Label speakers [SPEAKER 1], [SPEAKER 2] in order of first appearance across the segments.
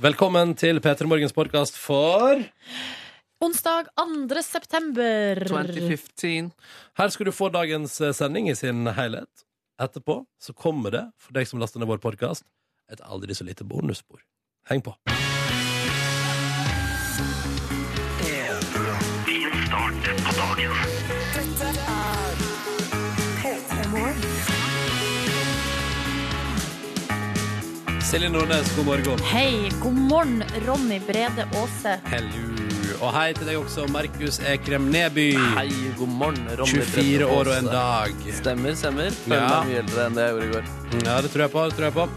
[SPEAKER 1] Velkommen til P3 Morgens podkast for
[SPEAKER 2] Onsdag 2. september.
[SPEAKER 3] 2015.
[SPEAKER 1] Her skal du få dagens eh, sending i sin helhet. Etterpå så kommer det, for deg som laster ned vår podkast, et aldri så lite bonusspor. Heng på. Silje Nordnes, god morgen.
[SPEAKER 2] Hei, god morgen, Ronny Brede Aase.
[SPEAKER 1] Hello. Og hei til deg også, Markus Ekrem Neby.
[SPEAKER 3] Hei, god morgen. Ronny
[SPEAKER 1] 24
[SPEAKER 3] Brede
[SPEAKER 1] Mm. år og en
[SPEAKER 3] Aase.
[SPEAKER 1] dag.
[SPEAKER 3] Stemmer, stemmer. Føler
[SPEAKER 1] Ja.
[SPEAKER 3] meg mye eldre enn det jeg gjorde i går.
[SPEAKER 1] Ja, det tror jeg på. det tror jeg på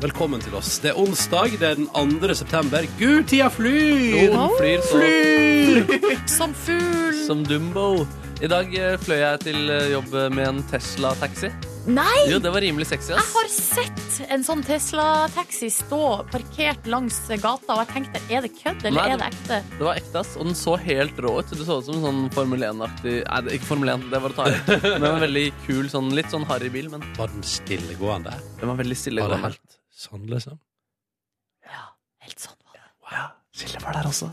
[SPEAKER 1] Velkommen til oss. Det er onsdag, det er den 2. september. Gud, tida flyr!
[SPEAKER 3] Noen flyr så
[SPEAKER 1] Flyr!
[SPEAKER 2] Som fugl.
[SPEAKER 3] som Dumbo. I dag eh, fløy jeg til eh, jobb med en Tesla-taxi.
[SPEAKER 2] Nei!
[SPEAKER 3] Jo, det var rimelig sexy,
[SPEAKER 2] Jeg
[SPEAKER 3] ass.
[SPEAKER 2] har sett en sånn Tesla-taxi stå parkert langs gata, og jeg tenkte er det kødd, eller
[SPEAKER 3] Nei,
[SPEAKER 2] er det ekte?
[SPEAKER 3] Det var ekte, ass. Og den så helt rå ut. Du så ut som en sånn Formel 1-aktig Nei, det- ikke Formel 1, det var å ta i. Men en veldig kul, sånn, litt sånn harry bil, men
[SPEAKER 1] Var den stillegående?
[SPEAKER 3] den var veldig stille.
[SPEAKER 1] Var det
[SPEAKER 3] gående.
[SPEAKER 1] helt sånn, liksom?
[SPEAKER 2] Ja, helt sånn var det.
[SPEAKER 3] Ja, Silje var der også.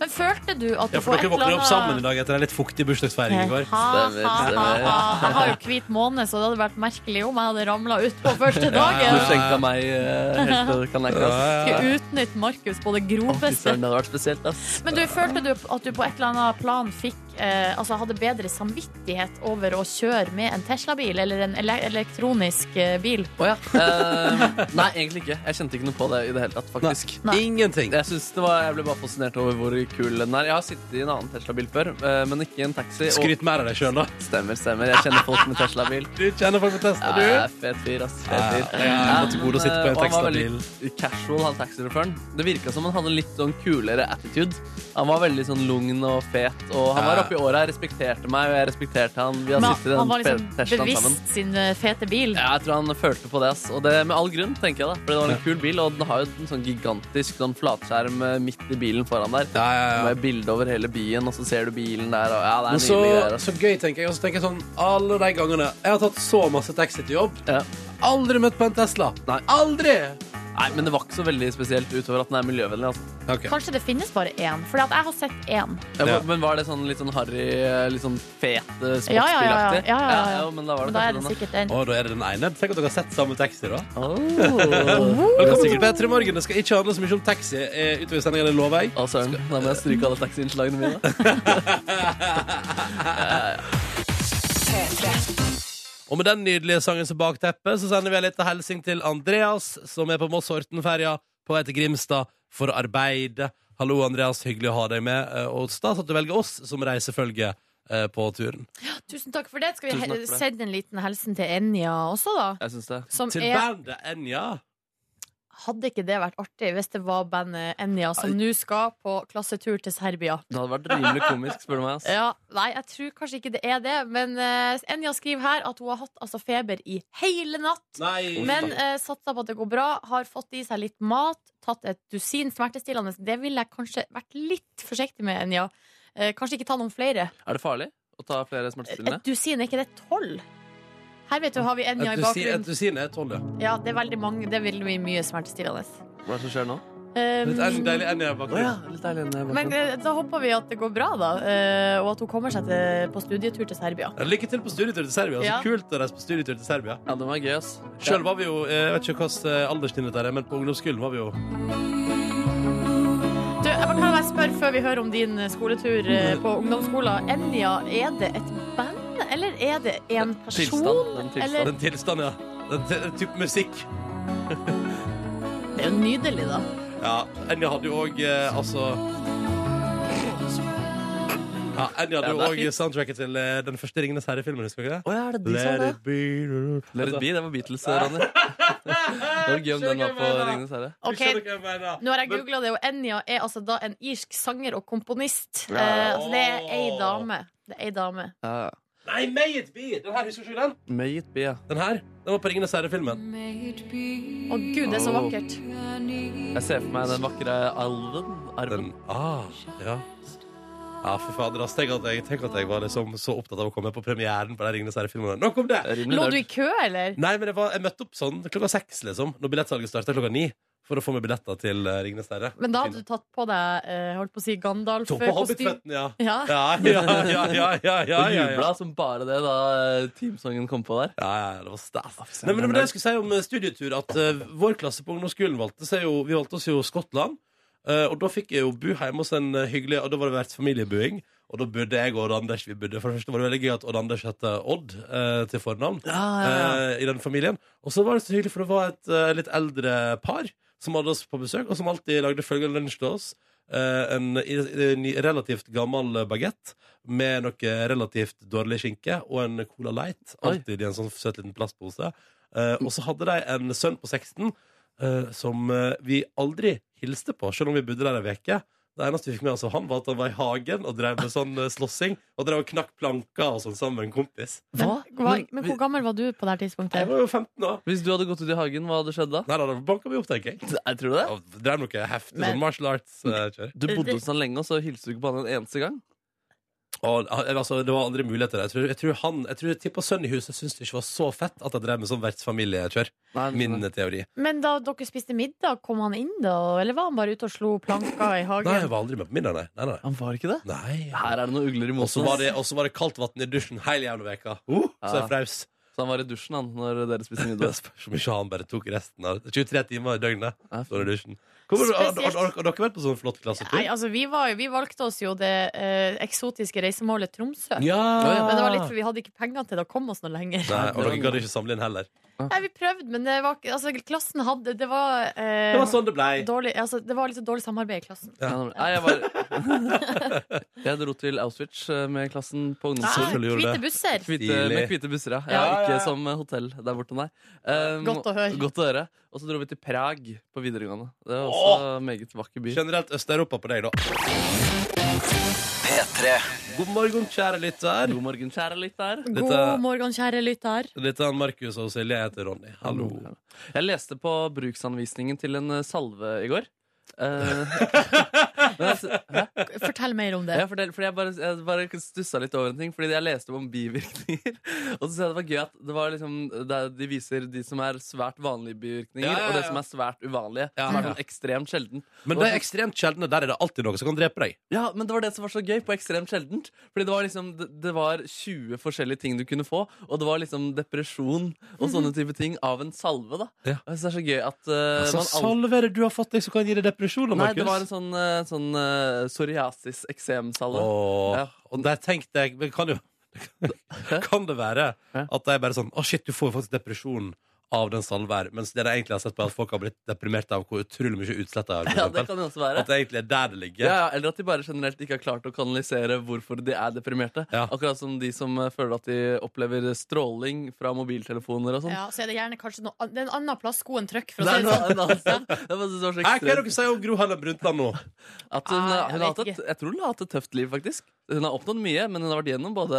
[SPEAKER 2] Men følte du at du
[SPEAKER 1] Ja, for dere våkner opp sammen i dag etter en litt fuktig bursdagsfeiring i går.
[SPEAKER 2] Ha,
[SPEAKER 3] Stemmer,
[SPEAKER 2] ha, ha,
[SPEAKER 3] stemmer.
[SPEAKER 2] ha. Jeg har jo hvit måne, så det hadde vært merkelig om jeg hadde ramla utpå første
[SPEAKER 3] Du
[SPEAKER 2] dagen.
[SPEAKER 3] skjenka meg eh, helt til Kanaka, ass.
[SPEAKER 2] Skulle utnytte Markus på det
[SPEAKER 3] Å, fy
[SPEAKER 2] groveste.
[SPEAKER 3] søren, det hadde vært spesielt, ass.
[SPEAKER 2] Men du, følte du at du på et eller annet plan fikk eh, Altså hadde bedre samvittighet over å kjøre med en Tesla-bil eller en ele elektronisk eh, bil?
[SPEAKER 3] Å ja. Eh, nei, egentlig ikke. Jeg kjente ikke noe på det i det hele tatt, faktisk.
[SPEAKER 2] Nei.
[SPEAKER 1] Ingenting.
[SPEAKER 3] Jeg, synes det var, jeg ble bare fascinert over hvor kul den er. Jeg har sittet i en annen Tesla-bil før, eh, men ikke i en taxi. Og
[SPEAKER 1] Skryt mer av deg sjøl, da.
[SPEAKER 3] stemmer, stemmer. Jeg kjenner folk med Tesla-bil.
[SPEAKER 1] Du kjenner folk på
[SPEAKER 3] Ja,
[SPEAKER 1] Tesla,
[SPEAKER 3] jeg
[SPEAKER 1] du.
[SPEAKER 3] er fet fyr, ass. Fet
[SPEAKER 1] Ja,
[SPEAKER 3] fyr.
[SPEAKER 1] ja, jeg har fått til gode å sitte på en
[SPEAKER 3] eh, og han var
[SPEAKER 1] Tesla-bil.
[SPEAKER 3] veldig Casual, han taxisjåføren. Det virka som han hadde en litt sånn kulere attitude. Han var veldig sånn lugn og fet, og han var
[SPEAKER 1] Ja.
[SPEAKER 3] oppi åra. Jeg respekterte meg, og jeg respekterte han. Vi har
[SPEAKER 2] Men
[SPEAKER 3] sittet i
[SPEAKER 2] han, han
[SPEAKER 3] den
[SPEAKER 2] var liksom
[SPEAKER 3] Teslaen sammen.
[SPEAKER 2] bevisst sin eh, fete bil.
[SPEAKER 3] Ja, jeg tror han følte på det, ass. Og det med all grunn, tenker jeg da. For det var en kul bil, og den har jo en sånn gigantisk sånn flatskjerm eh, midt i bilen foran der.
[SPEAKER 1] Ja, ja, ja.
[SPEAKER 3] Med bilde over hele byen, og så ser du bilen der, og ja, det
[SPEAKER 1] Men
[SPEAKER 3] er altså.
[SPEAKER 1] så,
[SPEAKER 3] nydelig greier, ass.
[SPEAKER 1] så gøy, tenker jeg. Og så tenker jeg sånn alle de gangene Jeg har tatt så masse taxi til jobb.
[SPEAKER 3] Ja.
[SPEAKER 1] Aldri møtt på en Tesla.
[SPEAKER 3] Nei.
[SPEAKER 1] Aldri!
[SPEAKER 3] Nei, men det var ikke så veldig spesielt utover at den er miljøvennlig, altså.
[SPEAKER 1] Ok.
[SPEAKER 2] Kanskje det finnes bare én, for jeg har sett én.
[SPEAKER 3] Ja,
[SPEAKER 1] Ja.
[SPEAKER 3] Men var det sånn litt sånn harry, eh, litt sånn fet eh, sportsbilaktig?
[SPEAKER 2] Ja, ja, ja, ja, ja, ja, ja.
[SPEAKER 3] jo, men da var
[SPEAKER 2] Men
[SPEAKER 3] det
[SPEAKER 2] da er det
[SPEAKER 3] kanskje den, da.
[SPEAKER 2] sikkert den.
[SPEAKER 1] Og da er det den ene. Tenk at dere har sett samme taxi, da.
[SPEAKER 3] Åh.
[SPEAKER 1] Velkommen til P3 Morgen. Det skal ikke handle så mye om taxi eh, utover sendinga, det lover jeg.
[SPEAKER 3] Å, søren. Da må jeg stryke alle taxiinnslagene mine.
[SPEAKER 1] Og med den nydelige sangen som bakteppe, så sender vi en liten hilsing til Andreas, som er på Moss-Horten-ferja på vei til Grimstad for å arbeide. Hallo, Andreas. Hyggelig å ha deg med. eh, Og stas at du velger oss som reisefølge eh, på turen.
[SPEAKER 2] Tusen takk for det. Skal vi
[SPEAKER 3] Tusen takk
[SPEAKER 2] he-
[SPEAKER 3] for det.
[SPEAKER 2] sende en liten hilsen til Enja også, da?
[SPEAKER 3] Jeg syns det.
[SPEAKER 2] Som
[SPEAKER 1] Til
[SPEAKER 2] er,
[SPEAKER 1] bandet Enja.
[SPEAKER 2] hadde ikke det vært artig hvis det var bandet Enja som nå skal på klassetur til Serbia?
[SPEAKER 3] Det hadde vært rimelig komisk, spør du meg, ass.
[SPEAKER 2] Ja, nei, jeg tror kanskje ikke det er det. Men eh, Enja skriver her at hun har hatt altså, feber i hele natt.
[SPEAKER 1] Nei.
[SPEAKER 2] Men eh, satser på at det går bra. Har fått i seg litt mat. Tatt et dusin smertestillende. Det ville jeg kanskje vært litt forsiktig med, Enja. Eh, kanskje ikke ta noen flere.
[SPEAKER 3] Er det farlig å ta flere
[SPEAKER 2] Et
[SPEAKER 3] smertestillende?
[SPEAKER 2] dusin, er ikke det tolv? Her vet du, har vi Enja
[SPEAKER 1] Et
[SPEAKER 2] i
[SPEAKER 1] dusin, et
[SPEAKER 2] bakgrunnen.
[SPEAKER 1] dusin er tolv, ja.
[SPEAKER 2] Ja, det er veldig mange. Det vil bli mye smertestillende.
[SPEAKER 3] Hva er det som skjer nå?
[SPEAKER 1] Litt en-
[SPEAKER 2] Um,
[SPEAKER 1] deilig Enja bak
[SPEAKER 3] Å ja, litt deilig inne bak
[SPEAKER 2] men
[SPEAKER 3] den.
[SPEAKER 2] eh, da håper vi at det går bra, da. eh, og at hun kommer seg til, på studietur til Serbia.
[SPEAKER 1] Lykke til på studietur til Serbia.
[SPEAKER 2] Ja.
[SPEAKER 1] Så kult å reise på studietur til Serbia.
[SPEAKER 3] Ja, den var gøy, ass.
[SPEAKER 1] Sjøl var vi jo eh, Jeg vet ikke hvilken alderstid dette er, men på ungdomsskolen var vi jo
[SPEAKER 2] Du, jeg bare kan jeg spørre før vi hører om din skoletur eh, på ungdomsskolen. Enja, er det et band, eller er det en person?
[SPEAKER 3] Tilstand, en tilstand.
[SPEAKER 2] Eller,
[SPEAKER 1] Den tilstanden, ja. Den, til- den type musikk.
[SPEAKER 2] det er jo nydelig, da.
[SPEAKER 1] Ja, Enja hadde jo òg eh, altså ja, Enja hadde
[SPEAKER 3] Ja,
[SPEAKER 1] jo
[SPEAKER 3] det er
[SPEAKER 1] òg
[SPEAKER 3] fint.
[SPEAKER 1] soundtracket til eh, den første Ringenes herre-filmen. husker dere det?
[SPEAKER 3] Å ja, er det de
[SPEAKER 1] Let
[SPEAKER 3] som er det?
[SPEAKER 1] it be
[SPEAKER 3] Let it be, det var Beatles, eh, Ronny. Det var gøy om den var på Ringenes herre.
[SPEAKER 2] Ok, Nå har jeg googla det, og Enja er altså da en irsk sanger og komponist. Eh, altså, det er ei dame. Det er ei dame.
[SPEAKER 3] Ja, ja.
[SPEAKER 1] Nei, May it be! Den her, husker du ikke den?
[SPEAKER 3] May it be, ja.
[SPEAKER 1] Den her, den var på Ringenes herre-filmen.
[SPEAKER 2] Å gud, det er så
[SPEAKER 3] Oh.
[SPEAKER 2] vakkert.
[SPEAKER 3] Jeg ser for meg den vakre alven. Arven.
[SPEAKER 1] Den, ah, ja. Ja, for fader, ass. Tenk at jeg, tenk at jeg var liksom så opptatt av å komme på premieren på de Ringenes herre-filmene. Nok om det!
[SPEAKER 3] Det er
[SPEAKER 2] Lå
[SPEAKER 3] rimelig
[SPEAKER 2] du i
[SPEAKER 3] dørt.
[SPEAKER 2] kø, eller?
[SPEAKER 1] Nei, men jeg, var, jeg møtte opp sånn klokka seks, liksom. Når billettsalget starta klokka ni. For å få med billetter til eh, Ringenes herre.
[SPEAKER 2] Men da hadde du tatt på deg eh, holdt på å si
[SPEAKER 1] Tok på
[SPEAKER 2] Gandalf-kostyme.
[SPEAKER 1] hobbitføttene, ja.
[SPEAKER 2] Ja.
[SPEAKER 1] Ja, ja, ja, ja, ja, ja,
[SPEAKER 3] Og
[SPEAKER 1] ja, ja.
[SPEAKER 3] jubla som bare det da eh, teamsongen kom på der.
[SPEAKER 1] Ja, ja, det var stas.
[SPEAKER 3] fy
[SPEAKER 1] Nei, men det var det
[SPEAKER 3] søren.
[SPEAKER 1] jeg skulle si om eh, studietur, at eh, vår klasse på ungdomsskolen valgte seg jo Vi valgte oss jo Skottland, eh, og da fikk jeg jo bo hjemme hos en eh, hyggelig Og da var det vertsfamilieboing, og da bodde jeg og Odd Anders vi bodde. For det første var det veldig gøy at Odd Anders het Odd eh, til fornavn eh, i den familien. Og så var det så hyggelig, for det var et eh, litt eldre par som hadde oss på besøk, og som alltid lagde følgende lunsj til oss. Eh, en i- i- ny- relativt gammel bagett med noe relativt dårlig skinke og en Cola Light.
[SPEAKER 3] Oi.
[SPEAKER 1] Alltid i en sånn søt liten plastpose. Eh, og så hadde de en sønn på 16 eh, som eh, vi aldri hilste på, selv om vi bodde der ei uke. Det eneste vi fikk med oss av han, var at han var i hagen og drev med sånn eh, slåssing. Og drev og knakk planker og sånn sammen med en kompis.
[SPEAKER 2] Men,
[SPEAKER 3] Hva?
[SPEAKER 2] hva, men
[SPEAKER 3] vi-
[SPEAKER 2] hvor gammel var du på det her
[SPEAKER 1] Jeg
[SPEAKER 2] tidspunktet?
[SPEAKER 1] var jo 15 år.
[SPEAKER 3] Hvis du hadde gått ut i hagen, hva hadde skjedd da?
[SPEAKER 1] Nei, da, da banka vi opp, tenker jeg.
[SPEAKER 3] Jeg tror det.
[SPEAKER 1] Og drev noe heftig
[SPEAKER 2] Men-
[SPEAKER 1] sånn martial arts-kjør.
[SPEAKER 3] Du bodde hos han lenge, og så hilste du ikke på han en eneste gang.
[SPEAKER 1] altså, det var andre muligheter. Jeg tror, jeg tror han, jeg tror tippa sønnen i huset syntes det ikke var så fett at jeg drev med sånn vertsfamiliekjør.
[SPEAKER 3] Nei,
[SPEAKER 1] Min
[SPEAKER 3] nei.
[SPEAKER 1] teori.
[SPEAKER 2] Men da dere spiste middag, kom han inn da? Eller var han bare ute og slo planker i
[SPEAKER 1] Nei, jeg
[SPEAKER 2] hagen?
[SPEAKER 1] var aldri med på middag, nei. nei, nei.
[SPEAKER 3] Han var ikke det?
[SPEAKER 1] nei.
[SPEAKER 3] Her er det noen ugler i
[SPEAKER 1] Og så
[SPEAKER 3] mosen.
[SPEAKER 1] var
[SPEAKER 3] ass.
[SPEAKER 1] det, og så var det kaldt vann i dusjen hele jævla veka. Uh, så jeg
[SPEAKER 3] Ja.
[SPEAKER 1] fraus.
[SPEAKER 3] Så han var i dusjen han når dere spiste middag.
[SPEAKER 1] Det spørs om ikke han bare tok resten av 23 timer i døgnet.
[SPEAKER 3] Ja.
[SPEAKER 1] Står i dusjen. Kommer, du- har, har,
[SPEAKER 2] Spesielt.
[SPEAKER 1] har, har dere vært på sånn flott klassetur?
[SPEAKER 2] Nei, altså, vi, var, jo- vi valgte oss jo det eh, eksotiske reisemålet Tromsø.
[SPEAKER 1] ja.
[SPEAKER 2] Men det var litt for vi hadde ikke penger til det å komme oss noe lenger.
[SPEAKER 1] Nei, og dere gadd ikke samle inn heller.
[SPEAKER 2] Nei, vi prøvde, men det var, ikke- altså, klassen hadde Det var, eh,
[SPEAKER 1] Det var sånn det blei.
[SPEAKER 2] dårlig, altså, det var litt så dårlig samarbeid i klassen.
[SPEAKER 1] Ja.
[SPEAKER 3] Nei, jeg var Jeg dro til Auschwitz eh, med klassen på
[SPEAKER 2] Ah,
[SPEAKER 3] ungdomsskolen.
[SPEAKER 1] selvfølgelig gjorde
[SPEAKER 2] hvite busser!
[SPEAKER 3] Hvite,
[SPEAKER 1] Stilig.
[SPEAKER 3] med hvite busser, ja. ja.
[SPEAKER 2] Ja,
[SPEAKER 1] ja, ja.
[SPEAKER 3] Ikke som eh, hotell der borte, nei. Um,
[SPEAKER 2] Godt å høre.
[SPEAKER 3] Godt å høre. Og så dro vi til Prag på videregående. Det var også en meget vakker by.
[SPEAKER 1] Generelt Øst-Europa på deg, da. God morgen, kjære lytter.
[SPEAKER 3] God morgen, kjære lytter.
[SPEAKER 1] Dette-
[SPEAKER 2] God morgen, kjære lytter.
[SPEAKER 1] Dette er Markus og Silje. Jeg heter Ronny. Hallo.
[SPEAKER 3] Jeg leste på bruksanvisningen til en eh, salve i går. Eh, men altså, hæ?
[SPEAKER 2] Fortell mer om det.
[SPEAKER 3] Ja, fortell, fordi jeg bare, jeg bare stussa litt over en ting, fordi jeg leste om bivirkninger. Og så synes jeg det var gøy at det var liksom, det er- de viser de som er svært vanlige bivirkninger,
[SPEAKER 1] Ja, ja,
[SPEAKER 3] og det
[SPEAKER 1] ja.
[SPEAKER 3] som er svært uvanlige.
[SPEAKER 1] Ja,
[SPEAKER 3] som er
[SPEAKER 1] ja.
[SPEAKER 3] sånn ekstremt sjeldent.
[SPEAKER 1] Men det er ekstremt sjeldne. Der er det alltid noe som kan drepe deg.
[SPEAKER 3] Ja, men det var det som var så gøy på ekstremt sjeldent. Fordi det var liksom, det, det var 20 forskjellige ting du kunne få, og det var liksom depresjon og sånne type ting av en salve, da.
[SPEAKER 1] Ja.
[SPEAKER 3] Og jeg synes det er så gøy at eh,
[SPEAKER 1] Altså,
[SPEAKER 3] man aldri-
[SPEAKER 1] salve er det du har fått deg som kan gi deg depresjoner,
[SPEAKER 3] Nei, det
[SPEAKER 1] Markus?
[SPEAKER 3] var en sånn, eh, sånn eh, psoriasis-eksemsalve.
[SPEAKER 1] Åh,
[SPEAKER 3] Ja.
[SPEAKER 1] Og der tenkte jeg men Kan jo Kan det være
[SPEAKER 3] Hæ?
[SPEAKER 1] at det er bare sånn Å, shit, du får jo faktisk depresjon av den salve her. Mens det de egentlig har sett på, er at folk har blitt deprimert av hvor utrolig mye utslett de har.
[SPEAKER 3] Ja,
[SPEAKER 1] for
[SPEAKER 3] det
[SPEAKER 1] eksempel.
[SPEAKER 3] kan det også være.
[SPEAKER 1] At det egentlig er der det
[SPEAKER 3] Ja,
[SPEAKER 1] ligger.
[SPEAKER 3] ja, eller at de bare generelt ikke har klart å kanalisere hvorfor de er deprimerte.
[SPEAKER 1] Ja.
[SPEAKER 3] Akkurat som de som eh, føler at de opplever stråling fra mobiltelefoner og sånn.
[SPEAKER 2] Ja, så er det gjerne kanskje noe an- Det er en annen plass skoen trykker, for å si det
[SPEAKER 3] Det er
[SPEAKER 2] sånn.
[SPEAKER 3] noe- en annen sted. Jeg bare synes det
[SPEAKER 1] Hæ, hva er
[SPEAKER 3] var så
[SPEAKER 1] det
[SPEAKER 3] ekstremt.
[SPEAKER 1] dere sier om Gro Harlem Brundtland nå?
[SPEAKER 3] At hun,
[SPEAKER 2] Ah,
[SPEAKER 3] hun
[SPEAKER 2] jeg
[SPEAKER 3] har
[SPEAKER 2] vet
[SPEAKER 3] hatt et, jeg tror hun har hatt et tøft liv, faktisk. Hun har oppnådd mye, men hun har vært gjennom både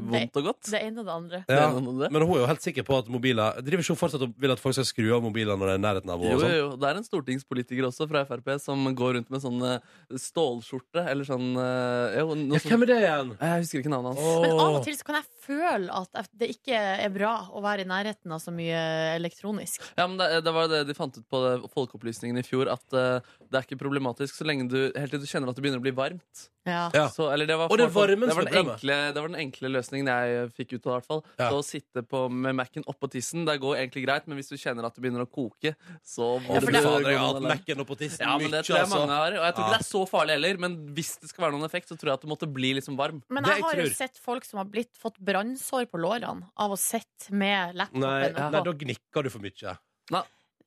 [SPEAKER 3] vondt og godt.
[SPEAKER 2] Det ene og det andre.
[SPEAKER 3] Det ene og det andre.
[SPEAKER 1] Men hun er jo helt sikker på at mobiler Driver ikke hun fortsatt og vil at folk skal skru av mobiler når de er i nærheten av
[SPEAKER 3] Jo,
[SPEAKER 1] henne? og
[SPEAKER 3] jo,
[SPEAKER 1] sånn?
[SPEAKER 3] jo. Det er en stortingspolitiker også fra Frp som går rundt med sånn eh, stålskjorte eller sånn eh, jo, noe
[SPEAKER 1] Ja,
[SPEAKER 3] sånt.
[SPEAKER 1] hvem er det igjen?
[SPEAKER 3] Jeg husker ikke navnet hans.
[SPEAKER 2] Men av og til så kan jeg føle at jeg- det ikke er bra å være i nærheten av så mye elektronisk.
[SPEAKER 3] Ja, men det, det var det de fant ut på det- folkeopplysningen i fjor, at eh, det er ikke problematisk så lenge du, helt til du kjenner at det begynner å bli varmt.
[SPEAKER 2] Ja.
[SPEAKER 1] Ja.
[SPEAKER 3] Så, eller det var,
[SPEAKER 1] Og det er varmen
[SPEAKER 3] det, var
[SPEAKER 1] som er
[SPEAKER 3] den
[SPEAKER 1] problemet.
[SPEAKER 3] enkle, det var den enkle løsningen jeg eh, fikk ut av det. i hvert fall
[SPEAKER 1] Ja.
[SPEAKER 3] Så å sitte på, med Mac-en oppå tissen, det går egentlig greit, men hvis du kjenner at det begynner å koke, så
[SPEAKER 1] Å,
[SPEAKER 3] burde
[SPEAKER 1] fy
[SPEAKER 2] for
[SPEAKER 3] du
[SPEAKER 2] det-
[SPEAKER 1] fader,
[SPEAKER 3] gå
[SPEAKER 1] jeg har
[SPEAKER 3] noen
[SPEAKER 1] hatt
[SPEAKER 3] alarm.
[SPEAKER 1] Mac-en opp på tissen
[SPEAKER 3] Ja, men
[SPEAKER 1] mye,
[SPEAKER 3] det tror jeg
[SPEAKER 1] altså.
[SPEAKER 3] mange har. Og jeg
[SPEAKER 1] Ja.
[SPEAKER 3] tror ikke det er så farlig heller, men hvis det skal være noen effekt, så tror jeg at det måtte bli liksom varm.
[SPEAKER 2] Men
[SPEAKER 1] Det
[SPEAKER 2] jeg
[SPEAKER 1] jeg
[SPEAKER 2] har jo
[SPEAKER 1] tror.
[SPEAKER 2] sett folk som har blitt, fått brannsår på lårene av å sitte med laptopen
[SPEAKER 1] Nei,
[SPEAKER 2] oppå.
[SPEAKER 1] nei, da gnikker du for mye.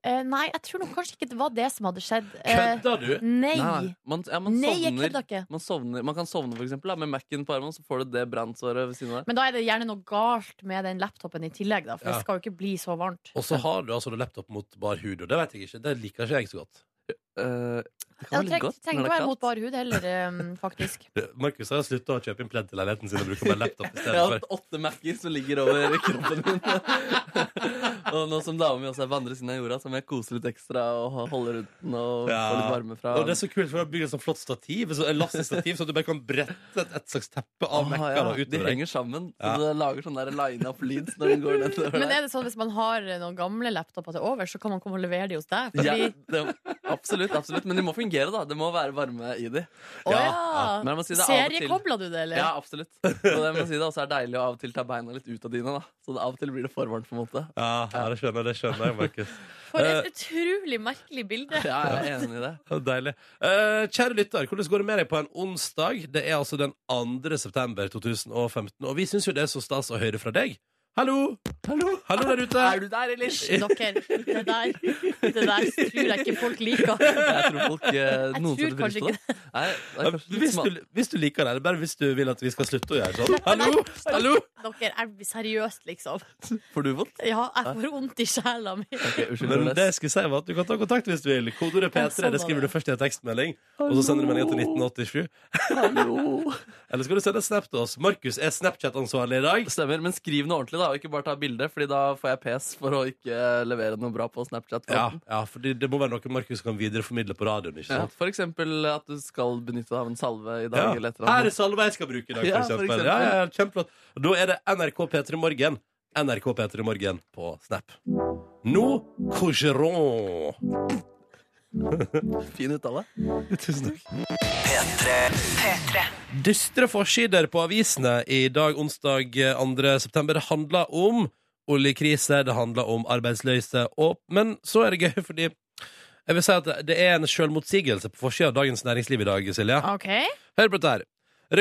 [SPEAKER 2] Eh, nei, jeg tror nok kanskje ikke det var det som hadde skjedd. Eh,
[SPEAKER 1] Kødder du?
[SPEAKER 2] nei.
[SPEAKER 3] Nei, man, ja, man
[SPEAKER 2] Nei, jeg
[SPEAKER 3] sovner.
[SPEAKER 2] kødder ikke.
[SPEAKER 3] Man, sovner. man kan sovne, for eksempel, da, med Mac-en på armen, så får du det brannsåret ved siden av deg.
[SPEAKER 2] Men da er det gjerne noe galt med den laptopen i tillegg, da, for
[SPEAKER 1] Ja.
[SPEAKER 2] det skal jo ikke bli så varmt.
[SPEAKER 1] Og så har du altså laptop mot bar hud, og det vet jeg ikke. Det liker ikke jeg så godt.
[SPEAKER 3] eh, det
[SPEAKER 2] Ja,
[SPEAKER 3] kan være
[SPEAKER 2] det
[SPEAKER 3] litt
[SPEAKER 2] treng,
[SPEAKER 3] godt.
[SPEAKER 2] trenger
[SPEAKER 3] når
[SPEAKER 2] ikke
[SPEAKER 3] det er
[SPEAKER 2] være
[SPEAKER 3] kaldt.
[SPEAKER 2] mot bar hud heller, eh, faktisk.
[SPEAKER 1] Markus har slutta å kjøpe inn pledd til leiligheten sin og bruker bare laptop i
[SPEAKER 3] Jeg har
[SPEAKER 1] stedet
[SPEAKER 3] hatt åtte merker som ligger over kroppen min. og nå som dama mi også er på andre siden av jorda, så må jeg kose litt ekstra og ha- holde rundt den og
[SPEAKER 1] Ja.
[SPEAKER 3] få litt varme fra
[SPEAKER 1] Og det er så kult, for da blir det sånn flott stativ, så- en lastestativ, så du bare kan brette et, et slags teppe av
[SPEAKER 3] Ah,
[SPEAKER 1] Mac-er
[SPEAKER 3] ja,
[SPEAKER 1] og
[SPEAKER 3] De
[SPEAKER 1] utover deg.
[SPEAKER 3] henger sammen,
[SPEAKER 1] Ja.
[SPEAKER 3] så det lager sånn der line up lyd når den går nedover
[SPEAKER 2] Men
[SPEAKER 3] der.
[SPEAKER 2] er det sånn hvis man har eh, noen gamle laptoper til over, så kan man komme og levere de hos deg?
[SPEAKER 3] Ja,
[SPEAKER 2] Fordi,
[SPEAKER 3] det, absolutt, absolutt. Men de må fungere, da. Det må være varme i de.
[SPEAKER 2] Å ja!
[SPEAKER 1] ja.
[SPEAKER 3] Men jeg må si det av og til.
[SPEAKER 2] Seriekobla du det, eller?
[SPEAKER 3] Ja, absolutt. Og det må jeg si det også er deilig å av og til ta beina litt ut av dyna. da Så det av og til blir det for varmt, på en måte.
[SPEAKER 1] Ja, ja, det skjønner jeg, det skjønner jeg, Markus.
[SPEAKER 2] For
[SPEAKER 3] eh,
[SPEAKER 2] et utrolig merkelig bilde.
[SPEAKER 3] Ja, jeg er enig i det.
[SPEAKER 1] Ja, Deilig. Eh, kjære lytter, hvordan går det med deg på en onsdag? Det er altså den 2. september 2015, og vi syns jo det er så stas å høre fra deg. Hallo! Hallo, der ute!
[SPEAKER 3] Er du der, Elish?
[SPEAKER 2] Dere, det der, det der tror jeg ikke folk liker.
[SPEAKER 3] Jeg tror folk eh,
[SPEAKER 2] tror
[SPEAKER 3] noen setter pris
[SPEAKER 2] kanskje
[SPEAKER 3] på det. Nei, det er kanskje litt
[SPEAKER 1] Hvis
[SPEAKER 3] smalt.
[SPEAKER 1] du, hvis du liker det, eller bare hvis du vil at vi skal slutte å gjøre sånn. Hallo! Hallo!
[SPEAKER 2] Dere er seriøst, liksom.
[SPEAKER 3] Får du vondt?
[SPEAKER 2] Ja, jeg får vondt i sjela mi.
[SPEAKER 3] Ok, unnskyld,
[SPEAKER 1] Men
[SPEAKER 3] Nordnes.
[SPEAKER 1] det jeg skulle si var at du kan ta kontakt hvis du vil. Kodeordet
[SPEAKER 2] Ja,
[SPEAKER 1] P3
[SPEAKER 2] sånn
[SPEAKER 1] det
[SPEAKER 2] var
[SPEAKER 1] skriver du
[SPEAKER 2] det.
[SPEAKER 1] først i en tekstmelding, og så sender du meldinga til 1987.
[SPEAKER 3] Hallo.
[SPEAKER 1] Eller skal du sende en snap til oss? Markus er Snapchat-ansvarlig i dag.
[SPEAKER 3] Stemmer, men skriv noe ordentlig, da, og ikke bare ta bilde, Fordi da får jeg pes for å ikke levere noe bra på Snapchat.
[SPEAKER 1] Ja, ja for det, det må være noe Markus kan videreformidle på radioen. ikke
[SPEAKER 3] Ja,
[SPEAKER 1] sant?
[SPEAKER 3] for eksempel at du skal benytte deg av en salve i
[SPEAKER 1] Ja.
[SPEAKER 3] dag. Eller et eller
[SPEAKER 1] Her
[SPEAKER 3] annet.
[SPEAKER 1] er salva jeg skal bruke i dag, for
[SPEAKER 3] Ja, for
[SPEAKER 1] eksempel.
[SPEAKER 3] eksempel.
[SPEAKER 1] Ja, ja, ja, kjempeflott. Og Da er det NRK P3 Morgen. NRK P3 Morgen på Snap. Nå coucheron.
[SPEAKER 3] Fin uttale.
[SPEAKER 1] Tusen takk. Dystre forsider på avisene i dag, onsdag 2. september. Det handler om oljekrise, det handler om arbeidsløse, og, men så er det gøy, fordi jeg vil si at det er en selvmotsigelse på forsida av Dagens Næringsliv i dag, Silje.
[SPEAKER 2] OK?
[SPEAKER 1] Hør på dette her.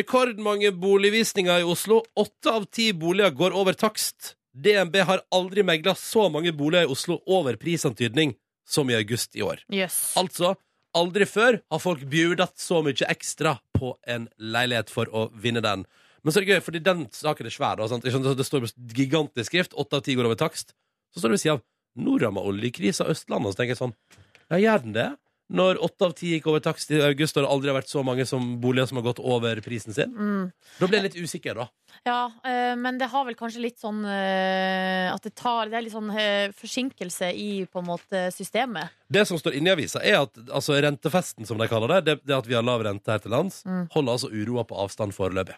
[SPEAKER 1] Rekordmange boligvisninger i Oslo. Åtte av ti boliger går over takst. DNB har aldri megla så mange boliger i Oslo over prisantydning som i august i år.
[SPEAKER 2] Jøss.
[SPEAKER 1] Altså, aldri før har folk bjudet så mye ekstra på en leilighet for å vinne den. Men så er det gøy, fordi den saken er svær. Da, sant? Ikke sant? Altså, Det står med gigantisk skrift. Åtte av ti går over takst. Så står det ved siden av Nå rammer oljekrisa Østlandet. Og så tenker jeg sånn Ja, gjør den det? Når åtte av ti gikk over takst i august, og det aldri har vært så mange som boliger som har gått over prisen sin.
[SPEAKER 2] Mm.
[SPEAKER 1] Da blir jeg litt usikker, da.
[SPEAKER 2] Ja, eh, men det har vel kanskje litt sånn eh, At det tar Det er litt sånn eh, forsinkelse i på en måte systemet.
[SPEAKER 1] Det som står inni avisa, er at altså, rentefesten, som de kaller det, det, det at vi har lav rente her til lands,
[SPEAKER 2] Mm.
[SPEAKER 1] holder altså uroa på avstand foreløpig.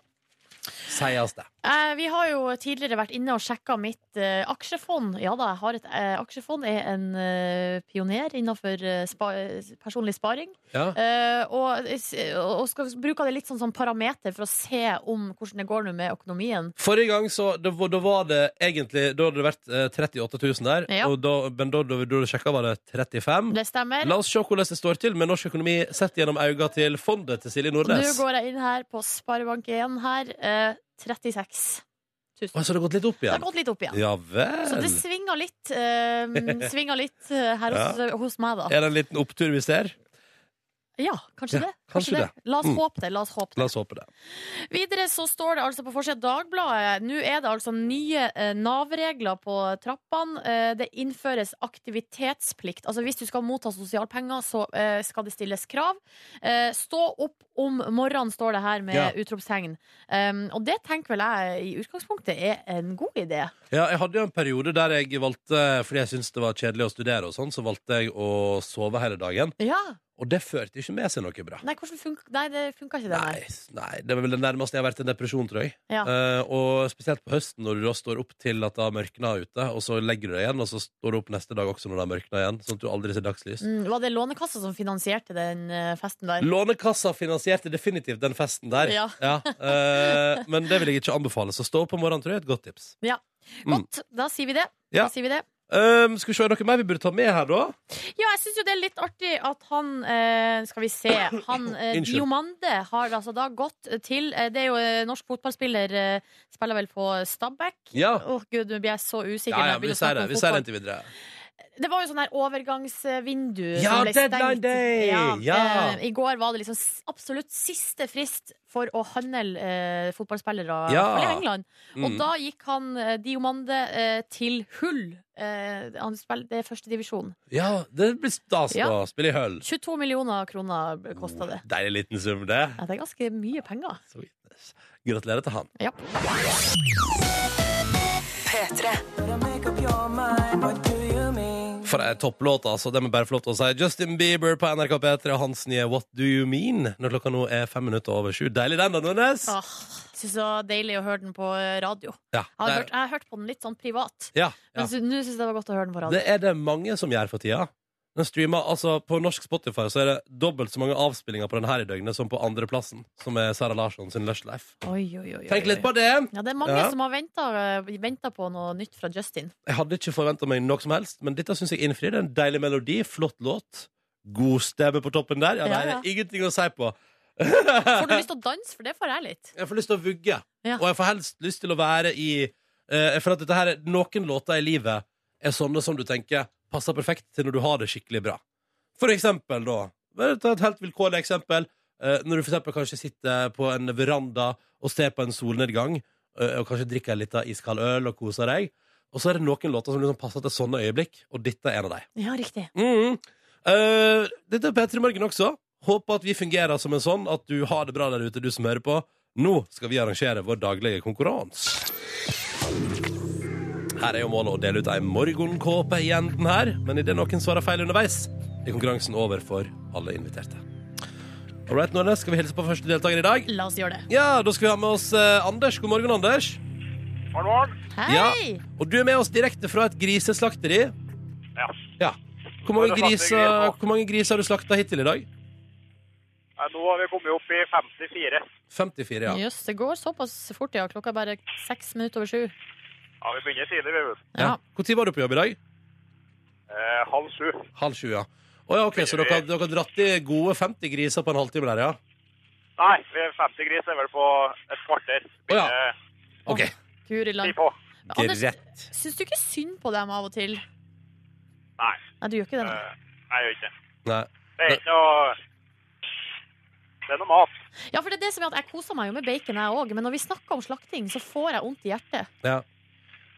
[SPEAKER 1] Sies det.
[SPEAKER 2] Eh, vi har jo tidligere vært inne og sjekka mitt eh, aksjefond. Ja da, jeg har et eh, aksjefond. Er en eh, pioner innenfor eh, spa, personlig sparing.
[SPEAKER 1] Ja.
[SPEAKER 2] Eh, og, og skal bruke det litt sånn som parameter for å se om hvordan det går nå med økonomien.
[SPEAKER 1] Forrige gang så, da, var- da var det egentlig Da hadde det vært eh, 38 000 der
[SPEAKER 2] Ja.
[SPEAKER 1] og da, Men da, da, da du sjekket var det 35
[SPEAKER 2] Det stemmer.
[SPEAKER 1] La oss se hvordan det står til med norsk økonomi Sett gjennom øynene til fondet til Silje
[SPEAKER 2] Og nå
[SPEAKER 1] Nordnes
[SPEAKER 2] går jeg inn her på Sparebank1 her. Eh, 36
[SPEAKER 1] Oi,
[SPEAKER 2] 000.
[SPEAKER 1] Så det har gått litt opp
[SPEAKER 2] Det har
[SPEAKER 1] igjen
[SPEAKER 2] gått litt opp igjen.
[SPEAKER 1] Ja
[SPEAKER 2] Så
[SPEAKER 1] vel
[SPEAKER 2] det svinger litt, eh, svinger litt eh, her hos, hos meg, da.
[SPEAKER 1] Er det en liten opptur vi ser?
[SPEAKER 2] Ja, kanskje
[SPEAKER 1] Ja,
[SPEAKER 2] det.
[SPEAKER 1] kanskje
[SPEAKER 2] La oss
[SPEAKER 1] Mm.
[SPEAKER 2] håpe det. La oss håpe det.
[SPEAKER 1] La oss håpe det
[SPEAKER 2] Videre så står det altså på forsida av Dagbladet Nå er det altså nye eh, Nav-regler på trappene. Eh, det innføres aktivitetsplikt. Altså hvis du skal motta sosialpenger, så eh, skal det stilles krav. Eh, stå opp om morgenen, står det her med
[SPEAKER 1] Ja.
[SPEAKER 2] utropstegn. Um, og det tenker vel jeg i utgangspunktet er en god idé.
[SPEAKER 1] Ja, jeg hadde jo en periode der jeg valgte Fordi jeg syntes det var kjedelig å studere og sånn Så valgte jeg å sove hele dagen
[SPEAKER 2] Ja.
[SPEAKER 1] Og det førte ikke med seg noe bra
[SPEAKER 2] Nei, hvordan funker Nei, det funka ikke, det der.
[SPEAKER 1] Nei, nei, det er vel det nærmeste jeg har vært en depresjon, tror jeg.
[SPEAKER 2] Ja.
[SPEAKER 1] Eh, og spesielt på høsten, når du da står opp til at det har mørkna ute, og så legger du deg igjen, og så står du opp neste dag også når det har mørkna igjen, sånn at du aldri ser dagslys.
[SPEAKER 2] Mm, var det Lånekassa som finansierte den eh, festen der?
[SPEAKER 1] Lånekassa finansierte definitivt den festen der.
[SPEAKER 2] Ja.
[SPEAKER 1] eh, men det vil jeg ikke anbefale, så stå opp om morgenen, tror jeg er et godt tips. Mm.
[SPEAKER 2] Godt, da sier vi det.
[SPEAKER 1] Ja.
[SPEAKER 2] Da sier vi det.
[SPEAKER 1] Um, skal vi se, er det noe mer vi burde ta med her, da?
[SPEAKER 2] Ja, jeg syns jo det er litt artig at han eh, Skal vi se. Han eh,
[SPEAKER 1] Unnskyld.
[SPEAKER 2] Diomande har altså da gått til eh, Det er jo eh, norsk fotballspiller, eh, spiller vel på Stabæk.
[SPEAKER 1] Ja.
[SPEAKER 2] Å gud, nå blir jeg så usikker.
[SPEAKER 1] Ja, ja,
[SPEAKER 2] når jeg
[SPEAKER 1] vi
[SPEAKER 2] begynner å
[SPEAKER 1] sier
[SPEAKER 2] snakke
[SPEAKER 1] det.
[SPEAKER 2] om
[SPEAKER 1] Vi sier det
[SPEAKER 2] fotball.
[SPEAKER 1] inntil videre.
[SPEAKER 2] Det var jo sånn her overgangsvindu
[SPEAKER 1] Ja,
[SPEAKER 2] som ble
[SPEAKER 1] deadline
[SPEAKER 2] stengt.
[SPEAKER 1] day! Ja.
[SPEAKER 2] eh, I går var det liksom s- absolutt siste frist for å handle eh, fotballspillere
[SPEAKER 1] Ja.
[SPEAKER 2] fra England. Og
[SPEAKER 1] Mm.
[SPEAKER 2] da gikk han eh, Diomande eh, til Hull. Eh, han spiller, det er førstedivisjon.
[SPEAKER 1] Ja, det blir stas nå.
[SPEAKER 2] Ja.
[SPEAKER 1] Spille i høll.
[SPEAKER 2] 22 millioner kroner kosta det.
[SPEAKER 1] Deilig liten sum, det.
[SPEAKER 2] Ja, Det er ganske mye penger.
[SPEAKER 1] Sweetness. Gratulerer til han.
[SPEAKER 2] Ja.
[SPEAKER 1] For ei topplåt, altså. Det må jeg bare få lov til å si. Justin Bieber på NRK P3 og hans nye What Do You Mean? Når klokka nå er fem minutter over sju. Deilig den, da, Nordnes?
[SPEAKER 2] Ah, Syns det var deilig å høre den på eh, radio.
[SPEAKER 1] Ja,
[SPEAKER 2] Jeg har,
[SPEAKER 1] det-
[SPEAKER 2] hørt, jeg har hørt på den litt sånn privat.
[SPEAKER 1] ja, ja.
[SPEAKER 2] Men så- nå syns jeg det var godt å høre den på radio.
[SPEAKER 1] Det er det mange som gjør for tida. Den streamer, altså På norsk Spotify så er det dobbelt så mange avspillinger på den her i døgnet som på andreplassen, som er Sara Larsson sin Lush Life.
[SPEAKER 2] Oi, oi, oi, oi,
[SPEAKER 1] Tenk
[SPEAKER 2] oi.
[SPEAKER 1] litt på det!
[SPEAKER 2] Ja, det er mange
[SPEAKER 1] Ja.
[SPEAKER 2] som har venta på noe nytt fra Justin.
[SPEAKER 1] Jeg hadde ikke forventa meg noe som helst, men dette syns jeg innfrir. Det er en deilig melodi, flott låt. God stemme på toppen der. Ja,
[SPEAKER 2] Ja,
[SPEAKER 1] nei, det
[SPEAKER 2] ja.
[SPEAKER 1] er ingenting å si på.
[SPEAKER 2] Får du lyst til å danse, for det får jeg litt.
[SPEAKER 1] Jeg får lyst til å vugge,
[SPEAKER 2] Ja.
[SPEAKER 1] og jeg får helst lyst til å være i eh, For at dette her, er- noen låter i livet er sånne som du tenker passer perfekt til når du har det skikkelig bra. For eksempel, da. bare Ta et helt vilkårlig eksempel. eh, når du for eksempel kanskje sitter på en veranda og ser på en solnedgang, eh, og kanskje drikker en liten iskald øl og koser deg. Og så er det noen låter som liksom passer til sånne øyeblikk, og dette er en av dem.
[SPEAKER 2] Ja, riktig.
[SPEAKER 1] Mm. Eh, dette er P3 Morgen også. Håper at vi fungerer som en sånn at du har det bra der ute, du som hører på. Nå skal vi arrangere vår daglige konkurranse. Her er jo målet å dele ut ei morgenkåpe i enden her, men idet noen svarer feil underveis, er konkurransen over for alle inviterte. All right, Nordnes, skal vi hilse på første deltaker i dag?
[SPEAKER 2] La oss gjøre det.
[SPEAKER 1] Ja, da skal vi ha med oss eh, Anders. God morgen, Anders.
[SPEAKER 4] Morgen, morgen.
[SPEAKER 2] Hei!
[SPEAKER 1] Og du er med oss direkte fra et griseslakteri.
[SPEAKER 4] Ja.
[SPEAKER 1] Ja. Hvor mange,
[SPEAKER 4] Bare slakte
[SPEAKER 1] griser,
[SPEAKER 4] greier på.
[SPEAKER 1] hvor mange griser har du slakta hittil i dag?
[SPEAKER 4] Nei, Nå har vi kommet opp i 54.
[SPEAKER 1] 54, ja.
[SPEAKER 2] Jøss, det går såpass fort, ja. Klokka er bare seks minutter over sju.
[SPEAKER 4] Ja, Vi begynner tidlig, vi. vet du.
[SPEAKER 1] ja.
[SPEAKER 2] Ja.
[SPEAKER 1] Hvor tid var du på jobb i dag?
[SPEAKER 4] Eh, halv sju.
[SPEAKER 1] Halv sju, ja. Å ja, ok, Så dere, dere har dratt i gode 50 griser på en halvtime der, ja?
[SPEAKER 4] Nei, vi er 50 gris er vel på et kvarter.
[SPEAKER 1] Å ja.
[SPEAKER 4] Begynner
[SPEAKER 1] OK,
[SPEAKER 2] Guri land.
[SPEAKER 4] Ti på.
[SPEAKER 2] Men Anders,
[SPEAKER 1] greit.
[SPEAKER 2] syns du ikke synd på dem av og til?
[SPEAKER 4] Nei,
[SPEAKER 2] Nei, du gjør ikke det. nei.
[SPEAKER 4] eh, nei, jeg gjør ikke det.
[SPEAKER 1] Nei.
[SPEAKER 4] Det er ikke noe Det er noe mat.
[SPEAKER 2] Ja, for det er det som er at jeg koser meg jo med bacon, jeg òg, men når vi snakker om slakting, så får jeg vondt i hjertet.
[SPEAKER 1] Ja.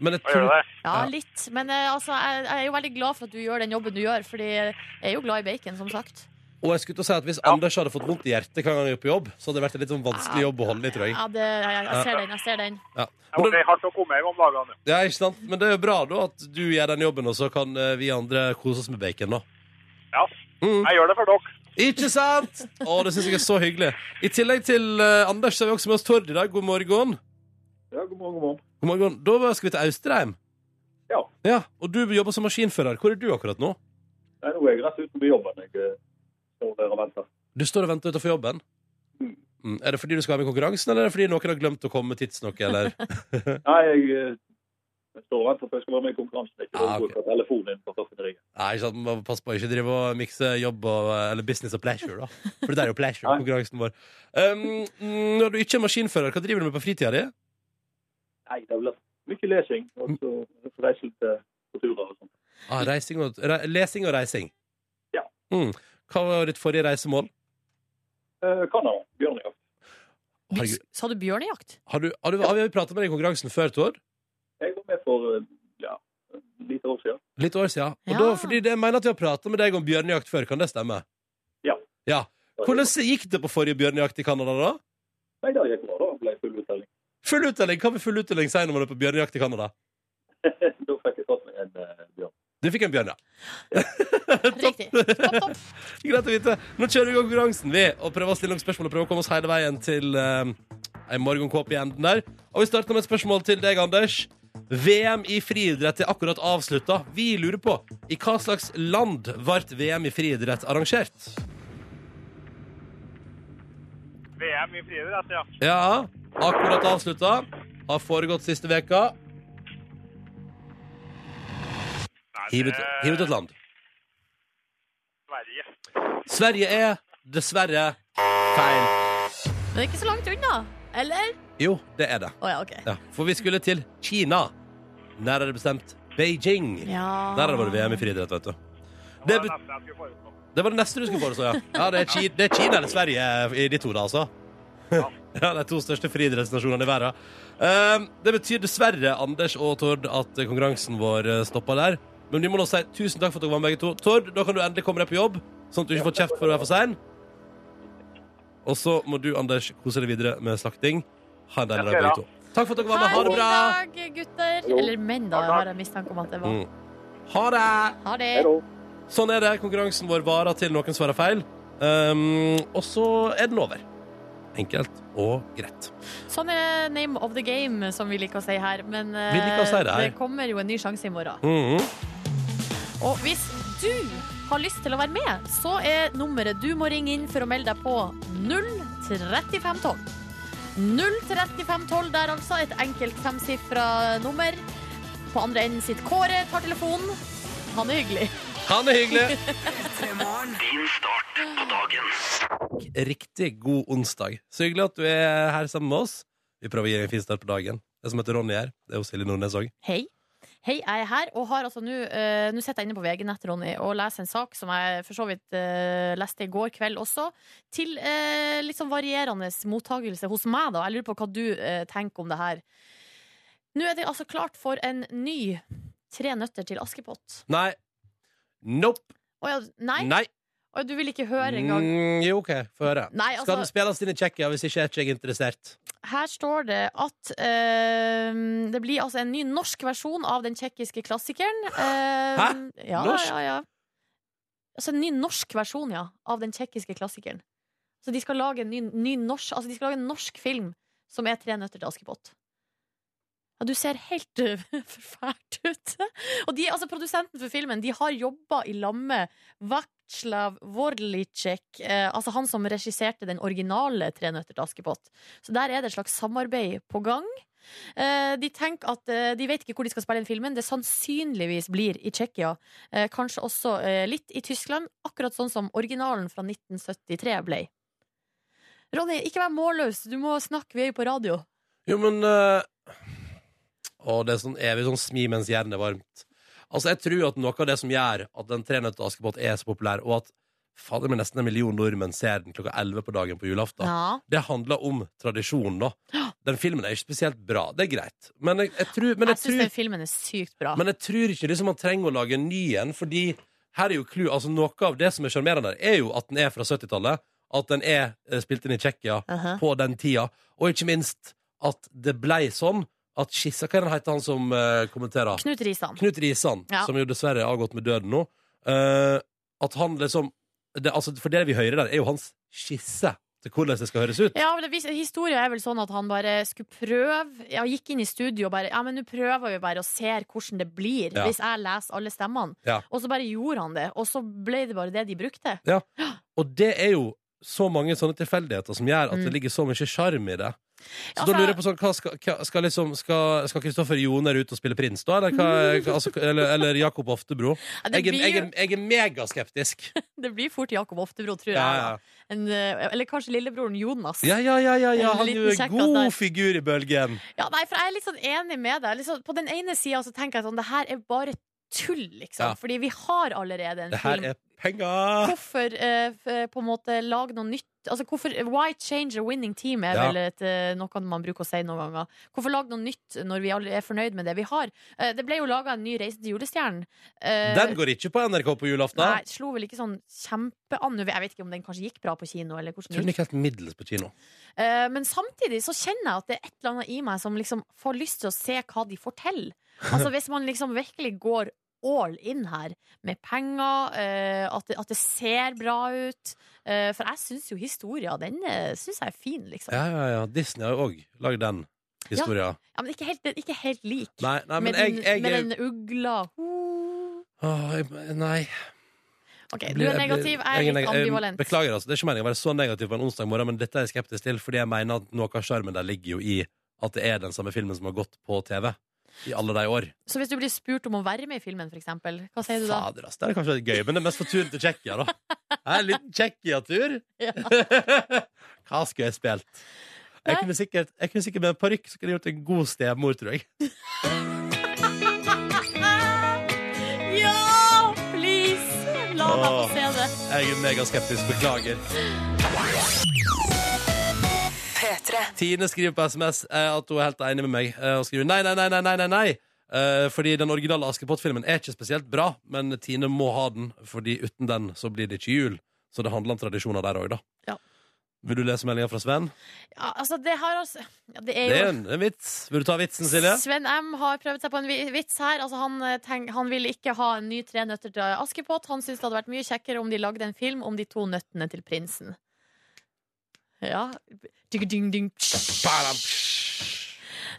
[SPEAKER 1] Men jeg
[SPEAKER 4] Hva gjør
[SPEAKER 1] tror
[SPEAKER 4] det?
[SPEAKER 2] Ja,
[SPEAKER 1] Ja.
[SPEAKER 2] litt. Men eh, altså, jeg, jeg er jo veldig glad for at du gjør den jobben du gjør, fordi jeg er jo glad i bacon, som sagt.
[SPEAKER 1] Og jeg skulle til å si at hvis Anders hadde fått vondt i hjertet hver gang han gikk på jobb, så hadde det vært en litt sånn vanskelig jobb å holde i, tror jeg.
[SPEAKER 2] Ja, det, jeg, jeg ser den. Jeg ser den.
[SPEAKER 1] Ja.
[SPEAKER 4] Det
[SPEAKER 1] Men, det,
[SPEAKER 4] blir hardt å komme hjem om dagene.
[SPEAKER 1] ja, ikke sant? Men det er jo bra da at du gjør den jobben, og så kan eh, vi andre kose oss med bacon, da.
[SPEAKER 4] Ja.
[SPEAKER 1] Mm.
[SPEAKER 4] Jeg gjør det for dere.
[SPEAKER 1] Ikke sant? Å, det syns jeg er så hyggelig. I tillegg til eh, Anders så har vi også med oss Tord i dag. God morgen.
[SPEAKER 5] Ja, god morgen, god morgen.
[SPEAKER 1] God morgen. Da skal vi til Austrheim.
[SPEAKER 5] Ja.
[SPEAKER 1] Og du jobber som maskinfører. Hvor er du akkurat nå?
[SPEAKER 5] Nei, nå nou, er jeg rett utenfor jobben. Jeg eh, står der og venter.
[SPEAKER 1] Du står og venter utenfor jobben. Mm. Er det fordi du skal være med i konkurransen, eller er det fordi noen har glemt å komme tidsnok? Eller?
[SPEAKER 5] Nei, jeg, eh, jeg står og venter for jeg skal være med i konkurransen. Ikke
[SPEAKER 1] Ah,
[SPEAKER 5] ah,
[SPEAKER 1] ok.
[SPEAKER 5] bruke telefonen inn på raffineriet.
[SPEAKER 1] Nei, ikke sant? Man må passe på å ikke drive og mikse jobb og, eh, eller business og pleasure, da. For det er jo pleasure,
[SPEAKER 5] Nei.
[SPEAKER 1] konkurransen vår. Um, mm, når du ikke er maskinfører, hva driver du med på fritida di?
[SPEAKER 5] Nei, det blir mye lesing og så reisel til på turer og sånn.
[SPEAKER 1] Ah, reising og, re, lesing og reising.
[SPEAKER 5] Ja.
[SPEAKER 1] Mm. Hva var ditt forrige reisemål?
[SPEAKER 5] Eh, Canada, bjørnejakt.
[SPEAKER 1] Herregud.
[SPEAKER 2] Sa du bjørnejakt?
[SPEAKER 1] Har du, har du, har vi pratet med deg i konkurransen før, Tord?
[SPEAKER 5] Jeg var med for eh, ja, et lite år siden.
[SPEAKER 1] Litt år siden. Og
[SPEAKER 2] Ja.
[SPEAKER 1] da, fordi det, jeg mener at vi har prata med deg om bjørnejakt før, kan det stemme?
[SPEAKER 5] Ja.
[SPEAKER 1] ja.
[SPEAKER 5] Da-
[SPEAKER 1] Hvordan gikk det på forrige bjørnejakt i Canada, da?
[SPEAKER 5] Nei, det gikk bra. Da ble jeg full uttelling.
[SPEAKER 1] Full uttelling! Hva vil full uttelling si når man er på bjørnejakt i Canada?
[SPEAKER 5] da fikk jeg tatt meg en eh, bjørn.
[SPEAKER 1] Du fikk en bjørn, ja.
[SPEAKER 2] Riktig. Topp, topp.
[SPEAKER 1] Greit å vite. Nå kjører vi i gang konkurransen, vi, og prøver å stille noen spørsmål og prøver å komme oss hele veien til uh, ei morgenkåpe i enden der. Og vi starter med et spørsmål til deg, Anders. VM i friidrett er akkurat avslutta. Vi lurer på i hva slags land ble VM i friidrett arrangert?
[SPEAKER 4] VM i friidrett, ja.
[SPEAKER 1] Ja, akkurat avslutta. Har foregått siste veka.
[SPEAKER 4] Nei,
[SPEAKER 1] Hiv ut,
[SPEAKER 4] det er
[SPEAKER 1] hiv ut et land.
[SPEAKER 4] Sverige.
[SPEAKER 1] Sverige er dessverre feil.
[SPEAKER 2] Men det er ikke så langt unna. Eller?
[SPEAKER 1] Jo, det er det.
[SPEAKER 2] Å ja, OK.
[SPEAKER 1] Ja, for vi skulle til Kina. Nærmere bestemt Beijing.
[SPEAKER 2] Ja.
[SPEAKER 1] Der har det vært VM i friidrett, vet du.
[SPEAKER 4] Det
[SPEAKER 1] Det,
[SPEAKER 4] var
[SPEAKER 1] bet-
[SPEAKER 4] nesten jeg skulle foreslå.
[SPEAKER 1] det var det neste du skulle foreslå, ja. ja det, er Kina, det er Kina eller Sverige i de to, da, altså. Ja, de to største friidrettsnasjonene i verden. Ehm, det betyr dessverre, Anders og Tord, at konkurransen vår eh, stopper der. Men vi må nå si tusen takk for at dere var med, begge to. Tord, da kan du endelig komme deg på jobb, sånn at du ikke får kjeft for å være for sein. Og så må du, Anders, kose deg videre med slakting. Ha en deilig dag, begge to. Takk for at dere var med. Ha det bra.
[SPEAKER 2] Ha det bra! gutter. Eller menn, da, har jeg mistanke om at det var.
[SPEAKER 1] Mm. Ha det!
[SPEAKER 2] Ha det!
[SPEAKER 5] Hei da.
[SPEAKER 1] Sånn er det. Konkurransen vår varer til noen svarer feil. Um, og så er den over. Enkelt og greit.
[SPEAKER 2] Sånn er name of the game, som vi liker å si her. Men eh,
[SPEAKER 1] Vi liker å si det her.
[SPEAKER 2] det kommer jo en ny sjanse i morgen.
[SPEAKER 1] Mhm.
[SPEAKER 2] Og hvis du har lyst til å være med, så er nummeret du må ringe inn for å melde deg på 03512. 03512 der altså, et enkelt femsifra nummer. På andre enden sitter Kåre, tar telefonen. Han er hyggelig.
[SPEAKER 1] Han er hyggelig. Riktig god onsdag. Så hyggelig at du er her sammen med oss. Vi prøver å gi deg en fin start på dagen. Jeg som heter Ronny her. Det er jo Silje Nordnes òg.
[SPEAKER 2] Hei. Hei, jeg er her, og har altså nå eh, Nå sitter jeg inne på VG-nett, Ronny, og leser en sak som jeg for så vidt eh, leste i går kveld også, til eh, litt sånn varierende mottagelse hos meg, da. Jeg lurer på hva du eh, tenker om det her. Nå er det altså klart for en ny Tre nøtter til Askepott.
[SPEAKER 1] Nei. Nope.
[SPEAKER 2] Å ja, nei?
[SPEAKER 1] Nei.
[SPEAKER 2] Å, ja, du vil ikke høre engang?
[SPEAKER 1] Mm, jo, OK. Få høre.
[SPEAKER 2] Nei,
[SPEAKER 1] Skal den
[SPEAKER 2] altså,
[SPEAKER 1] spilles inn i Tsjekkia hvis ikke er ikke jeg interessert?
[SPEAKER 2] her står det at eh, det blir altså en ny norsk versjon av den tsjekkiske klassikeren. Eh,
[SPEAKER 1] Hæ?
[SPEAKER 2] Ja,
[SPEAKER 1] Norsk?
[SPEAKER 2] ja, ja. Altså en ny norsk versjon, ja, av den tsjekkiske klassikeren. Så de skal lage en ny, ny norsk Altså de skal lage en norsk film som er Tre nøtter til Askepott. Ja, du ser helt uh, forfært ut. Og de, altså produsenten for filmen De har jobba i lamme Vaclav Vorlicek, eh, altså han som regisserte den originale Tre nøtter til Askepott. Så der er det et slags samarbeid på gang. Eh, de tenker at eh, De vet ikke hvor de skal spille inn filmen. Det sannsynligvis blir i Tsjekkia. Eh, kanskje også eh, litt i Tyskland, akkurat sånn som originalen fra 1973 ble. Ronny, ikke vær målløs. Du må snakke. Vi er jo på radio.
[SPEAKER 1] Jo, men eh, Å, det er sånn evig sånn smi mens hjernen er varmt. Altså, jeg tror at noe av det som gjør at den trenøtte Askepott er så populær, og at fader meg nesten en million nordmenn ser den klokka 11 på dagen på julaften,
[SPEAKER 2] Ja.
[SPEAKER 1] det handler om tradisjon, da. Den filmen er ikke spesielt bra. Det er greit. Men jeg, jeg tror, men
[SPEAKER 2] Jeg
[SPEAKER 1] jeg
[SPEAKER 2] syns
[SPEAKER 1] tror
[SPEAKER 2] den filmen er sykt bra.
[SPEAKER 1] men jeg tror ikke liksom man trenger å lage en ny en, fordi her er jo clou, altså Noe av det som er sjarmerende, der, er jo at den er fra 70-tallet. At den er eh, spilt inn i Tsjekkia
[SPEAKER 2] Aha.
[SPEAKER 1] på den tida. Og ikke minst at det blei sånn at skissa Hva er den heter han som eh, kommenterer?
[SPEAKER 2] Knut Risan.
[SPEAKER 1] Knut Risan,
[SPEAKER 2] Ja.
[SPEAKER 1] som jo dessverre er avgått med døden nå. eh, at han liksom det, altså, For det vi hører der, er jo hans skisse til hvordan det skal høres ut.
[SPEAKER 2] Ja, men det vis- Historien er vel sånn at han bare skulle prøve ja, Gikk inn i studio og bare Ja, men nå prøver vi bare og ser hvordan det blir
[SPEAKER 1] Ja.
[SPEAKER 2] hvis jeg leser alle stemmene.
[SPEAKER 1] Ja.
[SPEAKER 2] Og så bare gjorde han det, og så ble det bare det de brukte.
[SPEAKER 1] Og det er jo så mange sånne tilfeldigheter som gjør at
[SPEAKER 2] Mm.
[SPEAKER 1] det ligger så mye sjarm i det. Så
[SPEAKER 2] Altså-
[SPEAKER 1] da lurer jeg på sånn, hva skal, hva, skal liksom Skal skal Kristoffer Joner ut og spille prins, da? Eller, hva, hva- altså, eller, eller Jakob Oftebro?
[SPEAKER 2] Ja, det,
[SPEAKER 1] Jeg, er-
[SPEAKER 2] blir,
[SPEAKER 1] jeg, er- jeg er megaskeptisk.
[SPEAKER 2] det blir fort Jakob Oftebro, tror jeg.
[SPEAKER 1] Ja,
[SPEAKER 2] da. En, eh, eller kanskje lillebroren Jonas.
[SPEAKER 1] ja, ja, ja, ja, ja.
[SPEAKER 2] En
[SPEAKER 1] Han er jo
[SPEAKER 2] liten
[SPEAKER 1] en
[SPEAKER 2] kjekkas
[SPEAKER 1] god
[SPEAKER 2] der.
[SPEAKER 1] figur i bølgen.
[SPEAKER 2] Ja, nei, for jeg er litt sånn enig med deg. Liksom, på den ene sida så tenker jeg sånn Det her er bare tull, liksom.
[SPEAKER 1] Ja.
[SPEAKER 2] Fordi vi har allerede en
[SPEAKER 1] Det her
[SPEAKER 2] film.
[SPEAKER 1] er penger!
[SPEAKER 2] Hvorfor eh, f- på en måte lage noe nytt? Altså, hvorfor, why change a winning team er
[SPEAKER 1] Ja.
[SPEAKER 2] vel et, eh, noe man bruker å si noen ganger. Hvorfor lage noe nytt når vi alle er fornøyd med det vi har? Eh, det ble jo laga en ny Reise til julestjernen. Eh,
[SPEAKER 1] Den går ikke på NRK på
[SPEAKER 2] Nei,
[SPEAKER 1] julaften.
[SPEAKER 2] slo vel ikke sånn kjempean. Jeg vet ikke om den kanskje gikk bra på kino. Eller hvordan
[SPEAKER 1] Jeg tror
[SPEAKER 2] den
[SPEAKER 1] den
[SPEAKER 2] gikk.
[SPEAKER 1] gikk helt middels på kino.
[SPEAKER 2] Eh, Men samtidig så kjenner jeg at det er et eller annet i meg som liksom får lyst til å se hva de forteller. Altså Hvis man liksom virkelig går all in her, med penger, eh, at, det, at det ser bra ut. Eh, for jeg syns jo historia, den eh, syns jeg er fin, liksom. Ja,
[SPEAKER 1] Ja, ja, ja. Disney har jo òg lagd den historia.
[SPEAKER 2] men ikke helt, den er ikke helt lik.
[SPEAKER 1] Nei, nei, men
[SPEAKER 2] med,
[SPEAKER 1] jeg,
[SPEAKER 2] den,
[SPEAKER 1] jeg,
[SPEAKER 2] med
[SPEAKER 1] er-
[SPEAKER 2] den ugla
[SPEAKER 1] Åh, jeg Nei.
[SPEAKER 2] OK,
[SPEAKER 1] Jeg blir- jeg
[SPEAKER 2] du er
[SPEAKER 1] blir-
[SPEAKER 2] negativ, jeg er
[SPEAKER 1] neg-
[SPEAKER 2] litt ambivalent.
[SPEAKER 1] Beklager, altså. Det er ikke meningen å være så negativ på en onsdag morgen, men dette er jeg skeptisk til, fordi jeg mener at noe av sjarmen der ligger jo i at det er den samme filmen som har gått på TV i alle de år.
[SPEAKER 2] Så hvis du blir spurt om å være med i filmen, for eksempel, hva sier du da?
[SPEAKER 1] Fader, ass. Det er kanskje litt gøy, men det er mest for turen til Tsjekkia, da. Hæ, En liten Tsjekkia-tur.
[SPEAKER 2] Ja.
[SPEAKER 1] Hva skulle jeg spilt? Jeg
[SPEAKER 2] Nei.
[SPEAKER 1] kunne sikkert, jeg kunne sikkert med en parykk så kunne jeg gjort en god stemor, tror jeg.
[SPEAKER 2] Ah, gleder meg til å se det.
[SPEAKER 1] Jeg er megaskeptisk, beklager. Tine skriver på SMS eh, at hun er helt enig med meg. eh, Og skriver nei, nei, nei, nei, nei, nei, nei. Eh, Fordi den originale Askepott-filmen er ikke spesielt bra, men Tine må ha den, fordi uten den så blir det ikke jul. Så det handler om tradisjoner der òg, da.
[SPEAKER 2] Ja.
[SPEAKER 1] Vil du lese meldinga fra Sven?
[SPEAKER 2] Ja, altså, det her altså ja, Det
[SPEAKER 1] Det
[SPEAKER 2] er
[SPEAKER 1] er
[SPEAKER 2] jo
[SPEAKER 1] en, en vits. Vil du ta vitsen, Silje?
[SPEAKER 2] Sven M har prøvd seg på en vi- vits her. Altså, han, eh, tenk, han vil ikke ha en ny Tre nøtter til Askepott. Han syns det hadde vært mye kjekkere om de lagde en film om de to nøttene til prinsen. Ja Ding, ding, ding.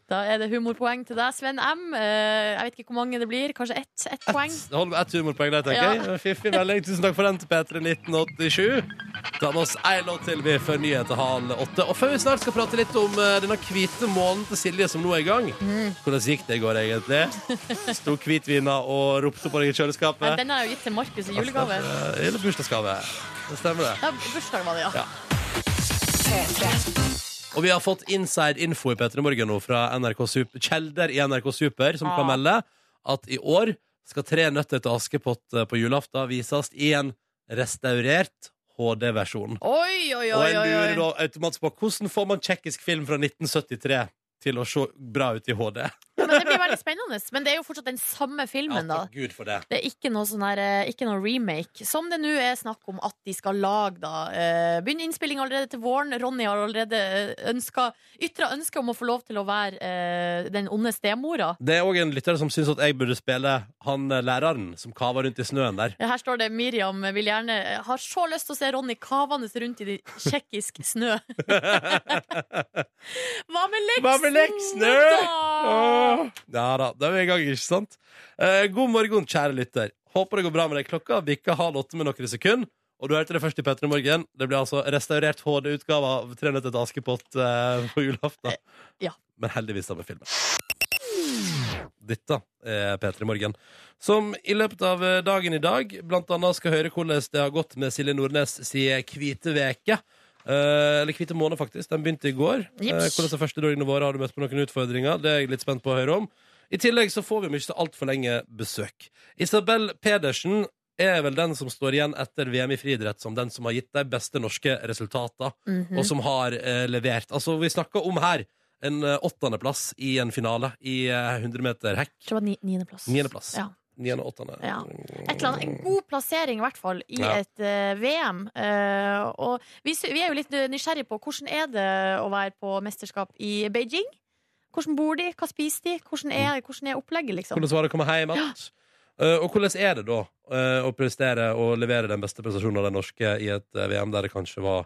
[SPEAKER 2] Da er det humorpoeng til deg, Sven M. Eh, Jeg vet ikke hvor mange det blir. Kanskje ett, ett poeng?
[SPEAKER 1] Det holder med ett humorpoeng der, tenker
[SPEAKER 2] Ja.
[SPEAKER 1] jeg. Fiffig melding. Tusen takk for den til P3 1987. Ta med oss ei låt til vi før nyheter halv åtte. Og før vi snart skal prate litt om eh, denne hvite månen til Silje som nå er i gang.
[SPEAKER 2] Mm.
[SPEAKER 1] Hvordan gikk det i går, egentlig? Sto hvitvina og ropte på deg i
[SPEAKER 2] Nei,
[SPEAKER 1] kjøleskapet?
[SPEAKER 2] Den har jeg jo gitt til Markus i julegave.
[SPEAKER 1] Eh, Eller bursdagsgave. Det stemmer, det.
[SPEAKER 2] Ja, bursdag var det, ja.
[SPEAKER 1] Og vi har fått inside info i Petter i Morgen nå fra NRK Super, kjelder i NRK Super, som kan
[SPEAKER 2] Ah.
[SPEAKER 1] melde at i år skal Tre nøtter til Askepott eh, på julaften vises i en restaurert HD-versjon.
[SPEAKER 2] Oi, oi,
[SPEAKER 1] Og
[SPEAKER 2] oi,
[SPEAKER 1] jeg
[SPEAKER 2] oi,
[SPEAKER 1] lurer
[SPEAKER 2] oi.
[SPEAKER 1] da automatisk på hvordan får man tsjekkisk film fra 1973 til å se bra ut i HD?
[SPEAKER 2] Men det blir veldig spennende. Men det er jo fortsatt den samme filmen,
[SPEAKER 1] Ja,
[SPEAKER 2] da.
[SPEAKER 1] takk Gud for det.
[SPEAKER 2] Det er ikke noe, sånn her, eh, ikke noe remake. Som det nå er snakk om at de skal lage, da. Eh, Begynner innspilling allerede til våren. Ronny har allerede ønska, ytra ønske om å få lov til å være eh, den onde stemora.
[SPEAKER 1] Det er òg en lytter som syns at jeg burde spille han eh, læreren som kaver rundt i snøen der.
[SPEAKER 2] Her står det Miriam vil gjerne eh, har så lyst til å se Ronny kavende rundt i de tsjekkisk snø. Hva med leksene?
[SPEAKER 1] Hva med leksene?
[SPEAKER 2] da?
[SPEAKER 1] Åh. Ja da, da er vi i gang, ikke sant? Eh, god morgen, kjære lytter. Håper det går bra med deg. Klokka bikker halv åtte med noen sekunder. Og du hørte det først i Petter i morgen. Det blir altså restaurert HD-utgave av 'Tre nøtter til Askepott' eh, på julaften.
[SPEAKER 2] ja.
[SPEAKER 1] Men heldigvis samme filmen. Dette er Peter i morgen. Som i løpet av eh, dagen i dag blant annet skal høre hvordan det har gått med Silje Nordnes siden hvite veke. Eh, eller hvite måned, faktisk. Den begynte i går. Eh,
[SPEAKER 2] Jips.
[SPEAKER 1] hvordan de første dagene våre har du møtt på noen utfordringer? Det er jeg litt spent på å høre om. I tillegg så får vi om ikke så altfor lenge besøk. Isabel Pedersen er vel den som står igjen etter VM i friidrett som den som har gitt de beste norske resultatene
[SPEAKER 2] Mhm.
[SPEAKER 1] og som har eh, levert. Altså, vi snakker om her en eh, åttendeplass i en finale i eh, 100 meter hekk.
[SPEAKER 2] Jeg tror det var ni, niendeplass.
[SPEAKER 1] Niendeplass.
[SPEAKER 2] Ja.
[SPEAKER 1] Niende og åttende.
[SPEAKER 2] Ja. Et eller annet, en god plassering i hvert fall i
[SPEAKER 1] Ja.
[SPEAKER 2] et eh, VM. Eh, og vi, sy- vi er jo litt nysgjerrig på hvordan er det å være på mesterskap i Beijing? Hvordan bor de? Hva spiser de? Hvordan er, hvordan er opplegget, liksom?
[SPEAKER 1] Mm. Hvordan var det å komme hjem igjen? Eh, og hvordan er det da eh, å prestere og levere den beste prestasjonen av den norske i et eh, VM der det kanskje var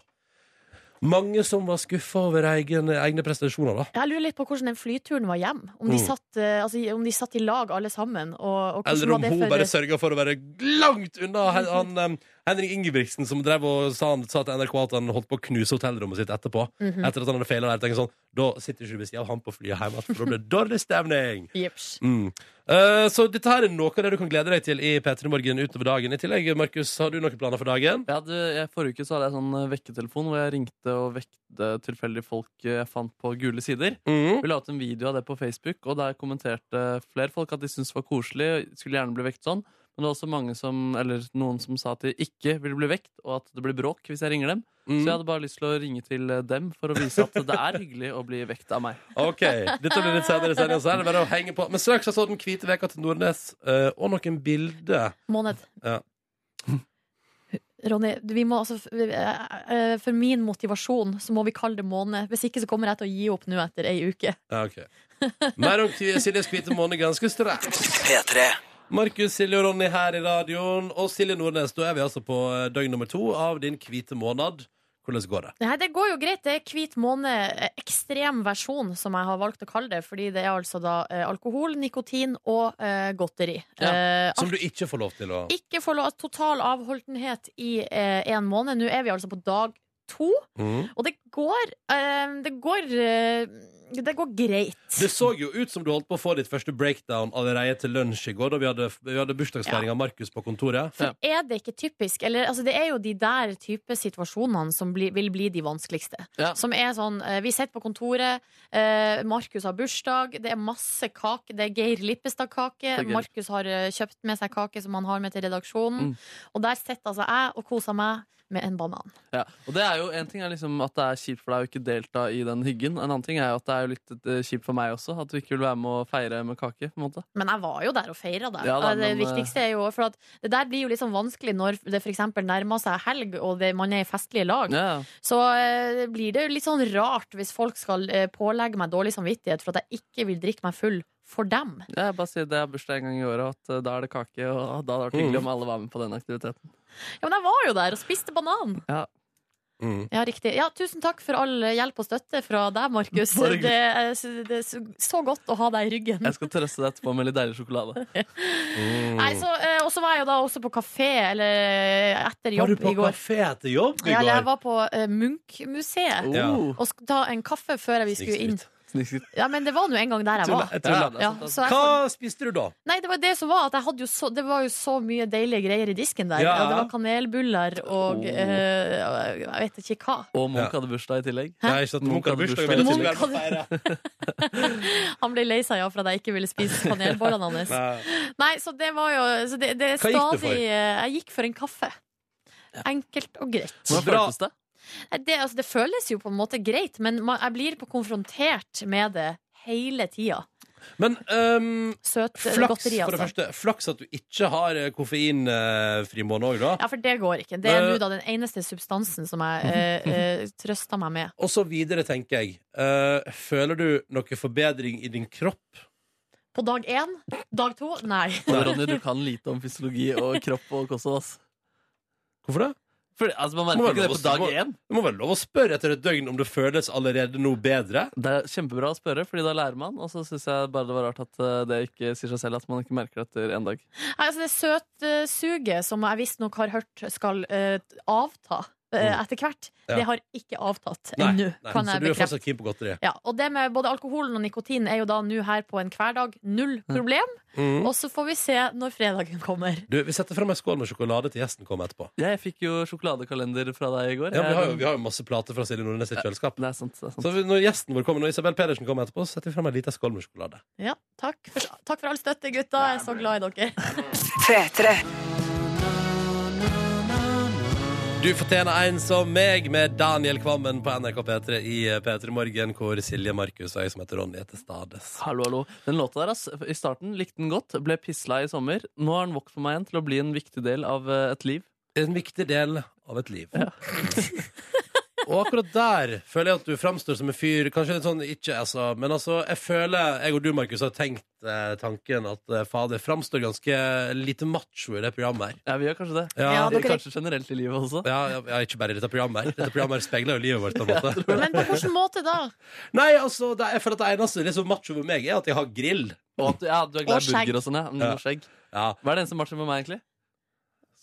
[SPEAKER 1] mange som var skuffa over egen, egne prestasjoner, da?
[SPEAKER 2] Jeg lurer litt på hvordan den flyturen var hjem. Om de,
[SPEAKER 1] Mm.
[SPEAKER 2] satt, eh, altså, om de satt i lag alle sammen. Og, og hvordan
[SPEAKER 1] Eller om
[SPEAKER 2] var det Mm.
[SPEAKER 1] hun
[SPEAKER 2] for-
[SPEAKER 1] bare sørga for å være langt unna han, han, em, Henrik Ingebrigtsen, som drev og sa, han, sa til NRK at han holdt på å knuse hotellrommet sitt etterpå.
[SPEAKER 2] Mhm.
[SPEAKER 1] Etter at han hadde feila der. Tenker jeg sånn, da sitter ikke du ved siden av han på flyet hjem, for da blir det dårlig stemning.
[SPEAKER 2] Jips.
[SPEAKER 1] Mm. Eh, så dette her er noe av det du kan glede deg til i P3 Morgen utover dagen. I tillegg, Markus, har du noen planer for dagen?
[SPEAKER 3] Ja, du, jeg, forrige uke så hadde jeg sånn eh, vekketelefon hvor jeg ringte og vekte tilfeldige folk eh, jeg fant på gule sider.
[SPEAKER 1] Mhm.
[SPEAKER 2] Mm.
[SPEAKER 3] Vi la ut en video av det på Facebook, og der kommenterte flere folk at de syntes det var koselig. og Skulle gjerne bli vekt sånn. Men det var også mange som, eller noen som sa at de ikke ville bli vekt, og at det blir bråk hvis jeg ringer dem. Så jeg
[SPEAKER 1] Mhm.
[SPEAKER 3] hadde bare lyst til å ringe til eh, dem for å vise at det er hyggelig å bli vekt av meg.
[SPEAKER 1] OK. Dette blir litt senere, senere, så er det bare å henge på. Men søk så så den hvite veka til Nordnes, eh, og noen bilder.
[SPEAKER 2] Måned.
[SPEAKER 1] Ja.
[SPEAKER 2] Ronny, vi må, altså, f- vi- eh, eh, for min motivasjon så må vi kalle det måned. Hvis ikke så kommer jeg til å gi opp nå etter ei uke.
[SPEAKER 1] Ja, ok. Mer om Siljes hvite måne ganske straks. Markus, Silje og Ronny her i radioen. Og Silje Nordnes, da er vi altså på eh, døgn nummer to av din hvite måned. Hvordan går det?
[SPEAKER 2] Nei, det går jo greit. Det er hvit måned, eh, ekstrem versjon, som jeg har valgt å kalle det. Fordi det er altså da eh, alkohol, nikotin og eh, godteri.
[SPEAKER 3] Ja.
[SPEAKER 2] Eh,
[SPEAKER 1] Som du ikke får lov til å
[SPEAKER 2] eh, ikke få lov total avholdenhet i én måned. Nå er vi altså på dag to.
[SPEAKER 1] Mhm.
[SPEAKER 2] Og det går eh, Det går eh, Det går greit.
[SPEAKER 1] Det så jo ut som du holdt på å få ditt første breakdown allerede til lunsj i går, da vi hadde, vi hadde bursdagsfeiring av Markus på kontoret.
[SPEAKER 2] For er det ikke typisk eller, altså, Det er jo de der type situasjonene som bli, vil bli de vanskeligste.
[SPEAKER 3] Ja.
[SPEAKER 2] Som er sånn eh, Vi sitter på kontoret, eh, Markus har bursdag, det er masse kake. Det er Geir Lippestad-kake.
[SPEAKER 3] er Geir.
[SPEAKER 2] Markus har eh, kjøpt med seg kake som han har med til redaksjonen.
[SPEAKER 3] Mm.
[SPEAKER 2] Og der sitter altså jeg og koser meg med en banan.
[SPEAKER 3] Ja, og det er jo En ting er liksom at det er kjipt for deg å ikke delta i den hyggen. En annen ting er jo at det er jo litt eh, kjipt for meg også, at du ikke vil være med å feire med kake. på en måte
[SPEAKER 2] Men jeg var jo der og feira det.
[SPEAKER 3] Ja da,
[SPEAKER 2] det
[SPEAKER 3] men, eh,
[SPEAKER 2] viktigste er jo For at det der blir jo litt sånn vanskelig når det f.eks. nærmer seg helg, og det, man er i festlige lag.
[SPEAKER 3] Ja,
[SPEAKER 2] Så eh, blir det jo litt sånn rart hvis folk skal eh, pålegge meg dårlig samvittighet for at jeg ikke vil drikke meg full for dem.
[SPEAKER 3] ja, jeg bare sier det er bursdag en gang i året, at eh, da er det kake. Og da hadde det vært hyggelig om alle var med på den aktiviteten.
[SPEAKER 2] Ja, men jeg var jo der og spiste banan.
[SPEAKER 3] Ja.
[SPEAKER 1] Mm.
[SPEAKER 2] Ja, riktig. Ja, tusen takk for all eh, hjelp og støtte fra deg, Markus.
[SPEAKER 3] Bare hyggelig.
[SPEAKER 2] Det, er s- det er så- så godt å ha deg i
[SPEAKER 1] Mm.
[SPEAKER 2] ryggen.
[SPEAKER 3] Jeg skal trøste deg etterpå med litt deilig sjokolade.
[SPEAKER 2] Nei, så, eh, og så var jeg jo da også på kafé eller eh, etter
[SPEAKER 1] Var du
[SPEAKER 2] jobb
[SPEAKER 1] på
[SPEAKER 2] i går.
[SPEAKER 1] kafé etter jobb i
[SPEAKER 2] Ja, eller
[SPEAKER 1] går?
[SPEAKER 2] jeg var på eh, Munch-museet
[SPEAKER 1] Ja.
[SPEAKER 3] Oh,
[SPEAKER 2] og skulle ta en kaffe før jeg vi skulle inn.
[SPEAKER 1] Snikskryt.
[SPEAKER 3] snikskritt.
[SPEAKER 2] Ja, men det var nå en gang der jeg var.
[SPEAKER 1] Jeg altså, tuller.
[SPEAKER 3] Ja,
[SPEAKER 2] Ja,
[SPEAKER 3] sant,
[SPEAKER 2] så jeg
[SPEAKER 1] Hva spiste du da?
[SPEAKER 2] Nei, det var det som var at jeg hadde jo så, Det var jo så mye deilige greier i disken der.
[SPEAKER 1] Ja.
[SPEAKER 2] Ja, det var kanelbuller og
[SPEAKER 3] Oh.
[SPEAKER 2] eh, jeg vet ikke hva.
[SPEAKER 3] Og Munch
[SPEAKER 1] Ja.
[SPEAKER 3] hadde bursdag i tillegg.
[SPEAKER 1] Nei, ikke sant, Munch hadde bursdag. ville
[SPEAKER 2] hadde-
[SPEAKER 3] Munch
[SPEAKER 1] ikke være på feire.
[SPEAKER 2] Han ble lei seg ja, for at jeg ikke ville spise kanelbollene hans. Nei.
[SPEAKER 1] Nei.
[SPEAKER 2] så det var jo så det, det er
[SPEAKER 1] Hva gikk du
[SPEAKER 2] stadig
[SPEAKER 1] for?
[SPEAKER 2] eh, Jeg gikk for en kaffe. Enkelt og greit.
[SPEAKER 1] Så
[SPEAKER 3] Hvordan
[SPEAKER 1] bra.
[SPEAKER 3] føltes det?
[SPEAKER 2] Nei, Det, altså, det føles jo på en måte greit, men man, jeg blir på konfrontert med det hele tida.
[SPEAKER 1] Men øhm,
[SPEAKER 2] Søt
[SPEAKER 1] flaks,
[SPEAKER 2] godteri,
[SPEAKER 1] for det
[SPEAKER 2] altså.
[SPEAKER 1] første. Flaks at du ikke har eh, koffeinfri måned òg, da.
[SPEAKER 2] Ja, for det går ikke. Det er
[SPEAKER 1] Eh.
[SPEAKER 2] nå da den eneste substansen som jeg eh, eh, trøster meg med.
[SPEAKER 1] Og så videre, tenker jeg. Eh, føler du noe forbedring i din kropp?
[SPEAKER 2] På dag én? Dag to? Nei.
[SPEAKER 3] Og Ronny, du kan lite om fysiologi og kropp og kosthold. ass.
[SPEAKER 1] Hvorfor det?
[SPEAKER 3] Fordi, altså, man
[SPEAKER 1] Må
[SPEAKER 3] merker
[SPEAKER 1] være
[SPEAKER 3] ikke det
[SPEAKER 1] lov
[SPEAKER 3] på
[SPEAKER 1] å-
[SPEAKER 3] dag
[SPEAKER 1] må-
[SPEAKER 3] én.
[SPEAKER 1] Det må være lov å spørre etter et døgn om det føles allerede noe bedre.
[SPEAKER 3] Det er kjempebra å spørre, Fordi da lærer man. Og så syns jeg bare det var rart at eh, det ikke sier seg selv at man ikke merker det etter en dag.
[SPEAKER 2] Nei, altså det søtsuget som jeg visstnok har hørt skal eh, avta eh,
[SPEAKER 1] Mm.
[SPEAKER 2] etter hvert,
[SPEAKER 1] Ja.
[SPEAKER 2] det har ikke avtatt
[SPEAKER 1] Nei,
[SPEAKER 2] ennå,
[SPEAKER 1] nei,
[SPEAKER 2] kan
[SPEAKER 1] så
[SPEAKER 2] jeg
[SPEAKER 1] du er
[SPEAKER 2] bekrefte.
[SPEAKER 1] fortsatt keen på godteri.
[SPEAKER 2] Ja, og det med både alkoholen og nikotinen er jo da nå her på en hverdag null
[SPEAKER 1] Mm.
[SPEAKER 2] problem. Og så får vi se når fredagen kommer.
[SPEAKER 1] Du, Vi setter fram en skål med sjokolade til gjesten kommer etterpå.
[SPEAKER 3] Jeg fikk jo sjokoladekalender fra deg i går.
[SPEAKER 1] Ja, vi,
[SPEAKER 3] Jeg-
[SPEAKER 1] har jo, vi har jo masse plater fra Silje Nordnes i kjøleskap.
[SPEAKER 3] Det er sant. det er sant
[SPEAKER 1] Så vi- når gjesten vår kommer, når Isabel Pedersen kommer etterpå, så setter vi fram en liten skål med sjokolade.
[SPEAKER 2] Ja, takk for, takk for all støtte, gutta. Jeg er så glad i dere.
[SPEAKER 1] Du fortjener en som meg, med Daniel Kvammen på NRK P3 i P3 Morgen, hvor Silje Markus og jeg som heter Ronny, er til stades.
[SPEAKER 3] Hallo, hallo. Den låta der, ass. I starten likte den godt, ble pissla i sommer. Nå har den vokst for meg igjen til å bli en viktig del av eh, et liv.
[SPEAKER 1] En viktig del av et liv. og akkurat der føler jeg at du framstår som en fyr Kanskje litt sånn ikke, altså, men altså Jeg føler, jeg og du, Markus, har tenkt eh, tanken at eh, fader framstår ganske lite macho i det programmet her.
[SPEAKER 3] Ja, vi gjør kanskje det.
[SPEAKER 2] Ja, dere-
[SPEAKER 3] Kanskje generelt i livet også.
[SPEAKER 1] Ja, ja, ja, ikke bare i dette programmet. her Dette programmet her speiler jo livet vårt. på en måte
[SPEAKER 2] Men på hvilken måte da?
[SPEAKER 1] Nei, altså, det, jeg føler at det eneste liksom, macho med meg, er at jeg har grill.
[SPEAKER 3] Og at, du- ja, du er glad i
[SPEAKER 2] Og skjegg.
[SPEAKER 3] burger og sånn, ja. Mm,
[SPEAKER 1] Ja.
[SPEAKER 3] og skjegg.
[SPEAKER 1] Ja,
[SPEAKER 3] Hva er det eneste matchen med meg, egentlig?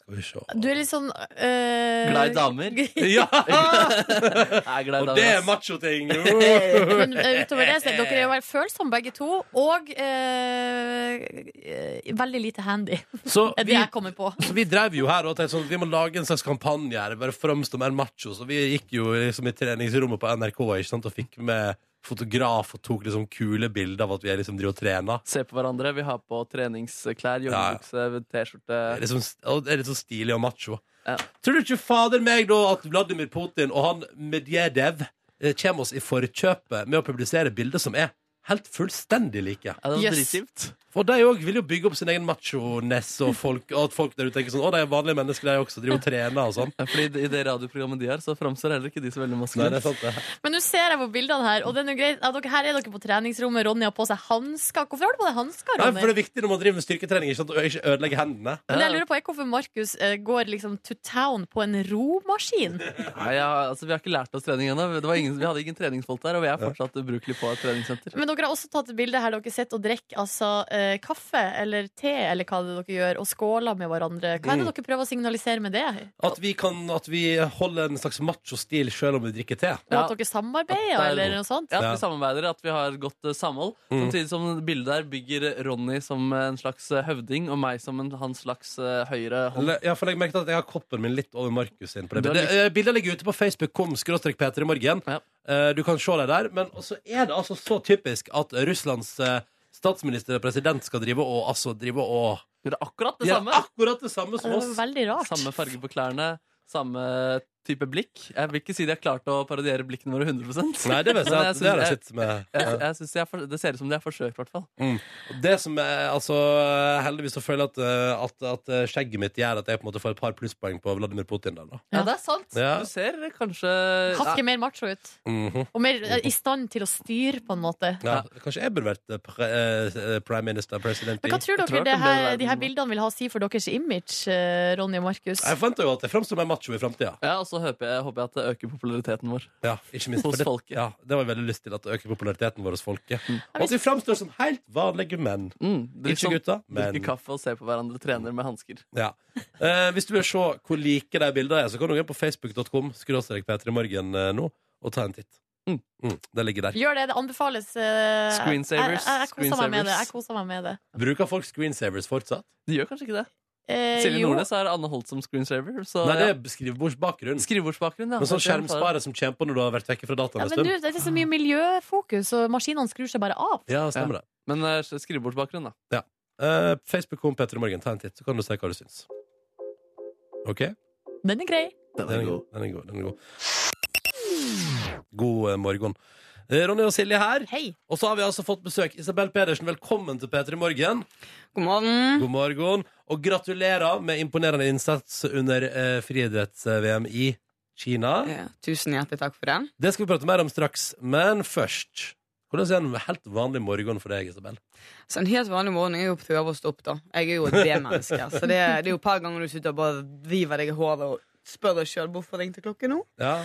[SPEAKER 1] skal vi se
[SPEAKER 2] Du er litt sånn eh,
[SPEAKER 3] Glad i damer.
[SPEAKER 1] Ja!
[SPEAKER 3] Jeg er glad i
[SPEAKER 1] Og
[SPEAKER 3] deg,
[SPEAKER 1] det er
[SPEAKER 3] ass.
[SPEAKER 1] macho-ting!
[SPEAKER 2] Men eh, utover det, så er dere er jo veldig følsomme begge to, og eh, eh, veldig lite handy.
[SPEAKER 1] Så
[SPEAKER 2] Er
[SPEAKER 1] vi,
[SPEAKER 2] det jeg kommer på.
[SPEAKER 1] så vi drev jo her og tenkte sånn, vi må lage en slags kampanje her. Bare framstå mer macho. Så vi gikk jo liksom i treningsrommet på NRK ikke sant? og fikk med fotograf og tok liksom kule bilder av at vi liksom driver og trener.
[SPEAKER 3] Se på hverandre. Vi har på treningsklær,
[SPEAKER 1] Ja, ja.
[SPEAKER 3] joggebukse,
[SPEAKER 1] Det er
[SPEAKER 3] T-skjorte.
[SPEAKER 1] liksom, og det er litt så stilig og macho.
[SPEAKER 3] Ja.
[SPEAKER 1] Tror du ikke fader meg da at Vladimir Putin og han Medvedev eh, kommer oss i forkjøpet med å publisere bilder som er helt fullstendig like?
[SPEAKER 3] Ja, det var
[SPEAKER 2] Yes.
[SPEAKER 3] dritkjipt.
[SPEAKER 1] For de òg vil jo bygge opp sin egen macho-ness, og, folk- og at folk der ute tenker sånn Å, de er vanlige mennesker, de også. Driver og trener og sånn.
[SPEAKER 3] Ja, fordi det- I det radioprogrammet de har, så framstår heller ikke de så veldig
[SPEAKER 1] Nei, det
[SPEAKER 3] maskuline.
[SPEAKER 1] er sant, det.
[SPEAKER 2] Men nå ser jeg på bildene her, og det er noe greit at dere, her er dere på treningsrommet. Ronny har på seg hansker. Hvorfor har du på deg hansker,
[SPEAKER 1] Nei,
[SPEAKER 2] Ronny?
[SPEAKER 1] for det er viktig når man driver med styrketrening, ikke sant, å ikke ødelegge hendene.
[SPEAKER 2] Men det jeg lurer på er hvorfor Markus eh, går liksom to town på en romaskin.
[SPEAKER 3] Nei, ja, altså, vi har ikke lært oss trening ennå. Det var ingen- Vi hadde ingen treningsfolk der, og vi er fortsatt ubrukelig på et treningssenter.
[SPEAKER 2] Men dere har også tatt et bilde her dere sitter og drikker altså, eh, kaffe eller te eller hva det er dere gjør, og skåler med hverandre. Hva er det
[SPEAKER 1] Mm.
[SPEAKER 2] dere prøver å signalisere med det?
[SPEAKER 1] At vi, kan, at vi holder en slags macho-stil selv om vi drikker te.
[SPEAKER 2] Og
[SPEAKER 3] Ja.
[SPEAKER 2] at dere samarbeider,
[SPEAKER 3] At det er-
[SPEAKER 2] eller noe sånt?
[SPEAKER 3] Ja, at
[SPEAKER 1] Ja.
[SPEAKER 3] vi samarbeider, at vi har godt eh, samhold.
[SPEAKER 1] Mm.
[SPEAKER 3] Samtidig som bildet der bygger Ronny som eh, en slags eh, høvding, og meg som en, hans slags eh, høyre hånd.
[SPEAKER 1] Le- Ja, for jeg merket at jeg har koppen min litt over Markus sin. På det.
[SPEAKER 3] Du har
[SPEAKER 1] bildet. Eh, Bildet ligger ute på Facebook. Kom, skråstrek Peter i morgen.
[SPEAKER 3] Ja.
[SPEAKER 1] Eh, Du kan se det der. Men så er det altså så typisk at Russlands eh, statsminister og president skal drive og altså drive og
[SPEAKER 3] Gjør akkurat det
[SPEAKER 1] Gjør
[SPEAKER 3] samme.
[SPEAKER 1] akkurat det samme
[SPEAKER 2] Det
[SPEAKER 1] som
[SPEAKER 2] var
[SPEAKER 1] oss.
[SPEAKER 2] veldig rart.
[SPEAKER 3] Samme farge på klærne, samme type blikk. Jeg vil ikke si de har klart å parodiere blikkene våre 100
[SPEAKER 1] Nei, det vet jeg
[SPEAKER 3] Men jeg
[SPEAKER 1] at det har jeg
[SPEAKER 3] synes-
[SPEAKER 1] sett med.
[SPEAKER 3] Jeg,
[SPEAKER 1] Ja.
[SPEAKER 3] jeg synes de har for, Det ser ut som de har forsøkt, i hvert fall.
[SPEAKER 1] Og Det som er, altså Heldigvis så føler jeg at, eh, at, at eh, skjegget mitt gjør at jeg på en måte får et par plusspoeng på Vladimir Putin der, da.
[SPEAKER 2] Ja.
[SPEAKER 3] det er sant.
[SPEAKER 1] Ja.
[SPEAKER 3] Du ser kanskje
[SPEAKER 2] Hakket mer macho ut.
[SPEAKER 1] Mhm.
[SPEAKER 2] Og mer eh, i stand til å styre, på en måte.
[SPEAKER 1] ja. Kanskje jeg burde vært eh, pre eh, prime minister, president i
[SPEAKER 2] Men hva tror
[SPEAKER 3] Jeg
[SPEAKER 2] dere
[SPEAKER 3] tror
[SPEAKER 2] det
[SPEAKER 3] det kan
[SPEAKER 2] her,
[SPEAKER 3] bedre
[SPEAKER 2] de her
[SPEAKER 3] verden.
[SPEAKER 2] bildene vil ha å si for deres image, eh, Ronny og Markus?
[SPEAKER 1] Jeg forventer jo at jeg framstår mer macho i framtida.
[SPEAKER 3] Ja, og så håper jeg, håper jeg at det øker populariteten vår.
[SPEAKER 1] Ja, ikke minst.
[SPEAKER 3] Hos
[SPEAKER 1] for det,
[SPEAKER 3] folket.
[SPEAKER 1] Ja, det var veldig lyst til at det øker populariteten vår hos folket. Og at vi framstår som helt vanlige menn.
[SPEAKER 3] Mm, drikk
[SPEAKER 1] Ikke
[SPEAKER 3] sånn-
[SPEAKER 1] gutter, men
[SPEAKER 3] Drikker kaffe og ser på hverandre, trener med hansker.
[SPEAKER 1] ja. eh, Hvis du vil se hvor like de bildene er, så kan du gå inn på facebook.com skråstrek Peter i morgen eh, nå og ta en titt.
[SPEAKER 3] Mm.
[SPEAKER 1] det ligger der.
[SPEAKER 2] Gjør det, det anbefales. eh,
[SPEAKER 3] Screensavers,
[SPEAKER 2] Jeg, jeg, jeg, koser meg med det.
[SPEAKER 3] screensavers.
[SPEAKER 2] jeg koser meg med det.
[SPEAKER 1] Bruker folk screensavers fortsatt?
[SPEAKER 3] De gjør kanskje ikke det.
[SPEAKER 2] Eh,
[SPEAKER 3] Silje
[SPEAKER 2] jo.
[SPEAKER 3] Nordnes har Anne Holt som screensaver. Så,
[SPEAKER 1] Nei, det
[SPEAKER 3] ja.
[SPEAKER 1] er skrivebordsbakgrunn.
[SPEAKER 3] Skrivebordsbakgrunn, ja.
[SPEAKER 1] Men sånn
[SPEAKER 3] Det er det jeg
[SPEAKER 1] skjermsparer som kommer på når du har vært vekke fra dataen
[SPEAKER 2] Ja,
[SPEAKER 1] en
[SPEAKER 2] men du,
[SPEAKER 1] stund.
[SPEAKER 2] det er så mye miljøfokus, og maskinene skrur seg bare av.
[SPEAKER 1] Ja, stemmer det.
[SPEAKER 3] har. Men eh, skrivebordsbakgrunn, da.
[SPEAKER 1] Eh, Facebook.com Peter i morgen, ta en titt, så kan du se hva du syns. OK?
[SPEAKER 2] Den er grei.
[SPEAKER 1] Den er god. Den er god. Den er god. god eh, morgen. Eh, Ronny og Silje her.
[SPEAKER 2] Hei.
[SPEAKER 1] Og så har vi altså fått besøk. Isabel Pedersen, velkommen til P3 Morgen.
[SPEAKER 6] God morgen.
[SPEAKER 1] God morgen. Og gratulerer med imponerende innsats under eh, friidretts-VM i Kina.
[SPEAKER 6] Ja, tusen hjertelig takk for det.
[SPEAKER 1] Det skal vi prate mer om straks. Men først Hvordan er en helt vanlig morgen for deg, Isabel?
[SPEAKER 6] Så en helt vanlig morgen jeg er jo prøver å stoppe, da. Jeg er jo et B-menneske. så det, det er jo et par ganger du sitter og bare river deg i håret og spør deg sjøl hvorfor ringte klokken nå.
[SPEAKER 1] Ja,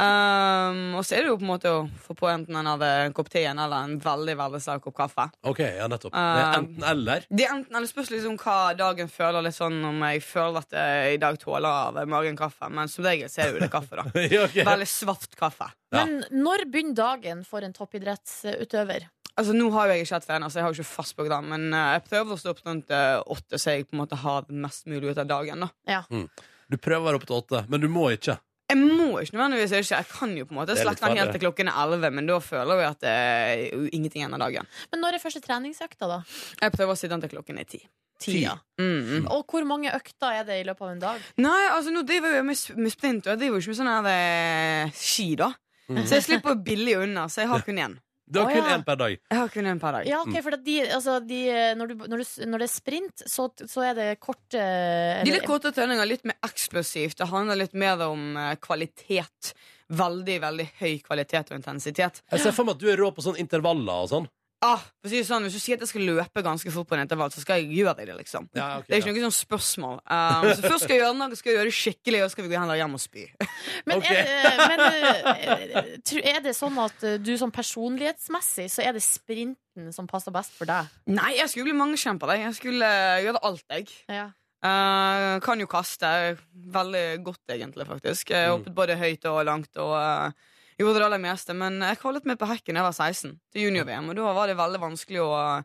[SPEAKER 6] Ehm, og så er det jo på en måte å få på enten en, av eh, en kopp te igjen eller en veldig veldig sterk kopp kaffe.
[SPEAKER 1] OK. Ja, nettopp. Det er
[SPEAKER 6] Eh.
[SPEAKER 1] enten-eller.
[SPEAKER 6] Det er enten eller spørs liksom hva dagen føler, litt sånn om jeg føler at jeg i dag tåler av magen kaffe. Men som regel så er det jo det kaffe, da.
[SPEAKER 1] Ja, ok.
[SPEAKER 6] Veldig svart kaffe.
[SPEAKER 1] Ja.
[SPEAKER 2] Men når begynner dagen for en toppidrettsutøver?
[SPEAKER 6] Altså Nå har jo jeg ikke hatt trener, så jeg har jo ikke fast program. Men eh, jeg prøver å stå opp rundt eh, åtte, så jeg på en måte har mest mulig ut av dagen. da
[SPEAKER 1] Du prøver å være oppe til åtte, men du må ikke.
[SPEAKER 6] Jeg må ikke nødvendigvis ikke. Jeg kan jo på en måte
[SPEAKER 1] Det er litt
[SPEAKER 6] slette den helt
[SPEAKER 1] farlig.
[SPEAKER 6] til klokken er 11, men da føler jeg at det er jo ingenting igjen av dagen.
[SPEAKER 2] Men når er første treningsøkta, da?
[SPEAKER 6] Jeg prøver å sitte den til klokken er 10.
[SPEAKER 1] Ti.
[SPEAKER 2] ja.
[SPEAKER 6] Mm, mm.
[SPEAKER 2] Og hvor mange økter er det i løpet av en dag?
[SPEAKER 6] Nei, altså nå driver jeg jo med, s- med sprint, og jeg driver jo ikke med sånn her eh, ski, da.
[SPEAKER 1] Mhm.
[SPEAKER 6] Så jeg slipper billig unna, så jeg har kun én.
[SPEAKER 1] Du har
[SPEAKER 2] Å,
[SPEAKER 1] kun
[SPEAKER 2] ja.
[SPEAKER 1] én per dag.
[SPEAKER 6] Jeg har kun én per dag.
[SPEAKER 2] Ja,
[SPEAKER 3] Mm.
[SPEAKER 2] ok, for at de, altså, de, når, du, når, du, når det er sprint, så, så er det korte eh,
[SPEAKER 6] De litt korte treninger, litt mer eksplosivt. Det handler litt mer om eh, kvalitet. Veldig, veldig høy kvalitet og intensitet.
[SPEAKER 1] Jeg ser for meg at du er rå på sånn intervaller og sånn.
[SPEAKER 6] Ah, for å si det sånn, hvis du sier at jeg skal løpe ganske fort på en intervall, så skal jeg gjøre det, liksom.
[SPEAKER 1] Ja, ok,
[SPEAKER 6] Det er
[SPEAKER 1] ja.
[SPEAKER 6] ikke noe sånn spørsmål. Um, så først skal jeg gjøre noe, skal jeg gjøre det skikkelig, og så skal vi gå hen og hjem og spy.
[SPEAKER 2] Men,
[SPEAKER 1] Ok.
[SPEAKER 2] er, men eh, tr- er det sånn at eh, du sånn personlighetsmessig, så er det sprinten som passer best for deg?
[SPEAKER 6] Nei, jeg skulle bli mangekjemper. Jeg Jeg skulle eh, gjøre alt, jeg.
[SPEAKER 2] Ja.
[SPEAKER 6] Eh, kan jo kaste veldig godt, egentlig, faktisk. Jeg
[SPEAKER 1] Mm.
[SPEAKER 6] hoppet både høyt og langt og eh, gjorde det aller meste. Men jeg kvalet meg på hekken da jeg var 16, til junior-VM, og da var det veldig vanskelig å eh,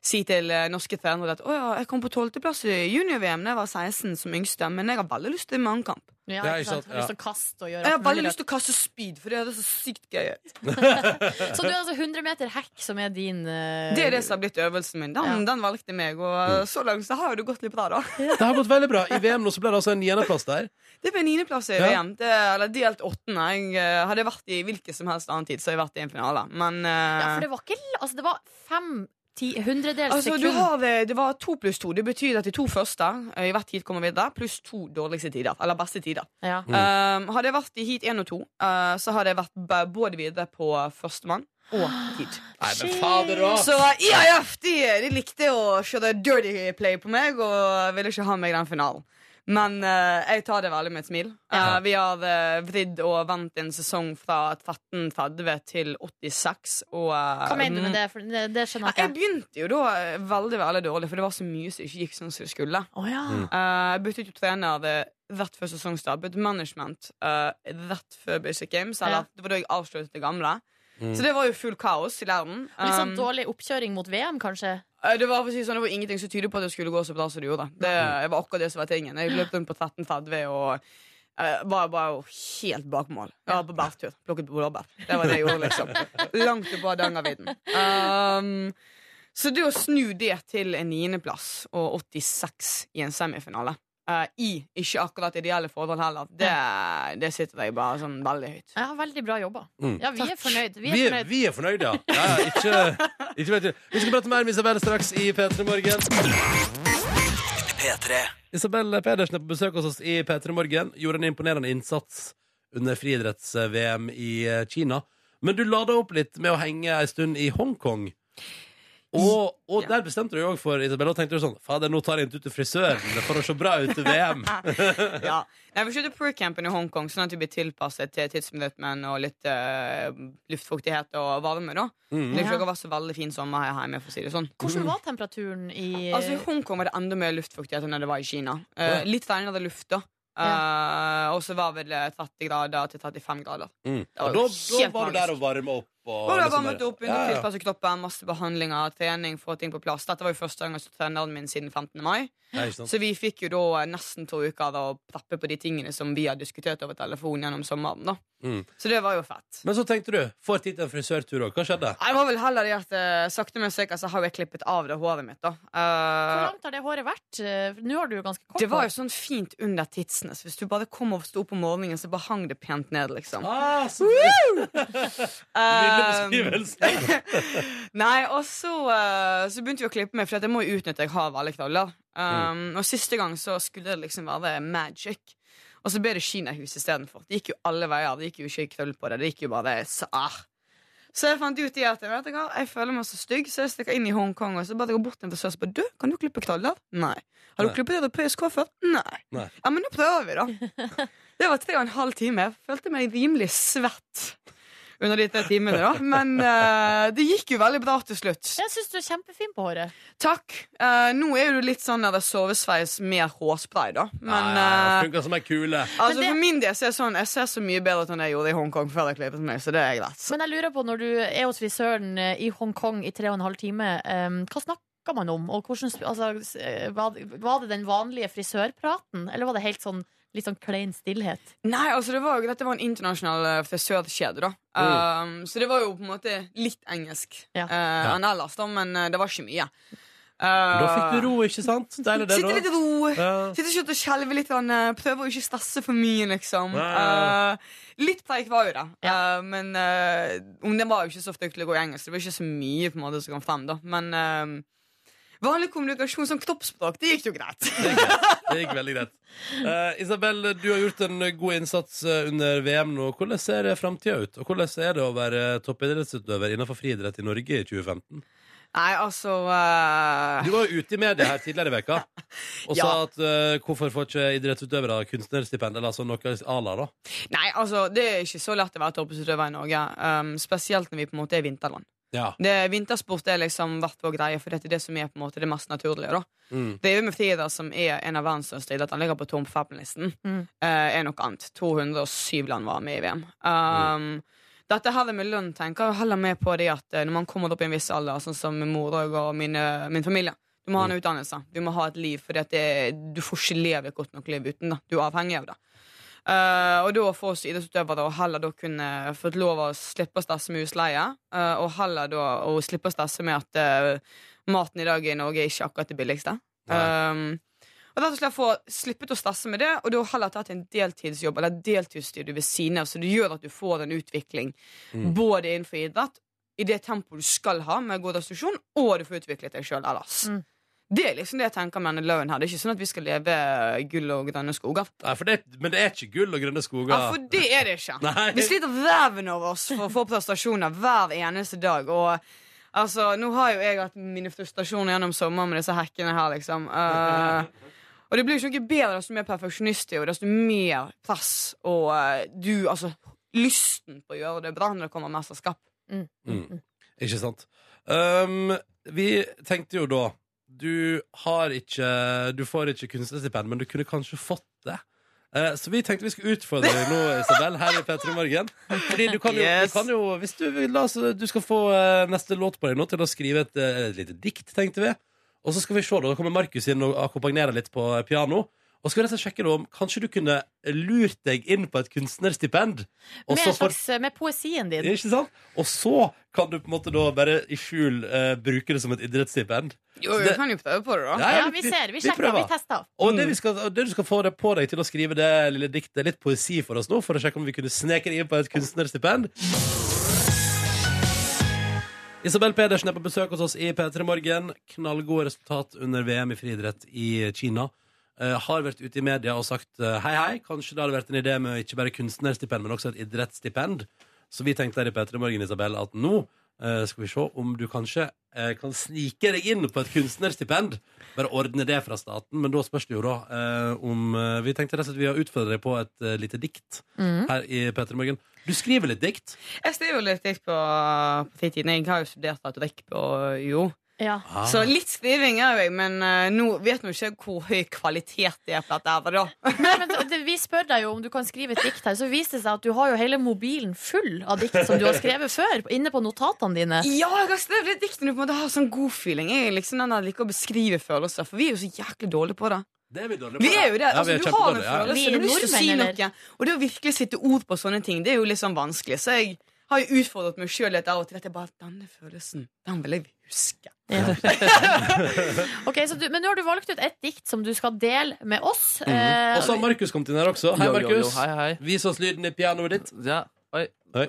[SPEAKER 6] Si til eh, norske trenere at 'Å ja, jeg kom på tolvteplass i junior-VM da jeg var 16 som yngste, men jeg har veldig lyst til mannkamp.
[SPEAKER 2] Ja,
[SPEAKER 1] Ja, ikke
[SPEAKER 2] ikke sant?
[SPEAKER 1] sant, ja.
[SPEAKER 2] Lyst til å kaste og gjøre
[SPEAKER 6] Jeg
[SPEAKER 2] alt
[SPEAKER 6] har
[SPEAKER 2] mulig
[SPEAKER 6] veldig
[SPEAKER 2] rart.
[SPEAKER 6] lyst til å kaste spyd, for det høres så sykt gøy ut.
[SPEAKER 2] Så du er altså 100 meter hekk som er din eh,
[SPEAKER 6] Det er det som har blitt øvelsen min. Den,
[SPEAKER 2] Ja.
[SPEAKER 6] den valgte meg, og så langt så har jo det gått litt bra, da.
[SPEAKER 1] Det har gått veldig bra. I VM nå så ble det altså en niendeplass der.
[SPEAKER 6] Det ble niendeplass
[SPEAKER 1] Ja.
[SPEAKER 6] i VM. Det, eller delt åttende. Jeg eh, hadde vært i hvilken som helst annen tid, så hadde jeg vært i en finale. Men eh,
[SPEAKER 2] Ja, for det var ikke l- Altså, det var fem ti, hundredels
[SPEAKER 6] altså, du
[SPEAKER 2] sekund.
[SPEAKER 6] har, eh, det var to pluss to. Det betyr at de to første eh, i hvert heat kommer videre, pluss to dårligste tider. Eller beste tider.
[SPEAKER 2] Ja.
[SPEAKER 6] Eh, hadde jeg vært i heat én og to, eh, så hadde jeg vært b- både videre på førstemann og heat.
[SPEAKER 1] Nei, men fader òg!
[SPEAKER 6] Så IAF de, de likte å kjøre dirty play på meg og ville ikke ha meg i den finalen. Men eh, jeg tar det veldig med et smil. Eh,
[SPEAKER 1] Ja.
[SPEAKER 6] vi har eh, vridd og vendt en sesong fra 1330 til 86, og eh, Mm.
[SPEAKER 2] Hva
[SPEAKER 1] Mm.
[SPEAKER 2] mener du med det? For det, det skjønner
[SPEAKER 6] ja,
[SPEAKER 2] jeg
[SPEAKER 6] jeg
[SPEAKER 2] ikke.
[SPEAKER 6] begynte jo da eh, veldig veldig dårlig, for det var så mye som ikke gikk sånn som det skulle.
[SPEAKER 2] Å ja.
[SPEAKER 1] Mm.
[SPEAKER 6] Eh, jeg byttet jo trener eh, rett før sesongstart. Byttet management eh, rett før Basic Games. Eller
[SPEAKER 2] Ja.
[SPEAKER 6] det var da jeg avsluttet det gamle.
[SPEAKER 1] Mm.
[SPEAKER 6] Så det var jo full kaos i leiren.
[SPEAKER 2] Litt sånn
[SPEAKER 6] Um,
[SPEAKER 2] dårlig oppkjøring mot VM, kanskje?
[SPEAKER 6] eh, det var for å si det sånn, det var ingenting som tydet på at det skulle gå så bra som det gjorde. Det det var akkurat det som var tingen. Jeg løp rundt på 13.30 og eh, var bare jo helt bak mål. Jeg var på bærtur. Plukket blåbær. Det var det jeg gjorde, liksom. Langt oppå Hardangervidda. Um, så det å snu det til en niendeplass og 86 i en semifinale eh, I ikke akkurat ideelle forhold heller. Det, det sitter jeg bare sånn veldig høyt.
[SPEAKER 2] Ja, veldig bra jobba.
[SPEAKER 1] Mm.
[SPEAKER 2] Ja, vi er fornøyd. Vi er
[SPEAKER 1] Vi er,
[SPEAKER 2] fornøyd.
[SPEAKER 1] vi er fornøyd, ja. ja, ja ikke, ikke vet du. Vi skal prate mer med Isabel straks i P3 Morgen. Isabel Pedersen er på besøk hos oss i P3 Morgen. Gjorde en imponerende innsats under friidretts-VM i eh, Kina. Men du lada opp litt med å henge ei stund i Hongkong. Og, og der bestemte du deg òg for Isabel, og tenkte du sånn Fader, nå tar jeg en tur til frisøren for å se bra ut til VM.
[SPEAKER 6] ja. Nei, Vi kjørte pre-campen i Hongkong, sånn at vi blir tilpasset til tidsrytmen og litt eh, luftfuktighet og varme. da Det har
[SPEAKER 2] Ja.
[SPEAKER 6] ikke vært så veldig fin sommer her hjemme. for å si det sånn
[SPEAKER 2] Hvordan var temperaturen i
[SPEAKER 6] Altså I Hongkong var det enda mer luftfuktighet enn det var i Kina. Eh, litt renere luft, da. Eh, og så var vel eh, 30 grader til 35 grader.
[SPEAKER 1] Mm.
[SPEAKER 6] var
[SPEAKER 1] Og da, da
[SPEAKER 6] helt
[SPEAKER 1] var du der og varma opp. Og,
[SPEAKER 6] Og det
[SPEAKER 1] liksom
[SPEAKER 6] var varmet
[SPEAKER 1] bare-
[SPEAKER 6] opp under tilpasset kroppen, masse behandlinger, trening, få ting på plass. Dette var jo første gang jeg så treneren min siden 15. mai.
[SPEAKER 1] Ja, ikke sant?
[SPEAKER 6] Så vi fikk jo da eh, nesten to uker da, å preppe på de tingene som vi har diskutert over telefon gjennom sommeren. da.
[SPEAKER 1] Mm.
[SPEAKER 6] Så det var jo fett.
[SPEAKER 1] Men så tenkte du, får tid til en frisørtur òg. Hva skjedde?
[SPEAKER 6] Jeg var vel heller i at eh, sakte men sikkert så har jeg klippet av det håret mitt. da.
[SPEAKER 2] Hvor
[SPEAKER 6] Eh,
[SPEAKER 2] langt har det håret vært? Eh, for Nå har du jo ganske kort
[SPEAKER 6] det var jo sånn fint under titsene. Så hvis du bare kom og sto opp om morgenen, så bare hang det pent ned, liksom.
[SPEAKER 1] Ah, så
[SPEAKER 6] Eh,
[SPEAKER 1] nydelig beskrivelse!
[SPEAKER 6] Nei, og så, eh, så begynte vi å klippe meg, for at jeg må jo utnytte jeg har veldig knoller. Um, Og siste gang så skulle det liksom være magic. Og så ble det kinahus istedenfor. Det gikk jo alle veier. Det gikk jo ikke krøll på det. Det gikk jo bare så, ah. Så jeg fant ut i at vet du hva, jeg føler meg så stygg, så jeg stikker inn i Hongkong og så bare går bort til en frisør og spør du, kan du klippe knoller. Nei. Har du
[SPEAKER 1] Nei.
[SPEAKER 6] klippet europeisk hår før? Nei.
[SPEAKER 1] Nei.
[SPEAKER 6] Ja, men nå prøver vi, da. Det var tre og en halv time. Jeg følte meg rimelig svett under de tre timene, da. Men eh, det gikk jo veldig bra til slutt.
[SPEAKER 2] Jeg syns du er kjempefin på håret.
[SPEAKER 6] Takk. Eh, nå er du litt sånn der det er sovesveis med hårspray, da. Men eh,
[SPEAKER 1] Funka som ei kule.
[SPEAKER 2] Men
[SPEAKER 6] altså,
[SPEAKER 2] det-
[SPEAKER 6] for min del så er jeg sånn Jeg ser så mye bedre ut enn jeg gjorde i Hongkong før jeg klippet meg, så det er greit.
[SPEAKER 2] Men jeg lurer på, når du er hos frisøren eh, i Hongkong i tre og en halv time, eh, hva snakker man om? Og hvordan, sp- altså, s- eh, var det- var det den vanlige frisørpraten, eller var det helt sånn litt sånn klein stillhet?
[SPEAKER 6] Nei, altså det var jo, Dette var en internasjonal eh, frisørkjede, da. Um, så det var jo på en måte litt engelsk
[SPEAKER 2] Ja.
[SPEAKER 6] eh, enn ellers, da, men eh, det var ikke mye. Eh,
[SPEAKER 1] Da fikk du ro, ikke sant? Deilig, det.
[SPEAKER 6] Sitte litt i ro.
[SPEAKER 1] Ja.
[SPEAKER 6] Sitte ikke og skjelve litt. grann, eh, Prøve å ikke stresse for mye, liksom.
[SPEAKER 1] Ja, ja,
[SPEAKER 6] Eh, litt preik var jo det, Eh, men eh, om det var jo ikke så fryktelig god i engelsk. Det var ikke så mye på en måte som kom frem, da. Men eh, vanlig kommunikasjon som kroppsspråk, det gikk jo greit.
[SPEAKER 1] Det gikk greit. Det gikk veldig greit. Eh, Isabel, du har gjort en god innsats eh, under VM nå. Hvordan ser framtida ut? Og hvordan er det å være toppidrettsutøver innenfor friidrett i Norge i 2015?
[SPEAKER 6] Nei, altså eh,
[SPEAKER 1] Du var jo ute i media her tidligere i veka og sa
[SPEAKER 6] Ja.
[SPEAKER 1] at eh, hvorfor får ikke idrettsutøvere kunstnerstipend, eller altså noe à la, da?
[SPEAKER 6] Nei, altså, det er ikke så lett å være toppidrettsutøver i Norge. Um, spesielt når vi på en måte er vinterland.
[SPEAKER 1] Ja.
[SPEAKER 6] Det, vintersport er liksom vært vår greie, for dette er det som er på en måte det mest naturlige. da
[SPEAKER 1] Mm.
[SPEAKER 6] Drive med friidrett, som er en av verdens største idretter, han ligger på topp fem-listen,
[SPEAKER 2] Mm.
[SPEAKER 6] eh, er noe annet. 207 land var med i VM. Um, Dette her med lønn tenker jeg heller med på det at eh, når man kommer opp i en viss alder, sånn som min mor og og mine, min familie Du må ha en utdannelse, du må ha et liv, for du får ikke leve et godt nok liv uten det. Du er avhengig av det. Eh, og da for oss idrettsutøvere å heller da kunne fått lov å slippe å stresse med husleie, eh, og heller da å slippe å stresse med at eh, maten i dag i Norge er ikke akkurat det billigste.
[SPEAKER 1] Nei.
[SPEAKER 6] Um, og rett og slett få slippet å stresse med det, og da heller tatt en deltidsjobb eller deltidsstudie ved siden av, så det gjør at du får en utvikling
[SPEAKER 1] Mm.
[SPEAKER 6] både innenfor idrett, i det tempoet du skal ha med god restitusjon, og du får utviklet deg sjøl ellers.
[SPEAKER 2] Mm.
[SPEAKER 6] Det er liksom det jeg tenker med denne løven her. Det er ikke sånn at vi skal leve gull og grønne skoger.
[SPEAKER 1] Nei, for det, men det er ikke gull og grønne skoger.
[SPEAKER 6] Ja, for det er det ikke.
[SPEAKER 1] Nei.
[SPEAKER 6] Vi sliter ræven over oss for å få prestasjoner hver eneste dag. Og altså, nå har jo jeg hatt mine frustrasjoner gjennom sommeren med disse hekkene her, liksom. Eh, Og det blir jo ikke noe bedre desto mer perfeksjonist du er, og desto mer press og eh, du Altså lysten på å gjøre det bra når det kommer mesterskap.
[SPEAKER 1] Mm. Ikke sant? Um, vi tenkte jo da Du har ikke Du får ikke kunstnerstipend, men du kunne kanskje fått det. Eh, så vi tenkte vi skulle utfordre deg nå, Isabel, her i P3 Morgen. Fordi du kan jo,
[SPEAKER 6] Yes.
[SPEAKER 1] du kan jo hvis du, vil, la oss, du skal få eh, neste låt på deg nå til å skrive et, eh, et lite dikt, tenkte vi. Og så skal vi se, da kommer Markus inn og akkompagnerer litt på eh, piano. Og så skal vi rett og slett sjekke da om kanskje du kunne lurt deg inn på et kunstnerstipend. og
[SPEAKER 2] Med,
[SPEAKER 1] så
[SPEAKER 2] en
[SPEAKER 1] får-
[SPEAKER 2] slags, eh, med poesien din.
[SPEAKER 1] ikke sant? Og så kan du på en måte da bare i skjul eh, bruke det som et idrettsstipend.
[SPEAKER 6] Jo,
[SPEAKER 1] Så
[SPEAKER 6] vi
[SPEAKER 1] det-
[SPEAKER 6] kan jo prøve på det, da.
[SPEAKER 2] Ja, vi ser. Vi sjekker. Vi,
[SPEAKER 1] prøver.
[SPEAKER 2] tester.
[SPEAKER 1] og det, vi skal, og det du skal få det på deg til å skrive det lille diktet, litt poesi for oss nå, for å sjekke om vi kunne sneke det inn på et kunstnerstipend. Isabel Pedersen er på besøk hos oss i P3 Morgen. Knallgode resultat under VM i friidrett i Kina. Eh, har vært ute i media og sagt eh, hei, hei, kanskje det hadde vært en idé med ikke bare kunstnerstipend, men også et idrettsstipend. Så vi tenkte her i P3 Morgen, Isabel, at nå eh, skal vi se om du kanskje eh, kan snike deg inn på et kunstnerstipend. Bare ordne det fra staten. Men da spørs det jo da eh, om eh, Vi tenkte rett og slett vi har utfordret deg på et eh, lite dikt
[SPEAKER 6] Mhm.
[SPEAKER 1] her i P3 Morgen. Du skriver litt dikt.
[SPEAKER 6] Jeg skriver jo litt dikt på, på fritiden. Jeg har jo studert retorikk på UiO.
[SPEAKER 2] Ja.
[SPEAKER 1] Ah.
[SPEAKER 6] Så litt skriving er jo jeg, men eh, nå vet nå ikke jeg hvor høy kvalitet det er på dette her, da.
[SPEAKER 2] Nei, men det, vi spør deg jo om du kan skrive et dikt her, så viser det seg at du har jo hele mobilen full av dikt som du har skrevet før, inne på notatene dine.
[SPEAKER 6] Ja, jeg har skrevet litt dikt når du på en måte har sånn god feeling. Jeg er liksom den der liker å beskrive følelser, for vi er jo så jæklig dårlige på det.
[SPEAKER 1] Det er vi dårlige
[SPEAKER 6] Vi er jo det.
[SPEAKER 1] Ja, vi
[SPEAKER 6] Altså,
[SPEAKER 1] er
[SPEAKER 6] du har en
[SPEAKER 1] kjempedårlige, ja.
[SPEAKER 6] følelse,
[SPEAKER 2] Vi er
[SPEAKER 6] du har lyst til å si
[SPEAKER 2] nordmenn,
[SPEAKER 6] noe. Og det å virkelig sette ord på sånne ting, det er jo litt sånn vanskelig. Så jeg har jo utfordret meg sjøl litt av og til. At jeg bare, Denne følelsen, den vil jeg huske.
[SPEAKER 2] Ok, så du, men nå har du valgt ut et dikt som du skal dele med oss. Eh,
[SPEAKER 1] Mm. Og så har Markus kommet inn her også. Hei,
[SPEAKER 3] Jo, jo, jo.
[SPEAKER 1] Markus.
[SPEAKER 3] Hei, hei.
[SPEAKER 1] Vis oss lyden i pianoet ditt.
[SPEAKER 3] Ja. Oi.
[SPEAKER 1] Oi.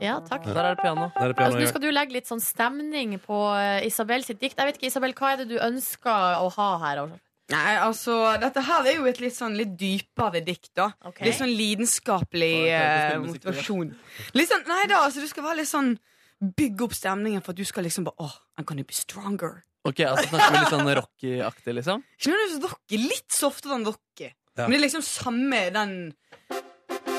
[SPEAKER 2] ja, takk.
[SPEAKER 3] Der er det piano.
[SPEAKER 1] Der er
[SPEAKER 2] Altså,
[SPEAKER 1] pianoet
[SPEAKER 2] nå
[SPEAKER 1] i gang.
[SPEAKER 2] skal du legge litt sånn stemning på eh, Isabel sitt dikt. Jeg vet ikke, Isabel, Hva er det du ønsker å ha her?
[SPEAKER 6] Nei, altså, dette her er jo et litt sånn litt dypere dikt, da.
[SPEAKER 2] Ok.
[SPEAKER 6] Litt sånn lidenskapelig
[SPEAKER 3] Å, jeg
[SPEAKER 6] eh,
[SPEAKER 3] tenkte på
[SPEAKER 6] motivasjon. Litt sånn, nei da, altså, du skal være litt sånn Bygge opp stemningen for at du skal liksom bare Åh, I'm gonna be stronger.
[SPEAKER 3] Ok, altså Snakker vi litt sånn Rocky-aktig, liksom?
[SPEAKER 6] Ikke nødvendigvis rocky, litt softere enn rocky.
[SPEAKER 1] Ja.
[SPEAKER 6] Men det er liksom samme den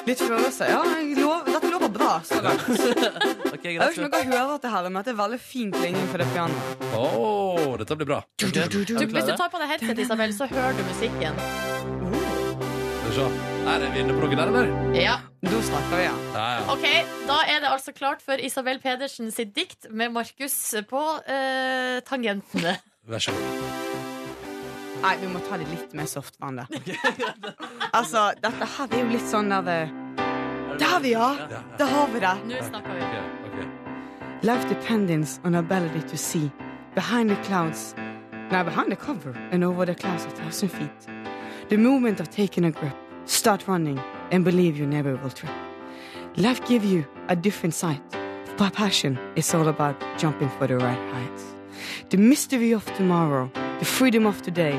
[SPEAKER 6] Litt følelse. Ja, jeg lov, dette lover bra så langt. Jeg
[SPEAKER 3] Ok,
[SPEAKER 6] vet
[SPEAKER 3] greit.
[SPEAKER 6] ikke om dere hører dette her, men det er veldig fin klinging for det pianoet.
[SPEAKER 1] Åh, dette blir bra.
[SPEAKER 3] Ok, er du
[SPEAKER 2] Du, hvis du
[SPEAKER 3] klare?
[SPEAKER 2] tar på deg headset, Isabel, så hører du musikken.
[SPEAKER 1] Skal vi se. Her er vi inne på noe der, eller?
[SPEAKER 2] Ja,
[SPEAKER 6] Da snakker vi, ja.
[SPEAKER 1] Ja, ja.
[SPEAKER 2] ok, Da er det altså klart for Isabel Pedersen sitt dikt med Markus på eh, tangentene.
[SPEAKER 1] Vær så god.
[SPEAKER 6] Nei, vi må ta det litt mer softvann det. altså, dette her er jo litt sånn der eh, Der, vi, ja!
[SPEAKER 1] Ja.
[SPEAKER 6] Da har vi det.
[SPEAKER 2] Nå snakker vi.
[SPEAKER 1] Ok, ok.
[SPEAKER 6] Life depends on our ability to see behind the clouds. Now behind the cover and over the clouds a thousand feet. The moment of taking a grip, start running and believe you never will trip. Life give you a different sight. But passion is all about jumping for the right heights. The mystery of tomorrow, the freedom of today,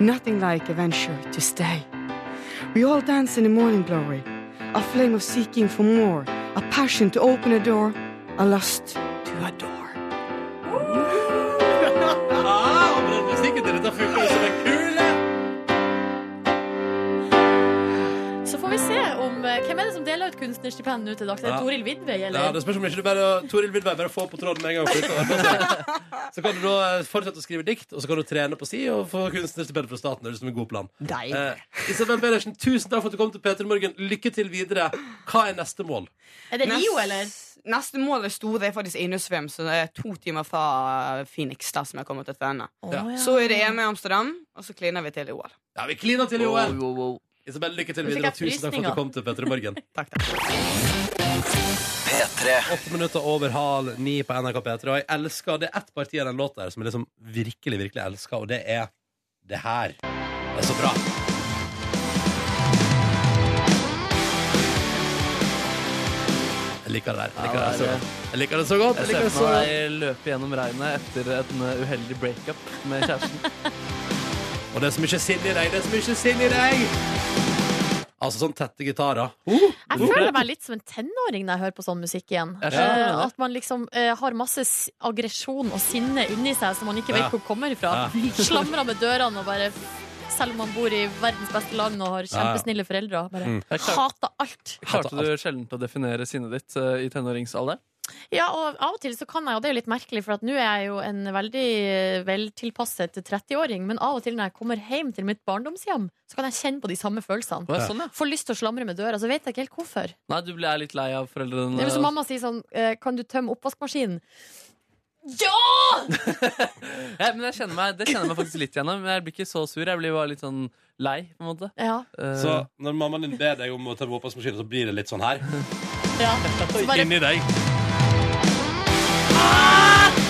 [SPEAKER 6] nothing like a venture to stay. We all dance in the morning glory, a flame of seeking for more, a passion to open a door, a lust to adore.
[SPEAKER 1] Ah, men den musikken til dette funker jo som en kule!
[SPEAKER 2] Så får vi se om eh, Hvem er det som deler ut kunstnerstipend nå til dags? Er
[SPEAKER 1] Ja.
[SPEAKER 2] det Toril Vidvei,
[SPEAKER 1] Ja,
[SPEAKER 2] eller?
[SPEAKER 1] det spørs om ikke du bare Toril Vidvei bare får på tråden med en gang. for ikke å være på seg. Så kan du da eh, fortsette å skrive dikt, og så kan du trene på si og få kunstnerstipend fra staten. Det høres ut som en god plan. Eh, Isabel Pedersen, tusen takk for at du kom til P3 Morgen. Lykke til videre. Hva er neste mål?
[SPEAKER 2] Er det Rio,
[SPEAKER 6] Nest-
[SPEAKER 2] eller?
[SPEAKER 6] Neste mål er store. Det er faktisk innesvøm, så det er to timer fra Phoenix. da som jeg kommer til å trene
[SPEAKER 1] Ja.
[SPEAKER 2] Å, ja.
[SPEAKER 6] Så er det EM i Amsterdam, og så kliner vi til i OL.
[SPEAKER 1] Ja, vi kliner til i
[SPEAKER 3] Wow,
[SPEAKER 1] OL.
[SPEAKER 3] wow, wow.
[SPEAKER 1] Isabel, lykke til
[SPEAKER 2] Nå fikk
[SPEAKER 1] videre. og Tusen takk
[SPEAKER 2] jeg
[SPEAKER 1] for at
[SPEAKER 2] frysninger.
[SPEAKER 1] du kom til P3 Morgen.
[SPEAKER 6] Takk, takk.
[SPEAKER 1] Åtte minutter over halv ni på NRK P3. Og jeg elsker Det er ett parti av den låta her som jeg liksom virkelig, virkelig elsker, og det er det her. Det er så bra. Jeg liker det der. Jeg liker det, så godt. Jeg liker det så godt. Jeg liker det
[SPEAKER 3] Jeg ser
[SPEAKER 1] så
[SPEAKER 3] for meg
[SPEAKER 1] godt.
[SPEAKER 3] deg løpe gjennom regnet etter en uh, uheldig breakup med kjæresten.
[SPEAKER 1] Og det er så mye sinn i deg, det er så mye sinn i deg! Altså sånn tette gitarer. Uh,
[SPEAKER 2] Jeg føler meg litt som en tenåring når jeg hører på sånn musikk igjen.
[SPEAKER 3] Jeg skjønner
[SPEAKER 2] Eh,
[SPEAKER 3] det.
[SPEAKER 2] at man liksom eh, har masse s- aggresjon og sinne inni seg som man ikke
[SPEAKER 1] Ja.
[SPEAKER 2] vet hvor kommer fra. Slamrer med dørene og bare selv om man bor i verdens beste land og har
[SPEAKER 1] Ja, ja.
[SPEAKER 2] kjempesnille foreldre. Bare
[SPEAKER 1] Mm.
[SPEAKER 3] Jeg klarte,
[SPEAKER 2] hater alt.
[SPEAKER 3] klarte du sjelden å definere sinnet ditt eh, i tenåringsalder?
[SPEAKER 2] Ja, og av og til så kan jeg, og det er jo litt merkelig, for at nå er jeg jo en veldig eh, veltilpasset 30-åring, men av og til når jeg kommer hjem til mitt barndomshjem, så kan jeg kjenne på de samme følelsene.
[SPEAKER 3] Å, ja,
[SPEAKER 1] Ja.
[SPEAKER 3] sånn, ja.
[SPEAKER 2] Får lyst til å slamre med døra, så vet jeg ikke helt hvorfor.
[SPEAKER 3] Nei, du ble litt lei av foreldrene?
[SPEAKER 2] Det er som mamma sier sånn, eh, kan du tømme oppvaskmaskinen? Ja!
[SPEAKER 3] Ja, men jeg kjenner meg, det kjenner jeg meg faktisk litt gjennom. Men jeg blir ikke så sur. Jeg blir bare litt sånn lei, på en måte.
[SPEAKER 2] Ja,
[SPEAKER 3] Eh,
[SPEAKER 1] Så når mammaen din ber deg om å ta våpenmaskinen, så blir det litt sånn her.
[SPEAKER 2] ja. Så bare,
[SPEAKER 1] Inni deg.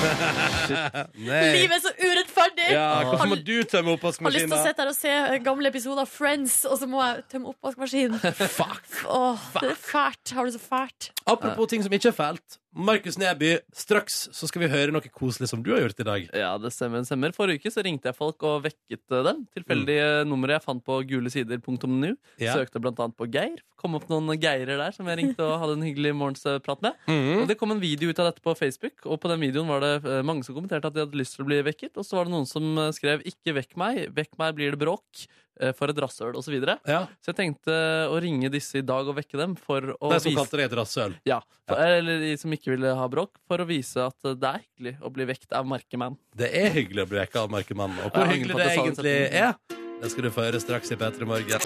[SPEAKER 1] Nei.
[SPEAKER 2] livet er så urettferdig!
[SPEAKER 1] Ja, hvorfor må du tømme
[SPEAKER 2] Har lyst til å
[SPEAKER 1] oppvaskmaskinen?
[SPEAKER 2] sitte her og se eh, gamle episoder av Friends, og så må jeg tømme oppvaskmaskinen.
[SPEAKER 1] Fuck.
[SPEAKER 2] Åh, det er fælt. Har det så fælt.
[SPEAKER 1] Apropos ting som ikke er fælt. Markus Neby, straks så skal vi høre noe koselig som du har gjort i dag.
[SPEAKER 3] Ja, det stemmer. det stemmer. Forrige uke så ringte jeg folk og vekket eh, dem. Tilfeldige numre jeg fant på gulesider.nu.
[SPEAKER 1] Ja.
[SPEAKER 3] Søkte blant annet på Geir. Kom opp noen geirer der som jeg ringte og hadde en hyggelig morgensprat med.
[SPEAKER 1] Mhm.
[SPEAKER 3] Og Det kom en video ut av dette på Facebook, og på den videoen var det eh, mange som kommenterte at de hadde lyst til å bli vekket. Og så var det noen som eh, skrev 'ikke vekk meg', 'vekk meg blir det bråk', eh, 'for et rasshøl' osv. Så, videre.
[SPEAKER 1] Ja,
[SPEAKER 3] så jeg tenkte å ringe disse i dag og vekke dem for å
[SPEAKER 1] De som
[SPEAKER 3] vise
[SPEAKER 1] kalte deg et rasshøl.
[SPEAKER 3] ja, for, Eller de som ikke ville ha bråk, for å vise at eh, det er hyggelig å bli vekt av merkemenn.
[SPEAKER 1] Det er hyggelig å bli vekka av merkemannen. Og
[SPEAKER 3] Jeg
[SPEAKER 1] hvor
[SPEAKER 3] angrer
[SPEAKER 1] hyggelig
[SPEAKER 3] på
[SPEAKER 1] det
[SPEAKER 3] at jeg sa
[SPEAKER 1] egentlig
[SPEAKER 3] det
[SPEAKER 1] er, det skal du få høre straks i P3 Morgen.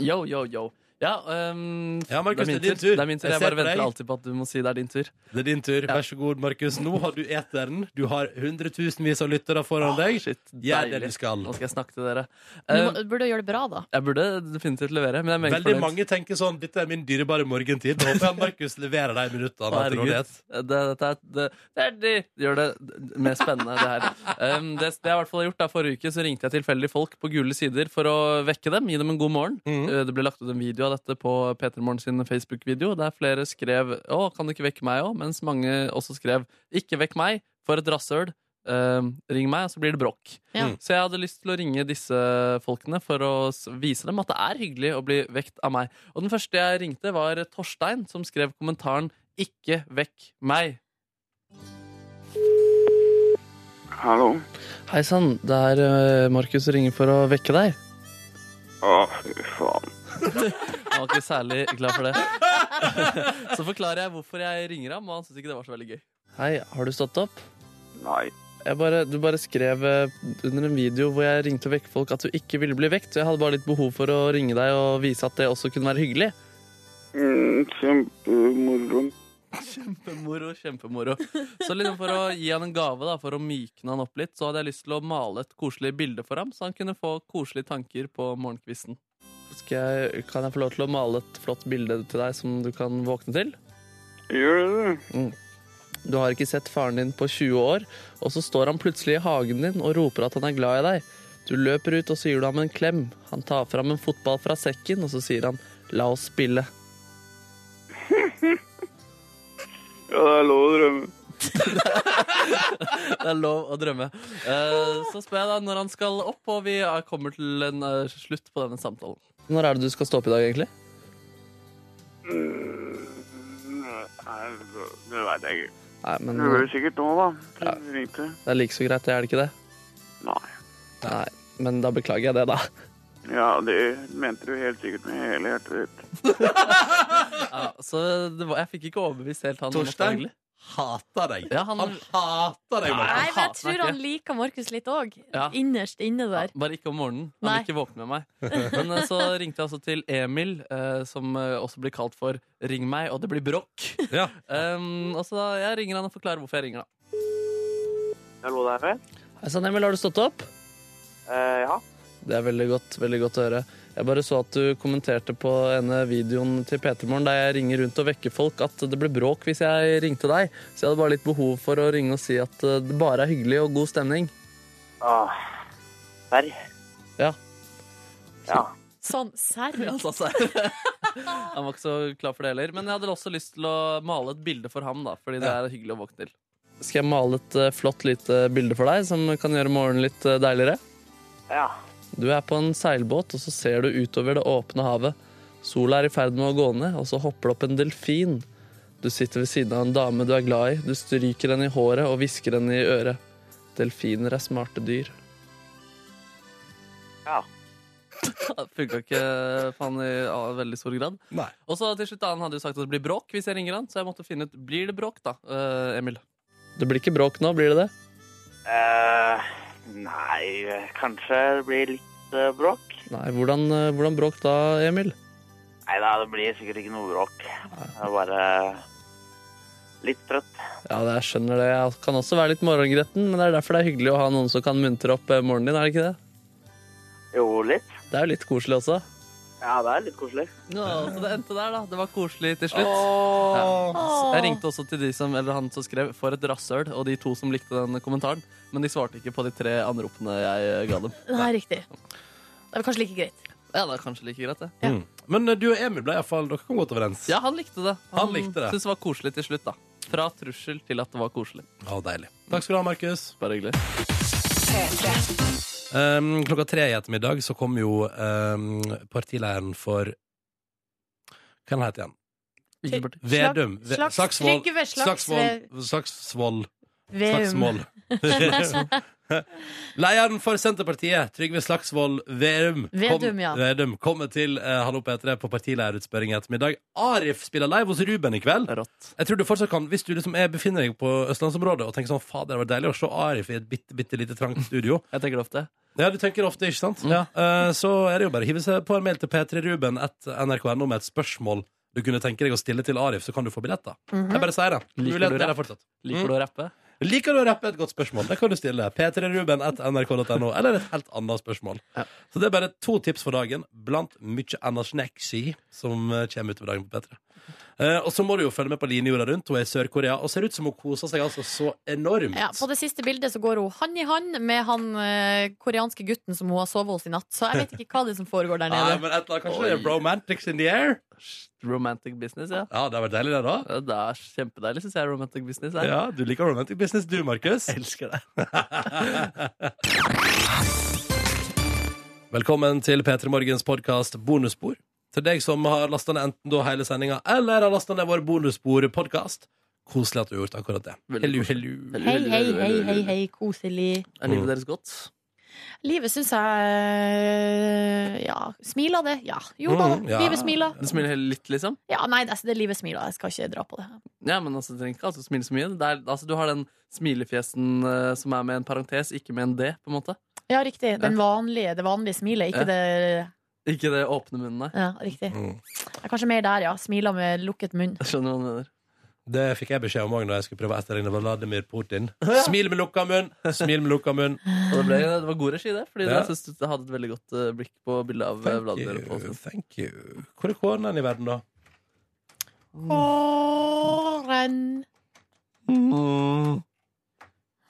[SPEAKER 3] Yo, yo, yo. Ja, ehm,
[SPEAKER 1] Ja, Markus,
[SPEAKER 3] det er min
[SPEAKER 1] det er din
[SPEAKER 3] tur.
[SPEAKER 1] tur.
[SPEAKER 3] Det er min tur.
[SPEAKER 1] Jeg
[SPEAKER 3] Jeg,
[SPEAKER 1] ser
[SPEAKER 3] bare
[SPEAKER 1] på
[SPEAKER 3] venter
[SPEAKER 1] deg.
[SPEAKER 3] alltid på at du må si det er din tur.
[SPEAKER 1] Det er din tur. Vær så god, Markus. Nå har du eteren. Du har hundretusenvis av lyttere foran deg.
[SPEAKER 3] Shit,
[SPEAKER 1] Gjør det du
[SPEAKER 3] deilig.
[SPEAKER 1] skal.
[SPEAKER 3] Nå skal jeg snakke til dere.
[SPEAKER 2] Du
[SPEAKER 3] Ehm,
[SPEAKER 2] må, burde gjøre det bra, da.
[SPEAKER 3] jeg burde definitivt levere, men jeg er meget
[SPEAKER 1] Veldig
[SPEAKER 3] fornøyd.
[SPEAKER 1] mange tenker sånn Dette er min dyrebare morgentid. Da håper jeg Markus leverer de minuttene. han
[SPEAKER 3] Å,
[SPEAKER 1] har til
[SPEAKER 3] herregud.
[SPEAKER 1] rådighet.
[SPEAKER 3] Det, dette er, det, det, er, det gjør det mer spennende, det her. Ehm, det, det jeg i hvert fall har gjort da, Forrige uke så ringte jeg tilfeldig folk på gule sider for å vekke dem. Gi dem en god morgen.
[SPEAKER 1] Mhm.
[SPEAKER 3] Eh, Det ble lagt ut en video av dette på Petermorgen sin Facebook-video, der flere skrev 'Å, kan du ikke vekke meg òg?' Mens mange også skrev 'Ikke vekk meg, for et rasshøl'. Ehm, ring meg, så blir det bråk.
[SPEAKER 2] Ja.
[SPEAKER 3] Så jeg hadde lyst til å ringe disse folkene for å s- vise dem at det er hyggelig å bli vekt av meg. Og den første jeg ringte, var Torstein, som skrev kommentaren 'Ikke vekk meg'.
[SPEAKER 7] Hallo?
[SPEAKER 3] Hei sann, det er eh, Markus som ringer for å vekke deg.
[SPEAKER 7] Å, fy faen.
[SPEAKER 3] Han var ikke særlig glad for det. Så forklarer jeg hvorfor jeg ringer ham, og han syntes ikke det var så veldig gøy. Hei, har du stått opp?
[SPEAKER 7] Nei.
[SPEAKER 3] Jeg bare, du bare skrev eh, under en video hvor jeg ringte og vekket folk at du ikke ville bli vekt. Så jeg hadde bare litt behov for å ringe deg og vise at det også kunne være hyggelig.
[SPEAKER 7] Mm, Kjempemoro.
[SPEAKER 3] Kjempemoro, kjempemoro. Så liksom for å gi han en gave, da, for å mykne han opp litt, så hadde jeg lyst til å male et koselig bilde for ham, så han kunne få koselige tanker på morgenkvisten. Skal jeg, kan jeg få lov til å male et flott bilde til deg som du kan våkne til? Mm.
[SPEAKER 7] Gjør du det?
[SPEAKER 3] Du har ikke sett faren din på 20 år, og så står han plutselig i hagen din og roper at han er glad i deg. Du løper ut, og så gir du ham en klem. Han tar fram en fotball fra sekken, og så sier han 'la oss spille'.
[SPEAKER 7] Ja, det er lov å drømme.
[SPEAKER 3] Det er lov å drømme. Eh, Så spør jeg da når han skal opp, og vi er- kommer til en eh, slutt på denne samtalen. Når er det du skal stå opp i dag, egentlig?
[SPEAKER 7] Nei, det veit jeg ikke.
[SPEAKER 3] Nei, men
[SPEAKER 7] Du hører sikkert nå, da. Du ringte.
[SPEAKER 3] Det er like så greit, det er det ikke det?
[SPEAKER 7] Nei.
[SPEAKER 3] Nei, men da beklager jeg det, da.
[SPEAKER 7] Ja, det mente du helt sikkert med hele hjertet ditt.
[SPEAKER 3] Ja, så det var, jeg fikk ikke overbevist helt han. om at det var
[SPEAKER 1] Torstein
[SPEAKER 3] hyggelig.
[SPEAKER 1] hater deg.
[SPEAKER 3] Ja, han-
[SPEAKER 1] han hater deg, Markus.
[SPEAKER 2] Nei, men jeg
[SPEAKER 3] hater meg
[SPEAKER 2] tror
[SPEAKER 3] ikke.
[SPEAKER 2] han liker Markus litt òg.
[SPEAKER 3] Ja.
[SPEAKER 2] Innerst inne der.
[SPEAKER 3] Bare ikke om morgenen. Han
[SPEAKER 2] Nei.
[SPEAKER 3] vil ikke våkne med meg. Men eh, så ringte jeg altså til Emil, eh, som eh, også blir kalt for Ring meg, og det blir bråk.
[SPEAKER 1] Ja.
[SPEAKER 3] Um, og så da, jeg ringer han og forklarer hvorfor jeg ringer, da.
[SPEAKER 7] Hallo der, vel?
[SPEAKER 3] Hei sann, Emil, har du stått opp?
[SPEAKER 4] Eh,
[SPEAKER 7] ja.
[SPEAKER 3] Det er veldig godt, veldig godt å høre. Jeg bare så at du kommenterte på ene videoen til Petermorgen der jeg ringer rundt og vekker folk at det ble bråk hvis jeg ringte deg. Så jeg hadde bare litt behov for å ringe og si at eh, det bare er hyggelig og god stemning.
[SPEAKER 7] Ah. Serr?
[SPEAKER 3] Ja.
[SPEAKER 7] Ja.
[SPEAKER 2] Sånn, serr?
[SPEAKER 3] Han sa seg. Han var ikke så klar for det heller. Men jeg hadde også lyst til å male et bilde for ham, da, fordi det er hyggelig å våkne til. Skal jeg male et eh, flott lite bilde for deg som kan gjøre morgenen litt eh, deiligere?
[SPEAKER 7] Ja.
[SPEAKER 3] Du er på en seilbåt, og så ser du utover det åpne havet. Sola er i ferd med å gå ned, og så hopper det opp en delfin. Du sitter ved siden av en dame du er glad i. Du stryker henne i håret og hvisker henne i øret. Delfiner er smarte dyr.
[SPEAKER 7] Ja.
[SPEAKER 3] Funka ikke faen i ja, veldig stor grad.
[SPEAKER 1] Nei.
[SPEAKER 3] Og så til slutt da, Han hadde jo sagt at det blir bråk hvis jeg ringer han, så jeg måtte finne ut blir det bråk, da, eh, Emil. Det blir ikke bråk nå, blir det det?
[SPEAKER 4] Eh, nei, kanskje det blir litt eh, bråk.
[SPEAKER 3] Nei, hvordan, eh, hvordan bråk da, Emil?
[SPEAKER 4] Nei da, det blir sikkert ikke noe bråk. Jeg er bare litt trøtt.
[SPEAKER 3] Ja, det- jeg skjønner det. Jeg kan også være litt morgengretten, men det er derfor det er hyggelig å ha noen som kan muntre opp eh, morgenen din, er det ikke det?
[SPEAKER 4] Jo, litt.
[SPEAKER 3] Det er jo litt koselig også.
[SPEAKER 4] Ja, det er litt koselig.
[SPEAKER 3] Ja, så det endte der, da. Det var koselig til slutt.
[SPEAKER 2] Åh.
[SPEAKER 3] Jeg ringte også til de som, eller han som skrev 'for et rasshøl', og de to som likte den kommentaren. Men de svarte ikke på de tre anropene jeg eh, ga dem.
[SPEAKER 2] Nei, riktig. Det er kanskje like greit.
[SPEAKER 3] Ja, det er kanskje like greit, det.
[SPEAKER 1] Men eh, du og Emil ble i hvert fall Dere kom godt overens.
[SPEAKER 3] Ja, han likte det.
[SPEAKER 1] Han likte det.
[SPEAKER 3] syntes det var koselig til slutt, da. Fra trussel til at det var koselig.
[SPEAKER 1] Å, deilig. Takk skal du ha, Markus.
[SPEAKER 3] Bare hyggelig.
[SPEAKER 1] Um, klokka tre i ettermiddag så kom jo um, partileiren for Hva het han igjen?
[SPEAKER 3] Hvilken parti?
[SPEAKER 1] Vedum. Ve-
[SPEAKER 2] Slags-
[SPEAKER 1] Saksvold-
[SPEAKER 2] Trygve Slags-
[SPEAKER 1] Saksvold- Saksvold.
[SPEAKER 2] Veum.
[SPEAKER 1] Slagsmål. Lederen for Senterpartiet, Trygve Slagsvold Verum,
[SPEAKER 2] Vedum,
[SPEAKER 1] kom,
[SPEAKER 2] ja.
[SPEAKER 1] Vedum kommer til eh, Hallo P3 på partileierutspørring i ettermiddag. Arif spiller live hos Ruben i kveld.
[SPEAKER 3] Rått.
[SPEAKER 1] Jeg tror du fortsatt kan, Hvis du liksom er, befinner deg på østlandsområdet og tenker sånn, faen, det hadde vært deilig å se Arif i et bitte, bitte lite trangt studio
[SPEAKER 3] Jeg tenker det ofte.
[SPEAKER 1] Ja, du tenker ofte, ikke sant? Ja. Eh, så er det jo bare å hive seg på en mail til p3ruben nrk.no med et spørsmål du kunne tenke deg å stille til Arif, så kan du få billetter.
[SPEAKER 2] Mhm.
[SPEAKER 1] Jeg bare sier det.
[SPEAKER 3] Liker du
[SPEAKER 1] Muligheten er der
[SPEAKER 3] rapp?
[SPEAKER 1] fortsatt.
[SPEAKER 3] Liker du å rappe?
[SPEAKER 1] Liker du å rappe et godt spørsmål? Det kan du stille. p3ruben.nrk.no, eller et helt annet spørsmål. Så det er bare to tips for dagen, blant mye anasneksi som eh, kommer utover dagen på P3. Eh, og så må du jo følge med på Line jorda rundt. Hun er i Sør-Korea og ser ut som hun koser seg altså så enormt.
[SPEAKER 2] Ja, på det siste bildet så går hun hand i hand med han eh, koreanske gutten som hun har sovet hos i natt. Så jeg vet ikke hva det er som foregår der
[SPEAKER 1] Nei,
[SPEAKER 2] nede.
[SPEAKER 1] men et eller annet, kanskje det er romantics in the air?
[SPEAKER 3] Romantic business, ja.
[SPEAKER 1] Ja, det har vært deilig, det, da.
[SPEAKER 3] Ja, Det er kjempedeilig, syns jeg. Romantic business. Er.
[SPEAKER 1] Ja, du liker romantic business, du, Markus. Elsker det. Velkommen til P3 Morgens podkast Bonusspor. Til deg som har lasta ned enten da hele sendinga eller har lasta ned vår bonusspor-podkast. Koselig at du har gjort akkurat det.
[SPEAKER 3] Veldig
[SPEAKER 1] Hellu,
[SPEAKER 3] koselig.
[SPEAKER 1] hellu.
[SPEAKER 3] Veldig,
[SPEAKER 2] Hei,
[SPEAKER 3] veldig,
[SPEAKER 2] hei,
[SPEAKER 3] veldig,
[SPEAKER 2] hei,
[SPEAKER 3] veldig,
[SPEAKER 2] hei,
[SPEAKER 3] veldig.
[SPEAKER 2] hei, koselig.
[SPEAKER 3] Er livet deres godt?
[SPEAKER 2] Livet syns jeg eh, Ja, smiler det? Ja. Jo da,
[SPEAKER 1] Mm, ja.
[SPEAKER 2] livet smiler.
[SPEAKER 3] Du smiler helt litt, liksom?
[SPEAKER 2] Ja, nei, altså, det er livet smiler. Jeg skal ikke dra på det.
[SPEAKER 3] Ja, men altså, Du trenger ikke alltid smile så mye. Det er, altså, du har den smilefjesen eh, som er med en parentes, ikke med en D. på en måte
[SPEAKER 2] Ja, riktig. Den vanlige, det vanlige smilet, ikke
[SPEAKER 3] Ja.
[SPEAKER 2] det
[SPEAKER 3] Ikke det åpne munnen, nei.
[SPEAKER 2] Ja, riktig.
[SPEAKER 1] Mm.
[SPEAKER 2] Jeg er kanskje mer der, ja. Smiler med lukket munn.
[SPEAKER 3] Jeg skjønner hva du mener.
[SPEAKER 1] Det fikk jeg beskjed om òg da jeg skulle prøve å etterligne Vladimir Putin. Smil med lukka munn! Smil med lukka munn.
[SPEAKER 3] Og det, ble, det var god regi, det. Fordi
[SPEAKER 1] Ja.
[SPEAKER 3] jeg synes du hadde et veldig godt eh, blikk på bildet av eh,
[SPEAKER 1] Thank
[SPEAKER 3] Vladimir.
[SPEAKER 1] you.
[SPEAKER 3] Putin.
[SPEAKER 1] Thank you. Hvor er koronaen i verden, da?
[SPEAKER 2] Åren.
[SPEAKER 3] Mm.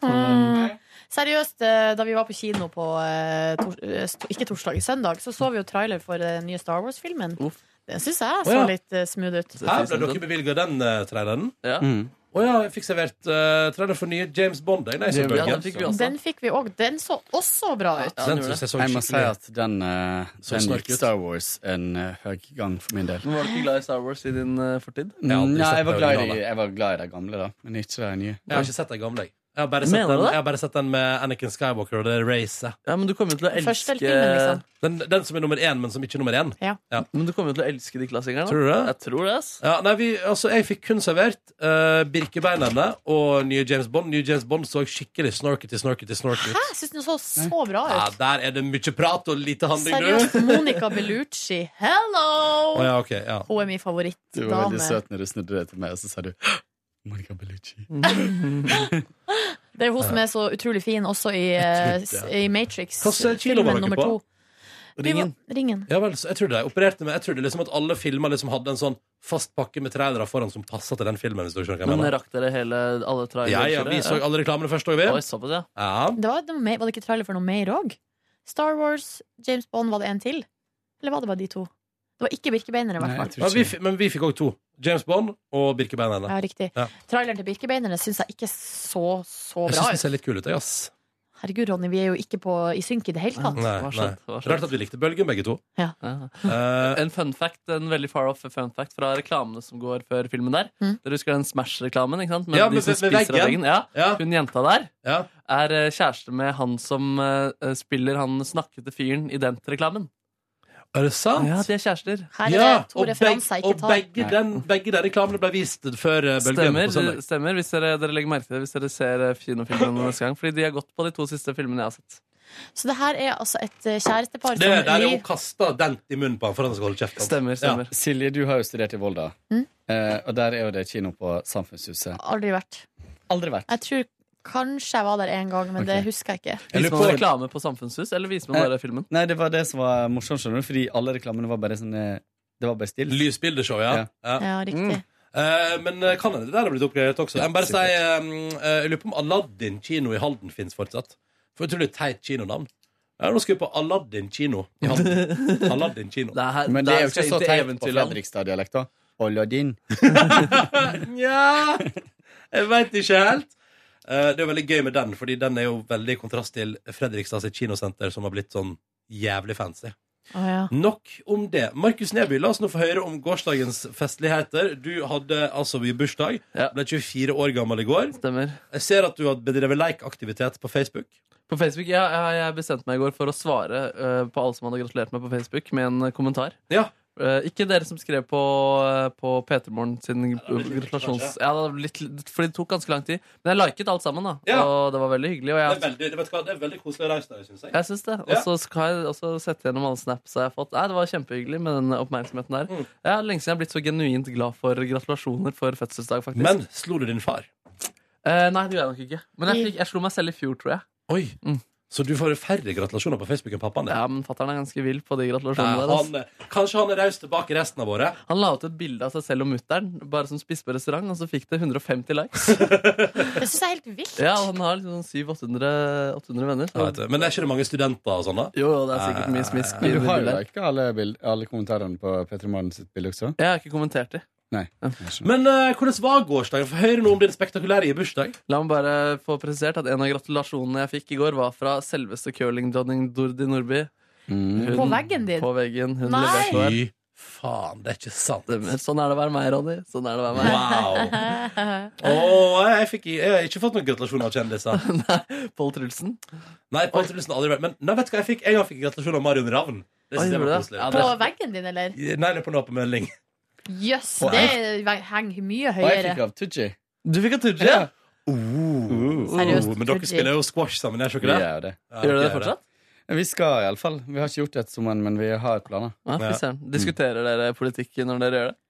[SPEAKER 2] Mm. Seriøst, eh, da vi var på kino på eh, tors eh, st- Ikke torsdag, søndag, så så vi jo trailer for eh, den nye Star Wars-filmen.
[SPEAKER 3] Uff.
[SPEAKER 2] Den syns jeg
[SPEAKER 1] Å,
[SPEAKER 2] så
[SPEAKER 1] ja.
[SPEAKER 2] litt eh, smooth ut.
[SPEAKER 1] Her ble dere bevilga den eh, traileren.
[SPEAKER 3] Ja.
[SPEAKER 1] Å ja, jeg fikk servert uh, trailer for nye James Bond. Jeg, nei, så
[SPEAKER 3] Ja,
[SPEAKER 1] bølgen.
[SPEAKER 3] den fikk vi også.
[SPEAKER 2] Den fikk vi òg. Den så også bra ut.
[SPEAKER 3] Ja, den
[SPEAKER 1] den synes
[SPEAKER 3] gjorde det.
[SPEAKER 1] jeg så
[SPEAKER 8] Jeg må si
[SPEAKER 1] skikkelig
[SPEAKER 8] at den, eh,
[SPEAKER 1] Så
[SPEAKER 8] den
[SPEAKER 1] snork
[SPEAKER 8] gikk
[SPEAKER 1] ut.
[SPEAKER 8] Star Wars en eh, høy gang for min del.
[SPEAKER 3] Men Var du ikke glad i Star Wars i din eh, fortid?
[SPEAKER 8] Mm,
[SPEAKER 1] har aldri
[SPEAKER 8] ja,
[SPEAKER 1] sett
[SPEAKER 8] jeg, var
[SPEAKER 1] det
[SPEAKER 8] glad i,
[SPEAKER 1] originale.
[SPEAKER 8] jeg var glad i de gamle, da, men ikke de nye.
[SPEAKER 1] Jeg har ikke sett den gamle. jeg. Jeg har, bare sett
[SPEAKER 3] Mener du
[SPEAKER 1] den,
[SPEAKER 3] det?
[SPEAKER 1] jeg har bare sett den med Anakin Skywalker og det racet.
[SPEAKER 3] Ja, men du kommer jo til å elske
[SPEAKER 2] Første filmen, liksom.
[SPEAKER 1] Den, den som er nummer én, men som ikke er nummer én.
[SPEAKER 3] Men du kommer jo til å elske de klassikerne. da.
[SPEAKER 1] Tror du det?
[SPEAKER 3] Jeg tror det, ass.
[SPEAKER 1] Ja, nei, vi, altså, jeg fikk kun servert uh, Birkebeinerne og nye James Bond. Nye James Bond så skikkelig snorkete, snorkete, snorkete
[SPEAKER 2] Hæ?
[SPEAKER 1] ut.
[SPEAKER 2] Jeg syns den så så bra
[SPEAKER 1] Ja,
[SPEAKER 2] ut.
[SPEAKER 1] der er det mye prat og lite handling,
[SPEAKER 2] Seriøst,
[SPEAKER 1] du.
[SPEAKER 2] Monica Bellucci,
[SPEAKER 1] Å
[SPEAKER 2] hello!
[SPEAKER 1] ja, ok, ja.
[SPEAKER 2] Hun er min
[SPEAKER 8] Du var
[SPEAKER 2] favorittdame.
[SPEAKER 8] veldig søt når du snudde deg til meg, og så sa du Monica Bellucci.
[SPEAKER 2] Det er hun som er så utrolig fin også i, eh, s- i Matrix.
[SPEAKER 1] Hva slags kilo var
[SPEAKER 2] filmen
[SPEAKER 1] dere
[SPEAKER 2] nummer
[SPEAKER 1] på?
[SPEAKER 2] to. Vi var- Ringen.
[SPEAKER 1] Ja vel, så jeg trodde de opererte med Jeg trodde liksom at alle filmer liksom hadde en sånn fast pakke med trailere foran som passa til den filmen. Hvis du skjønner hva jeg
[SPEAKER 3] Men
[SPEAKER 1] mener.
[SPEAKER 3] rakk dere hele alle trailere?
[SPEAKER 1] Ja, ja, vi så alle reklamene først òg, vi.
[SPEAKER 3] Oi, såpass, ja.
[SPEAKER 1] Ja.
[SPEAKER 2] Det var, det var, mer, var det ikke trailer for noe mer òg? Star Wars, James Bond, var det en til? Eller var det bare de to? Det var ikke Birkebeinere, i
[SPEAKER 8] Nei,
[SPEAKER 2] hvert fall.
[SPEAKER 8] jeg
[SPEAKER 1] Men
[SPEAKER 8] tror
[SPEAKER 1] vi,
[SPEAKER 8] ikke.
[SPEAKER 1] fi- men vi fikk òg to. James Bond og Birkebeinerne.
[SPEAKER 2] Ja, riktig.
[SPEAKER 1] Ja.
[SPEAKER 2] Traileren til Birkebeinerne syns jeg ikke så så
[SPEAKER 1] Jeg
[SPEAKER 2] bra
[SPEAKER 1] syns de
[SPEAKER 2] ut.
[SPEAKER 1] ser litt kule ut, jeg, ass.
[SPEAKER 2] Herregud, Ronny, vi er jo ikke på, i synk i det hele tatt.
[SPEAKER 1] Nei,
[SPEAKER 3] Det var
[SPEAKER 1] nei.
[SPEAKER 3] skjønt, det var skjønt.
[SPEAKER 1] Rart at vi likte Bølgen, begge to.
[SPEAKER 3] Ja.
[SPEAKER 1] Eh,
[SPEAKER 3] En fun fact, en veldig far off fun fact fra reklamene som går før filmen der.
[SPEAKER 2] Mm.
[SPEAKER 3] Dere husker den Smash-reklamen? ikke sant? Med
[SPEAKER 1] Ja,
[SPEAKER 3] de
[SPEAKER 1] med-
[SPEAKER 3] som
[SPEAKER 1] med- med
[SPEAKER 3] spiser av
[SPEAKER 1] veggen.
[SPEAKER 3] veggen. Ja,
[SPEAKER 1] ja,
[SPEAKER 3] Hun jenta der
[SPEAKER 1] ja.
[SPEAKER 3] eh, er eh, kjæreste med han som eh, spiller han snakkete fyren i den reklamen.
[SPEAKER 1] Er det sant?
[SPEAKER 3] Ja, de er kjærester.
[SPEAKER 2] Her er
[SPEAKER 1] Ja,
[SPEAKER 2] det to
[SPEAKER 1] og
[SPEAKER 2] referanser jeg
[SPEAKER 1] beg-
[SPEAKER 2] ikke tar.
[SPEAKER 1] Og begge, den, begge de reklamene ble vist før eh, bølgen på
[SPEAKER 3] Stemmer.
[SPEAKER 1] søndag.
[SPEAKER 3] stemmer hvis dere, dere legger merke til det hvis dere ser eh, kinofilmen neste gang. Fordi de har gått på de to siste filmene jeg har sett.
[SPEAKER 2] Så det her er altså et eh, kjærestepar
[SPEAKER 1] Det,
[SPEAKER 2] som
[SPEAKER 1] der er
[SPEAKER 2] li-
[SPEAKER 1] hun kasta dent i munnen på han for han skal holde kjeft. han.
[SPEAKER 3] Stemmer, stemmer.
[SPEAKER 8] Silje, du har jo studert i Volda.
[SPEAKER 2] Mm.
[SPEAKER 8] Eh, og der er jo det kino på Samfunnshuset.
[SPEAKER 2] aldri vært.
[SPEAKER 8] Aldri vært.
[SPEAKER 2] Jeg tror kanskje jeg var der en gang, men det husker jeg ikke.
[SPEAKER 1] Jeg
[SPEAKER 3] Viser
[SPEAKER 1] lurer
[SPEAKER 3] man
[SPEAKER 1] på-
[SPEAKER 3] reklame på Samfunnshus, eller viser man bare filmen?
[SPEAKER 8] Nei, det var det som var morsomt, skjønner du, fordi alle reklamene var bare sånn eh, Det var bare stille.
[SPEAKER 1] Lysbildeshow, ja.
[SPEAKER 8] Ja.
[SPEAKER 1] ja.
[SPEAKER 2] Ja, riktig.
[SPEAKER 3] Mm.
[SPEAKER 1] Eh, men eh, kan hende det der har blitt oppgradert også. Jeg må bare si, eh,
[SPEAKER 8] sikkert.
[SPEAKER 1] eh, jeg lurer på om Aladdin kino i Halden fins fortsatt. For utrolig teit kinonavn. Ja, nå skal vi på Aladdin kino i Halden. Aladdin kino.
[SPEAKER 3] Det er her-
[SPEAKER 8] Men det er
[SPEAKER 3] der
[SPEAKER 8] jo ikke
[SPEAKER 3] skal
[SPEAKER 8] så
[SPEAKER 3] jeg
[SPEAKER 8] teit
[SPEAKER 3] inn
[SPEAKER 8] på
[SPEAKER 3] til
[SPEAKER 8] Fredrikstad-dialekt, da. Olladin.
[SPEAKER 1] Nja Jeg veit ikke helt. Eh, det er jo veldig gøy med den, Fordi den er jo veldig i kontrast til Fredrikstad sitt kinosenter, som har blitt sånn jævlig fancy.
[SPEAKER 2] Å, ja.
[SPEAKER 1] Nok om det. Markus Neby, la oss nå få høre om gårsdagens festligheter. Du hadde altså vi bursdag.
[SPEAKER 3] Ja.
[SPEAKER 1] Ble 24 år gammel i går.
[SPEAKER 3] land. Stemmer.
[SPEAKER 1] Jeg ser at du har bedrevet leikaktivitet på Facebook.
[SPEAKER 3] På Facebook, ja, jeg, jeg bestemte meg i går for å svare eh, på alle som hadde gratulert meg på Facebook, med en eh, kommentar.
[SPEAKER 1] Ja.
[SPEAKER 3] Eh, ikke dere som skrev på, uh, på P3morgen sin gratulasjons... Ja, det, var litt, for det tok ganske lang tid. Men jeg liket alt sammen, da.
[SPEAKER 1] Ja.
[SPEAKER 3] Og det var veldig hyggelig. Og
[SPEAKER 1] Det
[SPEAKER 3] jeg,
[SPEAKER 1] er veldig, det, vet du hva, det er veldig koselig og raust av deg, syns jeg.
[SPEAKER 3] Jeg syns det. Og
[SPEAKER 1] Ja.
[SPEAKER 3] så skal jeg også sette gjennom alle snaps jeg har fått. Nei, det var kjempehyggelig med den oppmerksomheten der.
[SPEAKER 1] Mm.
[SPEAKER 3] Jeg har lenge siden jeg har blitt så genuint glad for gratulasjoner for fødselsdag, faktisk.
[SPEAKER 1] Men slo du din far?
[SPEAKER 3] Eh, nei, det gjorde jeg nok ikke. Men jeg, fikk, jeg slo meg selv i fjor, tror jeg.
[SPEAKER 1] Oi.
[SPEAKER 3] Mm.
[SPEAKER 1] Så du får færre gratulasjoner på Facebook enn pappaen din?
[SPEAKER 3] Ja, men fatter'n er ganske vill på
[SPEAKER 1] Nei,
[SPEAKER 3] de gratulasjonene der. ass.
[SPEAKER 1] han, er- kanskje han er raus tilbake resten av året?
[SPEAKER 3] Han la ut et bilde av seg selv og mutter'n, bare som spiste på restaurant, og så fikk det 150 likes.
[SPEAKER 2] Det syns jeg er helt vilt.
[SPEAKER 3] ja, og han har liksom sånn 700-800 venner.
[SPEAKER 1] Ja, vet du. Men er ikke det mange studenter og sånn, da?
[SPEAKER 3] Jo, jo, det er sikkert mye smisk. i det
[SPEAKER 8] Men du har jo
[SPEAKER 3] bildet der.
[SPEAKER 8] ikke alle, bild, alle kommentarene på Petter Morgen sitt bilde også?
[SPEAKER 3] Jeg har ikke kommentert de.
[SPEAKER 1] Men eh, hvordan var gårsdagen? Få høre noe om din spektakulære i bursdag.
[SPEAKER 3] La meg bare få presisert at en av gratulasjonene jeg fikk i går, var fra selveste curlingdronning Dordi Nordby.
[SPEAKER 8] Mm.
[SPEAKER 2] På veggen din.
[SPEAKER 3] På veggen. Hun
[SPEAKER 2] Nei!
[SPEAKER 3] leverte hver.
[SPEAKER 1] Fy faen, det er ikke sant.
[SPEAKER 3] Stemmer. Sånn er det å være meg, Ronny. Sånn er det å være meg.
[SPEAKER 1] Wow. Å, jeg, fikk, jeg har ikke fått noen gratulasjoner av kjendiser.
[SPEAKER 3] Pål Trulsen.
[SPEAKER 1] Nei, Pål Trulsen har aldri vært Men nei, vet du hva jeg fikk? En gang fikk jeg gratulasjon av Marion Ravn. Det
[SPEAKER 3] Oi,
[SPEAKER 1] synes jeg
[SPEAKER 3] gjorde
[SPEAKER 1] var
[SPEAKER 3] du det?
[SPEAKER 1] koselig.
[SPEAKER 3] Ja,
[SPEAKER 2] På veggen din, eller?
[SPEAKER 1] Nei, det er på en åpen melding.
[SPEAKER 2] Jøss,
[SPEAKER 8] Og
[SPEAKER 2] det ve- henger mye
[SPEAKER 8] Og jeg fikk
[SPEAKER 2] høyere.
[SPEAKER 8] av Tooji.
[SPEAKER 3] Du fikk en Tooji?
[SPEAKER 8] Ja.
[SPEAKER 2] Seriøst,
[SPEAKER 1] Uh, Men dere
[SPEAKER 2] Tooji.
[SPEAKER 1] spiller jo squash sammen, gjør
[SPEAKER 8] Vi
[SPEAKER 1] dere ikke det?
[SPEAKER 8] er jo det.
[SPEAKER 1] Ja,
[SPEAKER 3] Gjør du det
[SPEAKER 1] dere
[SPEAKER 3] fortsatt?
[SPEAKER 8] Vi skal iallfall. Vi har ikke gjort det etter sommeren, men vi har planer.
[SPEAKER 3] Ja, fy
[SPEAKER 1] Ja. Mm.
[SPEAKER 3] søren. Diskuterer dere politikk når dere gjør det?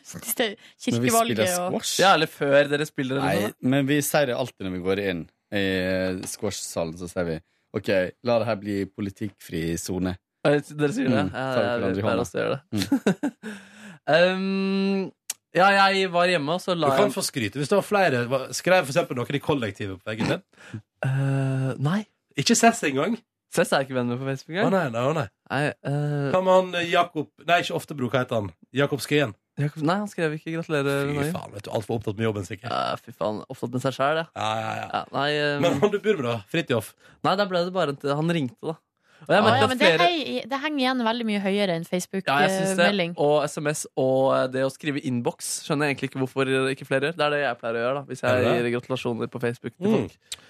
[SPEAKER 8] Men vi spiller
[SPEAKER 2] Kirkevalget og
[SPEAKER 8] squash.
[SPEAKER 3] Ja, eller før dere spiller? eller
[SPEAKER 8] Nei,
[SPEAKER 3] noe sånt,
[SPEAKER 8] men vi sier det alltid når vi går inn i eh, squash-salen, så sier vi OK, la det her bli politikkfri sone.
[SPEAKER 3] da? Eh, Dere sier det?
[SPEAKER 8] Mm,
[SPEAKER 3] Ja,
[SPEAKER 8] tar
[SPEAKER 3] jeg
[SPEAKER 8] hverandre i
[SPEAKER 3] vet
[SPEAKER 8] hånda.
[SPEAKER 3] bare også gjør det. um, ja, jeg var hjemme, og så
[SPEAKER 1] Du
[SPEAKER 3] la
[SPEAKER 1] kan
[SPEAKER 3] jeg
[SPEAKER 1] få skryte hvis det var flere. Hva- Skrev for eksempel noen i kollektivet på veggen din.
[SPEAKER 3] Eh, Nei.
[SPEAKER 1] Ikke Cess engang.
[SPEAKER 3] Cess er jeg ikke venn med på Facebook.
[SPEAKER 1] Å
[SPEAKER 3] jeg.
[SPEAKER 1] nei, nei, å nei.
[SPEAKER 3] Nei, eh,
[SPEAKER 1] Hva med han eh, Jakob Nei, ikke Oftebro, hva heter han? Jakob Skien.
[SPEAKER 3] Jakob, nei, han skrev ikke 'gratulerer'.
[SPEAKER 1] Fy
[SPEAKER 3] Norge.
[SPEAKER 1] faen, vet du. Altfor opptatt med jobben, sikkert.
[SPEAKER 3] Ja, fy faen. Opptatt med seg sjæl, ja.
[SPEAKER 1] Ja, ja, ja.
[SPEAKER 3] ja nei, eh,
[SPEAKER 1] Men han du bor med, da? Fridtjof?
[SPEAKER 3] nei, da ble det bare en til. Han ringte, da. Og jeg
[SPEAKER 2] Å,
[SPEAKER 3] merket
[SPEAKER 2] ja,
[SPEAKER 3] at
[SPEAKER 2] men det,
[SPEAKER 3] flere
[SPEAKER 2] hei, det henger igjen veldig mye høyere enn
[SPEAKER 3] ja, jeg synes det.
[SPEAKER 2] Facebook-melding.
[SPEAKER 3] Og SMS og eh, det å skrive innboks skjønner jeg egentlig ikke hvorfor ikke flere gjør. Det er det jeg pleier å gjøre da hvis
[SPEAKER 1] Er
[SPEAKER 3] jeg
[SPEAKER 1] det
[SPEAKER 3] gir
[SPEAKER 1] det?
[SPEAKER 3] gratulasjoner på Facebook til
[SPEAKER 1] Mm.
[SPEAKER 3] folk.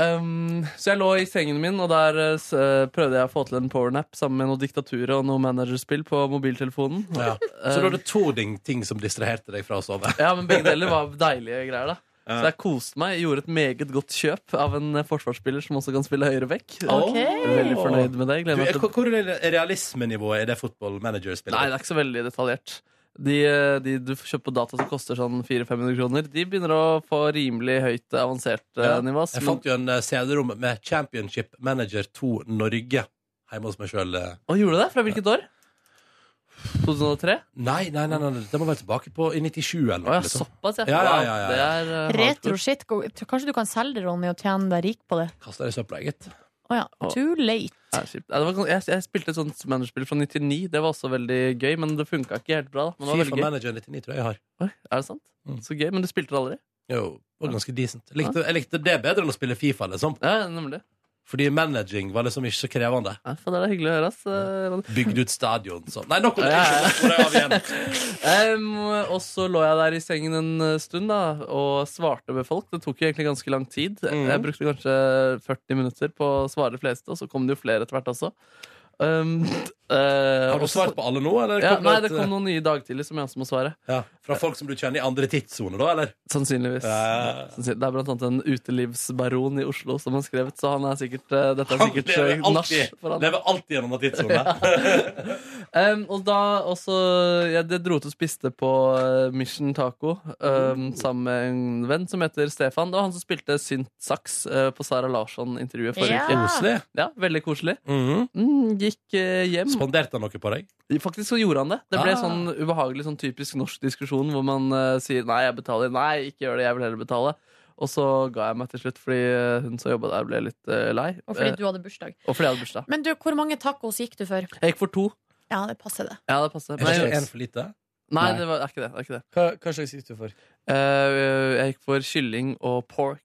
[SPEAKER 3] Um, så jeg lå i sengen min, og der eh, s- eh, prøvde jeg å få til en powernap sammen med noe diktatur og noe managerspill på mobiltelefonen.
[SPEAKER 1] Ja. Så da var det to ding- ting som distraherte deg fra å sove?
[SPEAKER 3] Ja, men begge deler var deilige greier, da.
[SPEAKER 1] Ja.
[SPEAKER 3] Så jeg koste meg. Gjorde et meget godt kjøp av en eh, forsvarsspiller som også kan spille høyre vekk.
[SPEAKER 2] Ok.
[SPEAKER 3] Veldig fornøyd med det.
[SPEAKER 1] Du,
[SPEAKER 3] Gleder meg
[SPEAKER 1] eh,
[SPEAKER 3] til
[SPEAKER 1] hva- hvor er det- realismenivået i det Football Manager-spillet?
[SPEAKER 3] Nei, det er ikke så veldig detaljert. De, eh, de du får kjøpt på data som koster sånn 400-500 kroner, de begynner å få rimelig høyt eh, avansert ja.
[SPEAKER 1] Ja.
[SPEAKER 3] nivå. ass.
[SPEAKER 1] Jeg
[SPEAKER 3] Men,
[SPEAKER 1] fant jo en eh, CD-rom med Championship Manager 2 Norge hjemme hos meg eh, sjøl.
[SPEAKER 3] Å, gjorde du det? Fra hvilket år? 2003?
[SPEAKER 1] Nei, nei, nei, nei, nei, det må være tilbake på i 97 eller
[SPEAKER 3] Å
[SPEAKER 1] noe.
[SPEAKER 3] ja,
[SPEAKER 1] liksom.
[SPEAKER 3] såpass, ja.
[SPEAKER 1] Ja, ja, ja, ja.
[SPEAKER 3] Wow, Det er eh, hardcore.
[SPEAKER 2] Retro-shit. gå- Kanskje du kan selge det, Ronny, og tjene deg rik på det.
[SPEAKER 1] Kasta det i søpla, gitt.
[SPEAKER 2] Å ja. Too late.
[SPEAKER 3] Ja, kjipt. Ja, det var, sånn- jeg, jeg spilte et sånt managerspill fra 99. Det var også veldig gøy, men det funka ikke helt bra. Da. Men det var
[SPEAKER 1] Fifa
[SPEAKER 3] veldig gøy.
[SPEAKER 1] Manager 99 tror jeg jeg har.
[SPEAKER 3] Oi, er det sant?
[SPEAKER 1] Mm.
[SPEAKER 3] Så gøy. Men du spilte det aldri?
[SPEAKER 1] Jo, det var ganske decent. Jeg likte, jeg likte det bedre enn å spille Fifa, liksom.
[SPEAKER 3] Ja, nemlig.
[SPEAKER 1] Fordi managing var liksom ikke så krevende.
[SPEAKER 3] Ja, for det er hyggelig å høre, ass. Eh,
[SPEAKER 1] Bygde ut stadion sånn. Nei, nok om det!
[SPEAKER 3] Ja, ja, ja.
[SPEAKER 1] Ikke hvor er vi igjen?
[SPEAKER 3] Em, og så lå jeg der i sengen en eh, stund da og svarte med folk. Det tok jo egentlig ganske lang tid.
[SPEAKER 1] Mhm.
[SPEAKER 3] Jeg brukte kanskje 40 minutter på å svare de fleste, og så kom det jo flere etter hvert også. Em, Eh,
[SPEAKER 1] Har du
[SPEAKER 3] og så-
[SPEAKER 1] svart på alle nå, eller?
[SPEAKER 3] Ja,
[SPEAKER 1] kom
[SPEAKER 3] nei,
[SPEAKER 1] et, eh,
[SPEAKER 3] det kom noen nye i dag tidlig som jeg også må svare.
[SPEAKER 1] ja, Fra folk som du kjenner i andre tidssoner, da, eller?
[SPEAKER 3] Sannsynligvis.
[SPEAKER 1] Ja.
[SPEAKER 3] Sannsyn- Det er blant annet en utelivsbaron i Oslo som har skrevet, så han er sikkert eh, Dette er
[SPEAKER 1] Han
[SPEAKER 3] sikkert eh,
[SPEAKER 1] lever
[SPEAKER 3] nach
[SPEAKER 1] alltid,
[SPEAKER 3] for han.
[SPEAKER 1] lever alltid gjennom den tidssonen.
[SPEAKER 3] Em, Ehm, og da også Jeg det dro ut og spiste på eh, Mission Taco em, sammen med en venn som heter Stefan. Det var han som spilte syntsaks eh, på Sara Larsson-intervjuet forrige
[SPEAKER 2] Ja.
[SPEAKER 3] uke.
[SPEAKER 1] Koselig.
[SPEAKER 3] Ja, Veldig koselig.
[SPEAKER 1] Mhm.
[SPEAKER 3] Mm, gikk eh, hjem.
[SPEAKER 1] Spanderte han noe på deg?
[SPEAKER 3] Faktisk så gjorde han det. Det ble
[SPEAKER 1] Ah.
[SPEAKER 3] sånn ubehagelig sånn typisk norsk diskusjon hvor man eh, sier nei, jeg betaler, nei, ikke gjør det, jeg vil heller betale. Og så ga jeg meg til slutt fordi eh, hun som jobba der, ble litt eh, lei.
[SPEAKER 2] Og fordi
[SPEAKER 3] Eh,
[SPEAKER 2] du hadde bursdag.
[SPEAKER 3] og fordi jeg hadde bursdag.
[SPEAKER 2] Men du, hvor mange tacos gikk du for?
[SPEAKER 3] Jeg gikk for to.
[SPEAKER 2] Ja, det passer det.
[SPEAKER 3] Ja, det passer.
[SPEAKER 1] Er
[SPEAKER 3] Men,
[SPEAKER 1] ikke
[SPEAKER 3] jeg-
[SPEAKER 1] en for lite?
[SPEAKER 3] nei,
[SPEAKER 8] Nei.
[SPEAKER 3] det var det er ikke det. det, er ikke det.
[SPEAKER 8] Hva, hva slags gikk du for?
[SPEAKER 3] Eh, jeg gikk for kylling og pork.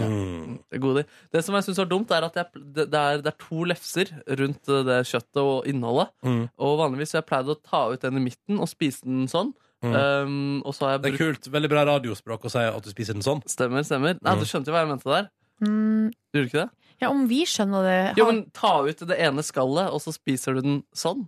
[SPEAKER 1] Mm.
[SPEAKER 3] Det er gode. Det som jeg syns var dumt, er at jeg, det, det, er, det er to lefser rundt eh, det kjøttet og innholdet.
[SPEAKER 1] Mm.
[SPEAKER 3] Og vanligvis har jeg pleid å ta ut den i midten og spise den sånn.
[SPEAKER 1] Mm.
[SPEAKER 3] Um, og så har jeg
[SPEAKER 1] Det er
[SPEAKER 3] brukt
[SPEAKER 1] kult. Veldig bra radiospråk å si at du spiser den sånn.
[SPEAKER 3] Stemmer, stemmer. Nei,
[SPEAKER 1] Mm.
[SPEAKER 3] Du skjønte jo hva jeg mente der?
[SPEAKER 2] Mm,
[SPEAKER 3] Gjorde du ikke det?
[SPEAKER 2] ja, om vi skjønner det
[SPEAKER 3] Jo, men Ta ut det ene skallet, og så spiser du den sånn.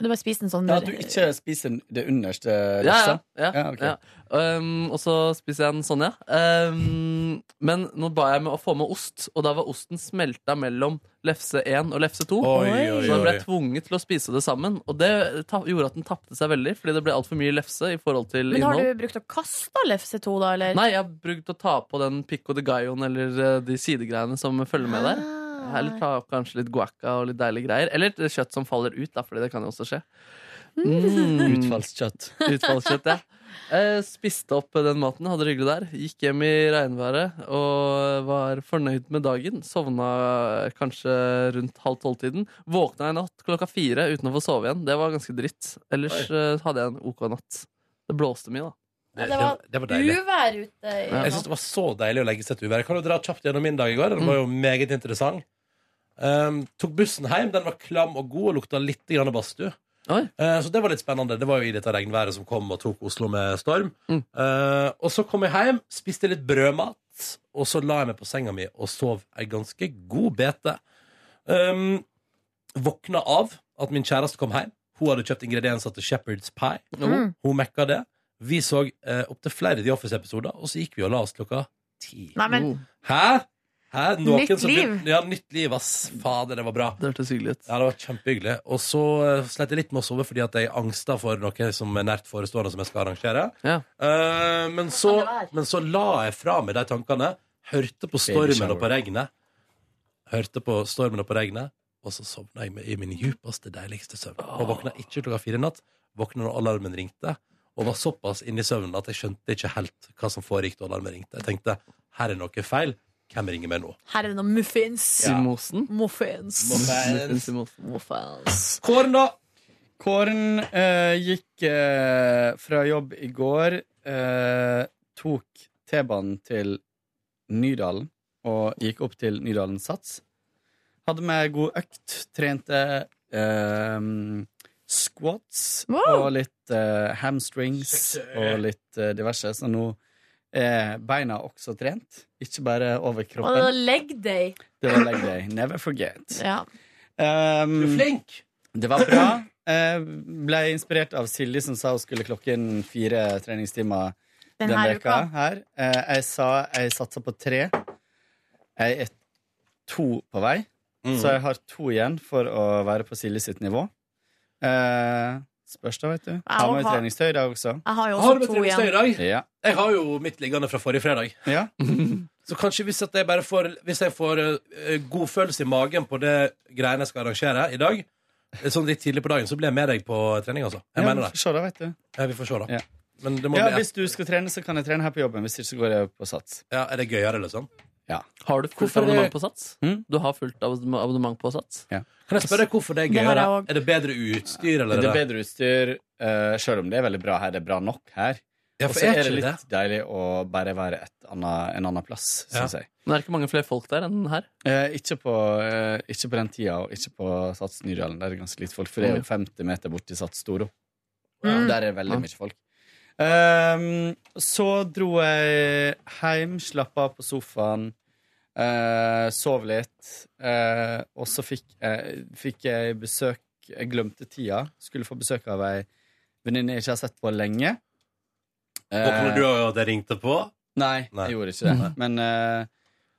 [SPEAKER 2] Du bare spiser den sånn.
[SPEAKER 8] Ja, at du ikke spiser det underste.
[SPEAKER 3] Ja, ja,
[SPEAKER 8] liksom.
[SPEAKER 3] ja,
[SPEAKER 8] Ja, ok.
[SPEAKER 3] ja. Um, Og så spiser jeg den sånn, ja. Um, men nå ba jeg med å få med ost, og da var osten smelta mellom lefse 1 og lefse 2.
[SPEAKER 1] Oi,
[SPEAKER 2] Oi.
[SPEAKER 1] oi,
[SPEAKER 3] Så da ble
[SPEAKER 1] oi.
[SPEAKER 3] jeg tvunget til å spise det sammen, og det ta gjorde at den tapte seg veldig. Fordi det ble altfor mye lefse i forhold til
[SPEAKER 2] Men har
[SPEAKER 3] innhold.
[SPEAKER 2] du brukt å kaste lefse 2, da, eller?
[SPEAKER 3] Nei, jeg har brukt å ta på den pico de galloen eller eh, de sidegreiene som følger med der. Eller ta opp kanskje litt guacca og litt deilige greier. Eller et kjøtt som faller ut, da, fordi det kan jo også skje. Mm.
[SPEAKER 8] Utfallskjøtt.
[SPEAKER 3] Utfallskjøtt, ja. Eh, spiste opp den maten, hadde det hyggelig der. Gikk hjem i regnværet og var fornøyd med dagen. Sovna kanskje rundt halv tolv-tiden. Våkna i natt klokka fire uten å få sove igjen. Det var ganske dritt. Ellers eh, hadde jeg en OK natt. Det blåste mye, da.
[SPEAKER 2] Ja, det var-
[SPEAKER 1] det var deilig.
[SPEAKER 2] Ah. Uvær ute i
[SPEAKER 1] Jeg synes det var så deilig å legge seg til uværet. Kan du dra kjapt gjennom min dag i går? Den var jo
[SPEAKER 3] Mm.
[SPEAKER 1] meget interessant. Um, tok bussen hjem. Den var klam og god og lukta litt grann badstue.
[SPEAKER 3] Oi.
[SPEAKER 1] Eh, så det var litt spennende. Det var jo i dette regnværet som kom og tok Oslo med storm.
[SPEAKER 3] Mm.
[SPEAKER 1] Eh, og så kom jeg hjem, spiste litt brødmat, og så la jeg meg på senga mi og sov ei ganske god bete. Um, våkna av at min kjæreste kom hjem. Hun hadde kjøpt ingredienser til Shepherd's pie.
[SPEAKER 2] Mm.
[SPEAKER 1] Hun mekka det. Vi så eh, opptil flere The Office-episoder, og så gikk vi og la oss klokka ti.
[SPEAKER 2] Nei, men
[SPEAKER 3] Oh,
[SPEAKER 1] Hæ? Hæ? Noen
[SPEAKER 2] Nytt
[SPEAKER 1] som
[SPEAKER 2] liv.
[SPEAKER 1] begynte- Ja, nytt liv, ass. Fader, det var bra.
[SPEAKER 3] det hørtes hyggelig ut.
[SPEAKER 1] Ja, det var kjempehyggelig. Og så eh, slet jeg litt med å sove fordi at jeg angsta for noe som er nært forestående som jeg skal arrangere.
[SPEAKER 3] Ja.
[SPEAKER 1] Eh, men, så,
[SPEAKER 2] Hva kan det være?
[SPEAKER 1] men så la jeg fra meg de tankene, hørte på stormen og på regnet. Hørte på stormen og på regnet, og så sovna jeg med- i min djupeste, deiligste søvn. Og våkna ikke klokka fire i natt, våkna når alarmen ringte, og var såpass inne i søvnen at jeg skjønte ikke helt hva som foregikk da alarmen ringte. Jeg tenkte her er noe feil. Hvem ringer meg nå?
[SPEAKER 2] her er det noen muffins.
[SPEAKER 3] Simosen?
[SPEAKER 2] Muffins.
[SPEAKER 3] Muffins i mosen.
[SPEAKER 2] Muffins.
[SPEAKER 1] Kåren, da?
[SPEAKER 8] Kåren eh, gikk eh, fra jobb i går, eh, tok T-banen til Nydalen og gikk opp til Nydalen Sats. Hadde med god økt, trente eh, squats
[SPEAKER 2] Wow.
[SPEAKER 8] og litt eh, hamstrings og litt eh, diverse, så nå er beina også trent, ikke bare
[SPEAKER 2] Og det
[SPEAKER 8] overkroppen.
[SPEAKER 2] var leg day.
[SPEAKER 8] Det var leg day. Never forget.
[SPEAKER 2] Ja.
[SPEAKER 8] Um,
[SPEAKER 1] Du er flink.
[SPEAKER 8] det var bra. Eh, ble inspirert av Silje, som sa hun skulle klokke inn fire treningstimer
[SPEAKER 2] Den
[SPEAKER 8] denne
[SPEAKER 2] her uka.
[SPEAKER 8] Her. Eh, jeg sa jeg satsa på tre. Jeg er to på vei,
[SPEAKER 1] Mm.
[SPEAKER 8] så jeg har to igjen for å være på Silje sitt nivå. Eh, spørs da, vet du. Har med
[SPEAKER 2] har-
[SPEAKER 8] treningstøy i dag også.
[SPEAKER 2] Jeg har jo
[SPEAKER 1] Har du
[SPEAKER 2] også
[SPEAKER 1] med
[SPEAKER 2] to
[SPEAKER 1] treningstøy i
[SPEAKER 2] igjen.
[SPEAKER 1] dag?
[SPEAKER 8] Ja.
[SPEAKER 1] Jeg har jo mitt liggende fra forrige fredag.
[SPEAKER 8] ja.
[SPEAKER 1] Så kanskje hvis, at jeg, bare får, hvis jeg får eh, god følelse i magen på det greiene jeg skal arrangere i dag, eh, sånn litt tidlig på dagen, så blir jeg med deg på trening, altså. Jeg
[SPEAKER 8] ja
[SPEAKER 1] mener
[SPEAKER 8] vi
[SPEAKER 1] det.
[SPEAKER 8] får se da, vet du.
[SPEAKER 1] Ja, vi får se, da.
[SPEAKER 8] Ja.
[SPEAKER 1] Men det må
[SPEAKER 8] Ja,
[SPEAKER 1] bli
[SPEAKER 8] hvis du skal trene, så kan jeg trene her på jobben. Hvis ikke, så går jeg på sats.
[SPEAKER 1] ja, Er det gøyere, liksom?
[SPEAKER 3] Har du fullt
[SPEAKER 1] Hvorfor er-
[SPEAKER 3] abonnement på Sats?
[SPEAKER 8] Mm?
[SPEAKER 3] Du har fullt abonnement- abonnement på Sats?
[SPEAKER 1] Kan jeg spørre hvorfor det er
[SPEAKER 2] Det har jeg
[SPEAKER 1] gøyere?
[SPEAKER 2] også.
[SPEAKER 1] er det bedre utstyr, eller?
[SPEAKER 8] Det er
[SPEAKER 1] er det-
[SPEAKER 8] bedre utstyr, uh, sjøl om det er veldig bra her. Det er bra nok her.
[SPEAKER 1] Ja,
[SPEAKER 8] Og
[SPEAKER 1] for
[SPEAKER 8] så
[SPEAKER 1] er
[SPEAKER 8] Altså, er det
[SPEAKER 1] ikke
[SPEAKER 8] litt
[SPEAKER 1] det?
[SPEAKER 8] deilig å bare være et annet, en annen plass,
[SPEAKER 1] Ja.
[SPEAKER 8] syns jeg.
[SPEAKER 3] Men det er ikke mange flere folk der enn her.
[SPEAKER 8] Eh, ikke, på, eh, ikke på den tida, og ikke på Sats Nydalen. Der er det ganske lite folk. For det er
[SPEAKER 1] Mm.
[SPEAKER 8] jo 50 meter borti Sats Storo.
[SPEAKER 2] Mm.
[SPEAKER 8] Der er det veldig
[SPEAKER 3] Ja.
[SPEAKER 8] mye folk. Ehm, så dro jeg hjem, slappa av på sofaen, eh, sov litt. eh, og så fikk, jeg- fikk jeg besøk Jeg glemte tida. Skulle få besøk av ei venninne jeg ikke har sett på lenge. Eh,
[SPEAKER 1] Våkner du av at jeg ringte på?
[SPEAKER 8] Nei,
[SPEAKER 1] Nei.
[SPEAKER 8] jeg gjorde ikke det. Men eh,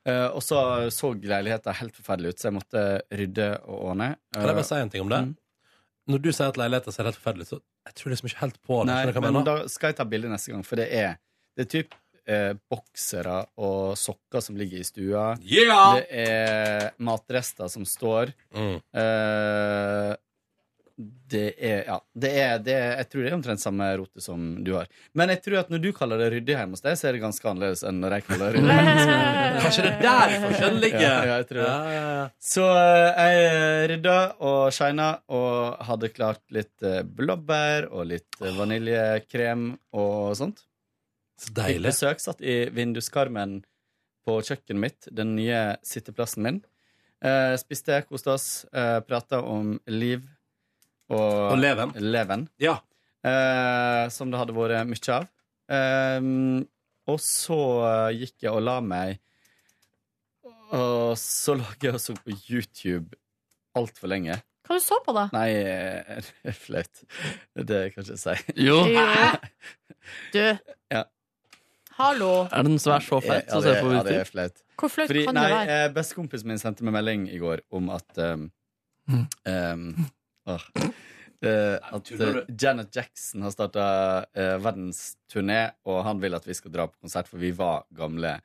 [SPEAKER 8] eh, Og så så leiligheten helt forferdelig ut, så jeg måtte rydde og ordne.
[SPEAKER 1] Kan jeg bare si en ting om det?
[SPEAKER 8] Mm.
[SPEAKER 1] Når du sier at leiligheten ser helt forferdelig ut, så jeg tror liksom ikke helt på det.
[SPEAKER 8] Nei,
[SPEAKER 1] Skjønner du hva jeg
[SPEAKER 8] men
[SPEAKER 1] mener?
[SPEAKER 8] da skal jeg ta bilde neste gang, for det er Det er typ eh, boksere og sokker som ligger i stua.
[SPEAKER 1] Yeah!
[SPEAKER 8] Det er matrester som står.
[SPEAKER 1] Mm.
[SPEAKER 8] Eh, det er Ja. Det er, det er, jeg tror det er omtrent samme rote som du har. Men jeg tror at når du kaller det ryddig hjemme hos deg, så er det ganske annerledes enn når jeg kaller det ryddig.
[SPEAKER 1] Kanskje det er der forskjellen ligger?
[SPEAKER 8] Ja, ja, jeg tror det.
[SPEAKER 1] Ja, ja, ja.
[SPEAKER 8] Så eh, jeg rydda og shina og hadde klart litt eh, blåbær og litt eh, vaniljekrem og sånt.
[SPEAKER 1] Så
[SPEAKER 8] Fikk
[SPEAKER 1] deilig.
[SPEAKER 8] besøk, satt i vinduskarmen på kjøkkenet mitt, den nye sitteplassen min. Eh, spiste, koste oss, eh, prata om liv og,
[SPEAKER 1] Og leven.
[SPEAKER 8] leven,
[SPEAKER 1] Ja.
[SPEAKER 8] eh, som det hadde vært mye av. Eh, og så eh, gikk jeg og la meg, og så lå jeg og så på YouTube altfor lenge.
[SPEAKER 2] Hva du så på, da?
[SPEAKER 8] Nei, eh, det er flaut. Det kan jeg ikke si.
[SPEAKER 3] Jo.
[SPEAKER 2] Du.
[SPEAKER 8] Ja.
[SPEAKER 2] Hallo.
[SPEAKER 3] Er den svær så fett, så ser
[SPEAKER 8] Ja,
[SPEAKER 3] det på
[SPEAKER 8] det, ja, det
[SPEAKER 3] YouTube.
[SPEAKER 8] er flaut.
[SPEAKER 2] Hvor flaut
[SPEAKER 8] Fordi,
[SPEAKER 2] kan
[SPEAKER 8] nei,
[SPEAKER 2] det være?
[SPEAKER 8] eh, Bestekompisen min sendte meg melding i går om at um,
[SPEAKER 3] Mm.
[SPEAKER 8] um, åh, eh, At eh, Janet Jackson har starta uh, verdensturné, og han vil at vi skal dra på konsert, for vi var gamle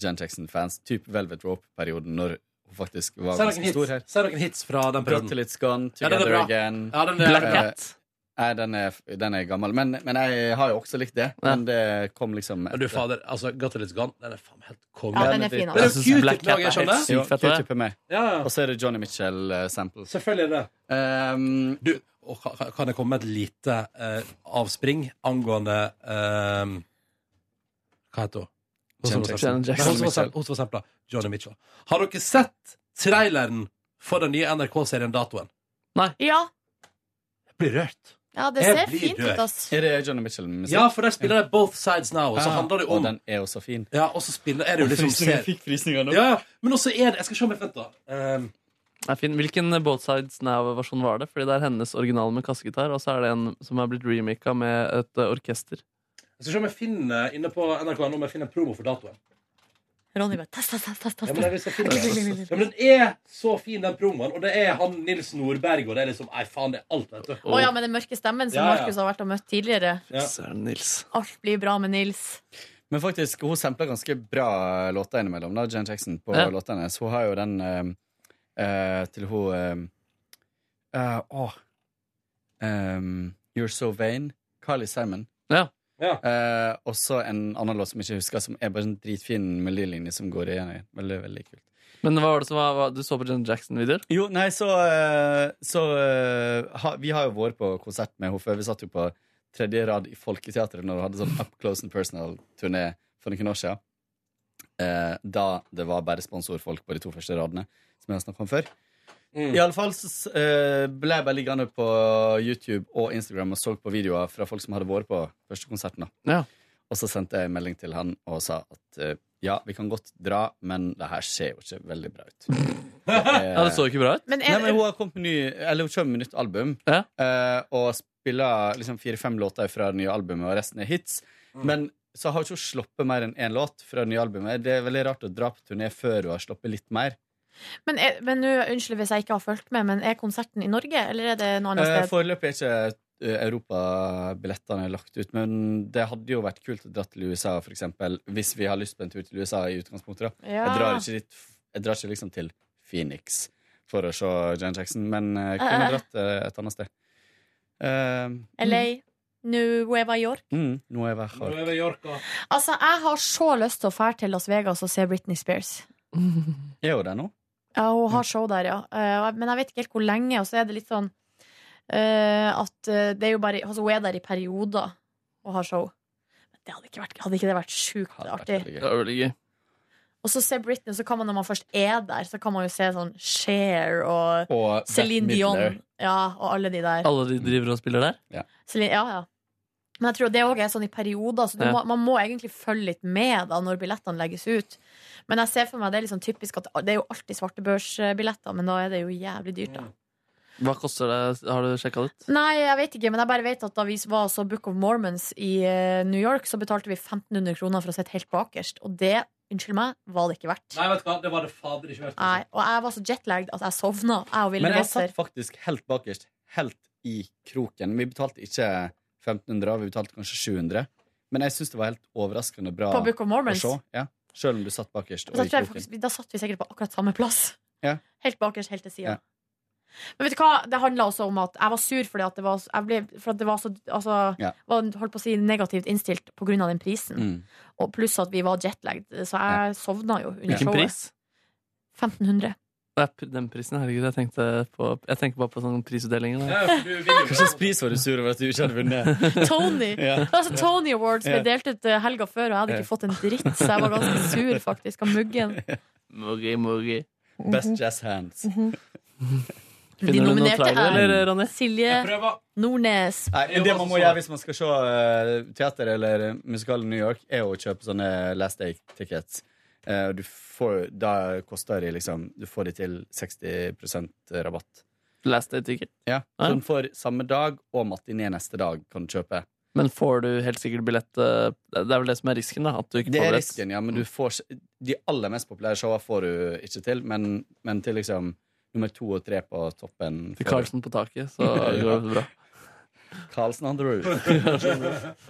[SPEAKER 8] Janet Jackson-fans. Type Velvet Rope-perioden, når hun faktisk var
[SPEAKER 1] Si noen
[SPEAKER 8] ganske stor her.
[SPEAKER 1] hits. Si noen hits fra den perioden.
[SPEAKER 8] Brought till it's gone,
[SPEAKER 1] Ja, den er
[SPEAKER 8] together
[SPEAKER 1] bra.
[SPEAKER 8] again.
[SPEAKER 1] Ja, den er-
[SPEAKER 3] Black
[SPEAKER 8] eh,
[SPEAKER 3] Cat.
[SPEAKER 8] Nei, den er, den er gammel. Men, men jeg har jo også likt det.
[SPEAKER 3] Ja.
[SPEAKER 8] Men det kom liksom
[SPEAKER 1] Men du, fader, altså, Got It It's Gone, den er faen meg helt konge.
[SPEAKER 2] Ja,
[SPEAKER 8] Ja,
[SPEAKER 2] den
[SPEAKER 8] men
[SPEAKER 2] er
[SPEAKER 8] det-
[SPEAKER 1] Den
[SPEAKER 2] fin.
[SPEAKER 1] er
[SPEAKER 2] Altså.
[SPEAKER 3] Jeg synes
[SPEAKER 1] jo
[SPEAKER 3] Black
[SPEAKER 1] cute
[SPEAKER 3] Cat
[SPEAKER 1] lag,
[SPEAKER 3] er
[SPEAKER 1] jeg
[SPEAKER 3] helt
[SPEAKER 1] skjønner.
[SPEAKER 8] Jo,
[SPEAKER 3] sykt fett. det.
[SPEAKER 8] Q-tip er med.
[SPEAKER 1] Ja,
[SPEAKER 8] Og så er det Johnny eh, Mitchell-samples.
[SPEAKER 1] Selvfølgelig er det.
[SPEAKER 8] Um,
[SPEAKER 1] Du, og ka- ka- kan jeg komme med et lite eh, avspring angående eh, Hva heter hun? Hun som var
[SPEAKER 8] Janet
[SPEAKER 1] sampla.
[SPEAKER 3] Jackson.
[SPEAKER 1] Nei, hun som var sam- Hun som var sampla. Johnny Mitchell. Har dere sett traileren for den nye NRK-serien Datoen?
[SPEAKER 2] Ja.
[SPEAKER 1] Jeg blir rørt.
[SPEAKER 2] ja, det
[SPEAKER 1] Jeg
[SPEAKER 2] ser
[SPEAKER 1] blir
[SPEAKER 2] fint
[SPEAKER 1] rørt.
[SPEAKER 2] ut, ass.
[SPEAKER 8] er det Johnny Mitchell-musikk?
[SPEAKER 1] Ja, for der spiller de Both Sides Now, og så
[SPEAKER 8] Ah,
[SPEAKER 1] handler det
[SPEAKER 8] Og
[SPEAKER 1] om
[SPEAKER 8] den er jo så fin.
[SPEAKER 1] Ja, og så spiller er det jo liksom ser,
[SPEAKER 8] fikk frysninger
[SPEAKER 1] Ja, ja, men også er det Jeg skal se om jeg venter. Um,
[SPEAKER 3] Det er fin. Hvilken Both Sides Now-versjon var det? Fordi det er hennes original med kassegitar, og så er det en som er blitt remika med et eh, orkester.
[SPEAKER 1] jeg skal se om jeg finner inne på NRK om jeg finner en promo for datoen.
[SPEAKER 2] Ronny bare tass, tass, tass, tass, tass.
[SPEAKER 1] Ja, men, jeg vil se filmen. ja, men den er så fin, den promoen. Og det er han Nils Nordberg, og det er liksom Nei, faen, det er alt, vet du.
[SPEAKER 2] Å ja, med den mørke stemmen som
[SPEAKER 1] Ja, ja.
[SPEAKER 2] Markus har vært og møtt tidligere.
[SPEAKER 1] Ja.
[SPEAKER 3] Søren, Nils.
[SPEAKER 2] Alt blir bra med Nils.
[SPEAKER 8] Men faktisk, hun sampler ganske bra låter innimellom, da, Jan Jackson, på
[SPEAKER 3] Ja.
[SPEAKER 8] låtene hennes. Hun har jo den eh, eh, til hun eh, eh, åh, ehm, You're So Vain. Carly Simon.
[SPEAKER 3] Ja.
[SPEAKER 1] Ja.
[SPEAKER 8] Eh, og så en annen låt som jeg ikke husker, som er bare en dritfin melodilinje som går igjen. i. Veldig, veldig kult.
[SPEAKER 3] Men hva var det som var, hva- du så på John Jackson-videoer?
[SPEAKER 8] Jo, nei, så, eh, så eh, ha, Vi har jo vært på konsert med henne før. Vi satt jo på tredje rad i Folketeatret når hun hadde sånn Up Close and Personal-turné for noen år siden. Eh, da det var bare sponsorfolk på de to første radene, som jeg har snakket om før.
[SPEAKER 3] Mm.
[SPEAKER 1] Mm.
[SPEAKER 8] I alle fall så s- eh, ble jeg bare liggende på YouTube og Instagram og så på videoer fra folk som hadde vært på første konserten. da.
[SPEAKER 3] Ja.
[SPEAKER 8] Og så sendte jeg en melding til han og sa at eh, ja, vi kan godt dra, men det her ser jo ikke veldig bra ut. Eh,
[SPEAKER 3] Ja, Det så jo ikke bra ut.
[SPEAKER 2] Men
[SPEAKER 8] Nei,
[SPEAKER 2] er,
[SPEAKER 8] men hun har kommet med ny Eller hun kommer med nytt album
[SPEAKER 3] Ja.
[SPEAKER 8] eh, Og spiller liksom fire-fem låter fra det nye albumet Og resten er hits Men så har hun ikke sluppet mer enn en låt fra det nye albumet Det er veldig rart å dra på turné før hun har sluppet litt mer
[SPEAKER 2] men er, men nå, unnskyld hvis jeg ikke har fulgt med, men er konserten i Norge, eller er det noe annet
[SPEAKER 8] eh,
[SPEAKER 2] sted?
[SPEAKER 8] Foreløpig er ikke eh, Europa-billettene lagt ut Men det hadde jo vært kult å dra til USA for eksempel Hvis vi har lyst på en tur til USA i utgangspunktet da.
[SPEAKER 2] Ja.
[SPEAKER 8] Jeg drar ikke dit Jeg drar ikke liksom til Phoenix For å se Jan Jackson Men uh, kunne
[SPEAKER 2] Eh, eh.
[SPEAKER 8] dratt eh, et annet sted Eh,
[SPEAKER 2] LA, Nueva York.
[SPEAKER 8] Mm, nå er jeg vært hard.
[SPEAKER 1] Nå er vi i Yorka.
[SPEAKER 2] Altså, jeg har så lyst til å fære til Las Vegas og se Britney Spears.
[SPEAKER 8] Er jo det nå?
[SPEAKER 2] Ja, hun
[SPEAKER 8] Mm.
[SPEAKER 2] har show der, ja. Eh, og jeg- Men jeg vet ikke helt hvor lenge, og så er det litt sånn eh, at eh, det er jo bare Altså, hun er der i perioder og har show. Men det hadde ikke, vært, hadde ikke det vært sjukt
[SPEAKER 8] Hadde vært
[SPEAKER 2] artig?
[SPEAKER 8] veldig
[SPEAKER 3] Det
[SPEAKER 8] gøy.
[SPEAKER 3] var veldig gøy.
[SPEAKER 2] Og så se Britney, så kan man når man først er der, så kan man jo se sånn Cher og
[SPEAKER 8] Og Bette
[SPEAKER 2] Céline Dion.
[SPEAKER 8] Midler.
[SPEAKER 2] Ja, og alle de der.
[SPEAKER 3] Alle de driver og spiller der?
[SPEAKER 2] Celine, ja, ja. Men jeg tror det òg er sånn i perioder, så du
[SPEAKER 3] Ja.
[SPEAKER 2] må, man må egentlig følge litt med da når billettene legges ut. Men
[SPEAKER 1] Mm.
[SPEAKER 2] jeg ser for meg det er litt sånn typisk at det er jo alltid svartebørsbilletter, men da er det jo jævlig dyrt, da.
[SPEAKER 3] Hva koster det? Har du sjekka det ut?
[SPEAKER 2] Nei, jeg vet ikke, men jeg bare vet at da vi var så Book of Mormons i eh, New York, så betalte vi 1500 kroner for å sitte helt bakerst. Og det, unnskyld meg, var det ikke verdt.
[SPEAKER 1] Nei, vet du hva, det var det fader ikke verdt. altså.
[SPEAKER 2] Nei, og jeg var så jetlagd at jeg sovna. Jeg og Ville
[SPEAKER 8] Men jeg
[SPEAKER 2] Wæther.
[SPEAKER 8] satt faktisk helt bakerst, helt i kroken. Vi betalte ikke 1500, vi betalte kanskje 700. Men jeg syns det var helt overraskende bra
[SPEAKER 2] På Book of
[SPEAKER 8] å
[SPEAKER 2] Mormons.
[SPEAKER 8] se. Ja. Selv om du satt bakerst og
[SPEAKER 2] Da,
[SPEAKER 8] i
[SPEAKER 2] tror jeg
[SPEAKER 8] kroken.
[SPEAKER 2] faktisk, da satt vi sikkert på akkurat samme plass.
[SPEAKER 8] Ja.
[SPEAKER 2] Helt bakerst, helt til sida.
[SPEAKER 8] Ja.
[SPEAKER 2] Men vet du hva, det handla også om at jeg var sur fordi at det var, jeg ble, for at det var så altså,
[SPEAKER 8] Ja.
[SPEAKER 2] var, Holdt på å si negativt innstilt på grunn av den prisen.
[SPEAKER 8] Mm.
[SPEAKER 2] Og pluss at vi var jetlagd, så jeg sovna jo under
[SPEAKER 3] Hvilken
[SPEAKER 2] showet.
[SPEAKER 3] pris?
[SPEAKER 2] 1500.
[SPEAKER 3] Nei, p- den prisen, herregud. Jeg tenkte, på, jeg tenker bare på sånne prisutdelinger. da.
[SPEAKER 8] Kanskje pris var du sur over at du ikke hadde vunnet.
[SPEAKER 2] Tony.
[SPEAKER 8] Ja.
[SPEAKER 2] Altså, Tony Awards ble
[SPEAKER 8] Ja.
[SPEAKER 2] delt ut eh, helga før, og jeg hadde
[SPEAKER 8] Ja.
[SPEAKER 2] ikke fått en dritt, så jeg var ganske sur faktisk av muggen.
[SPEAKER 3] Muggi, muggi.
[SPEAKER 8] Best jazz hands.
[SPEAKER 2] De
[SPEAKER 3] Finner du noen
[SPEAKER 2] nominerte
[SPEAKER 3] trailer,
[SPEAKER 2] er
[SPEAKER 3] eller, Ronny?
[SPEAKER 2] Silje Nordnes.
[SPEAKER 8] Nei, men det man må gjøre hvis man skal se eh, teater eller eh, musikal i New York, er å kjøpe sånne last day tickets. Eh, du får, da koster de liksom Du får de til 60 rabatt.
[SPEAKER 3] Last Day Ticket.
[SPEAKER 8] Ja.
[SPEAKER 3] Ja.
[SPEAKER 8] Sånn for samme dag og matiné neste dag kan du kjøpe.
[SPEAKER 3] Men får du helt sikkert billett eh, Det er vel det som er risken, da? At du ikke
[SPEAKER 8] Det
[SPEAKER 3] får
[SPEAKER 8] er
[SPEAKER 3] billett.
[SPEAKER 8] risken, ja, men du får ikke- De aller mest populære showene får du ikke til, men, men til liksom nummer to og tre på toppen
[SPEAKER 3] Til
[SPEAKER 8] får du.
[SPEAKER 3] Karlsen på taket, så går det bra.
[SPEAKER 8] Carlsen on the roof.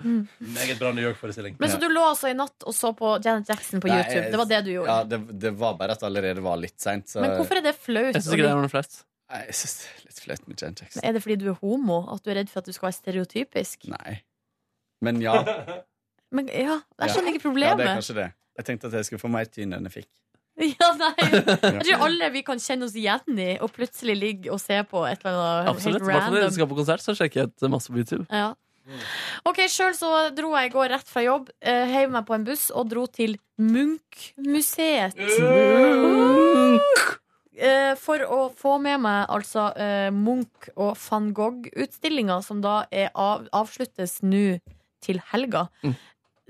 [SPEAKER 1] Meget bra New York-forestilling.
[SPEAKER 2] Men så du lå altså i natt og så på Janet Jackson på
[SPEAKER 8] Nei,
[SPEAKER 2] YouTube. Det var det du gjorde.
[SPEAKER 8] Ja, det, det var bare at det allerede var litt seint, så
[SPEAKER 2] Men hvorfor er det flaut?
[SPEAKER 3] Jeg syns ikke det er noe flaut.
[SPEAKER 8] Nei, jeg synes det er litt flaut med Jan Jackson.
[SPEAKER 2] Er det fordi du er homo? At du er redd for at du skal være stereotypisk?
[SPEAKER 8] Nei. Men ja,
[SPEAKER 2] Men ja, Jeg skjønner ikke
[SPEAKER 8] ja, det er
[SPEAKER 2] problemet.
[SPEAKER 8] kanskje det. Jeg tenkte at jeg skulle få mer tyn enn jeg fikk.
[SPEAKER 2] Ja, nei. Jeg tror alle vi kan kjenne oss igjen i, og plutselig ligge og se på et eller annet
[SPEAKER 3] Absolutt. I
[SPEAKER 2] helt
[SPEAKER 3] hvert fall når
[SPEAKER 2] random.
[SPEAKER 3] du skal på konsert, så sjekker jeg ut masse på YouTube.
[SPEAKER 2] Ja. Ok, Sjøl så dro jeg i går rett fra jobb, eh, heiv meg på en buss og dro til Munch-museet. Eh, For å få med meg altså eh, Munch og van Gogh-utstillinga, som da er av, avsluttes nå til helga.
[SPEAKER 3] Mm.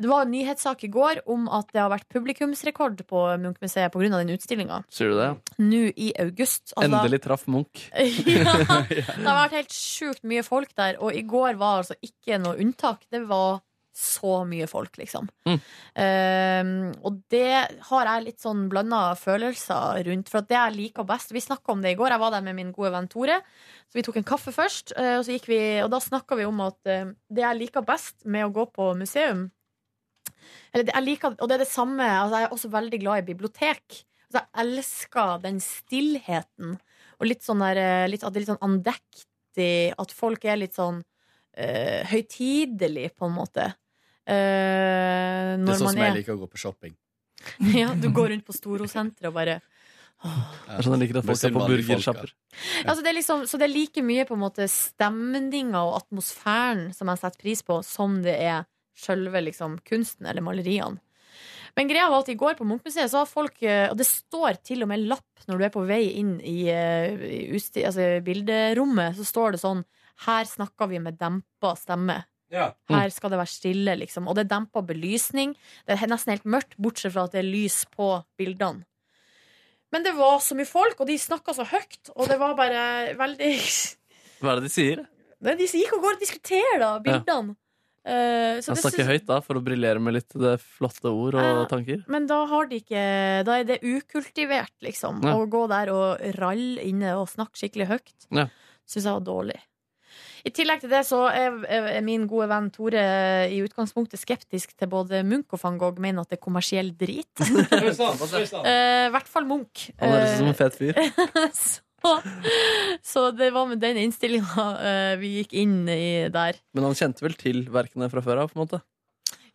[SPEAKER 2] Det var en nyhetssak i går om at det har vært publikumsrekord på Munch-museet pga. den utstillinga.
[SPEAKER 3] Sier du det?
[SPEAKER 2] Nå i august. Altså da-
[SPEAKER 3] Endelig traff Munch.
[SPEAKER 2] ja, det har vært helt sjukt mye folk der, og i går var altså ikke noe unntak. Det var så mye folk, liksom.
[SPEAKER 3] Mm.
[SPEAKER 2] Ehm, og det har jeg litt sånn blanda følelser rundt, for at det jeg liker best Vi snakka om det i går. Jeg var der med min gode venn Tore. Så vi tok en kaffe først, eh, og, så gikk vi, og da snakka vi om at eh, det jeg liker best med å gå på museum eller det, jeg liker, Og det er det samme. Altså, jeg er også veldig glad i bibliotek. Altså, jeg elsker den stillheten. Og litt sånn der, eh, litt, at det er litt sånn andektig At folk er litt sånn uh, høytidelig, på en måte. Eh,
[SPEAKER 8] Det er
[SPEAKER 2] når
[SPEAKER 8] sånn
[SPEAKER 2] man
[SPEAKER 8] som jeg
[SPEAKER 2] er
[SPEAKER 8] liker å gå på shopping.
[SPEAKER 2] ja, Du går rundt på Storosenteret og bare
[SPEAKER 3] Det er sånn jeg liker at folk er på
[SPEAKER 8] Misunnelig folk, ja.
[SPEAKER 3] burgersjapper.
[SPEAKER 2] altså, det er liksom, Så det er like mye på en måte stemninga og atmosfæren som jeg setter pris på, som det er sjølve liksom, kunsten eller maleriene. Men greia var at i går på Munchmuseet så har folk eh, Og det står til og med lapp når du er på vei inn i, eh, i utsti, altså, bilderommet, så står det sånn Her snakker vi med dempa stemme.
[SPEAKER 1] Ja.
[SPEAKER 3] Mm.
[SPEAKER 2] Her skal det være stille, liksom. Og det er dempa belysning. Det er nesten helt mørkt, bortsett fra at det er lys på bildene. Men det var så mye folk, og de snakka så høyt, og det var bare veldig
[SPEAKER 3] Hva er det de sier?
[SPEAKER 2] Nei, De gikk og går og diskuterer, da, bildene. Eh, så det
[SPEAKER 3] Han
[SPEAKER 2] Ah.
[SPEAKER 3] snakker
[SPEAKER 2] syns-
[SPEAKER 3] høyt da, for å briljere med litt det flotte ord og
[SPEAKER 2] Ja.
[SPEAKER 3] tanker.
[SPEAKER 2] Men da har de ikke Da er det ukultivert, liksom.
[SPEAKER 3] Ja.
[SPEAKER 2] Å gå der og ralle inne og snakke skikkelig høyt.
[SPEAKER 3] Ja.
[SPEAKER 2] Syns jeg var dårlig. I tillegg til det så er, er er min gode venn Tore eh, i utgangspunktet skeptisk til både Munch og van Gogh, mener at det er kommersiell drit.
[SPEAKER 1] Oi sann, oi sann.
[SPEAKER 2] Eh, I hvert fall Munch.
[SPEAKER 3] Han høres ut som en fet fyr.
[SPEAKER 2] Eh, så, så det var med den innstillinga eh, vi gikk inn i der.
[SPEAKER 3] Men han kjente vel til verkene fra før av, på en måte.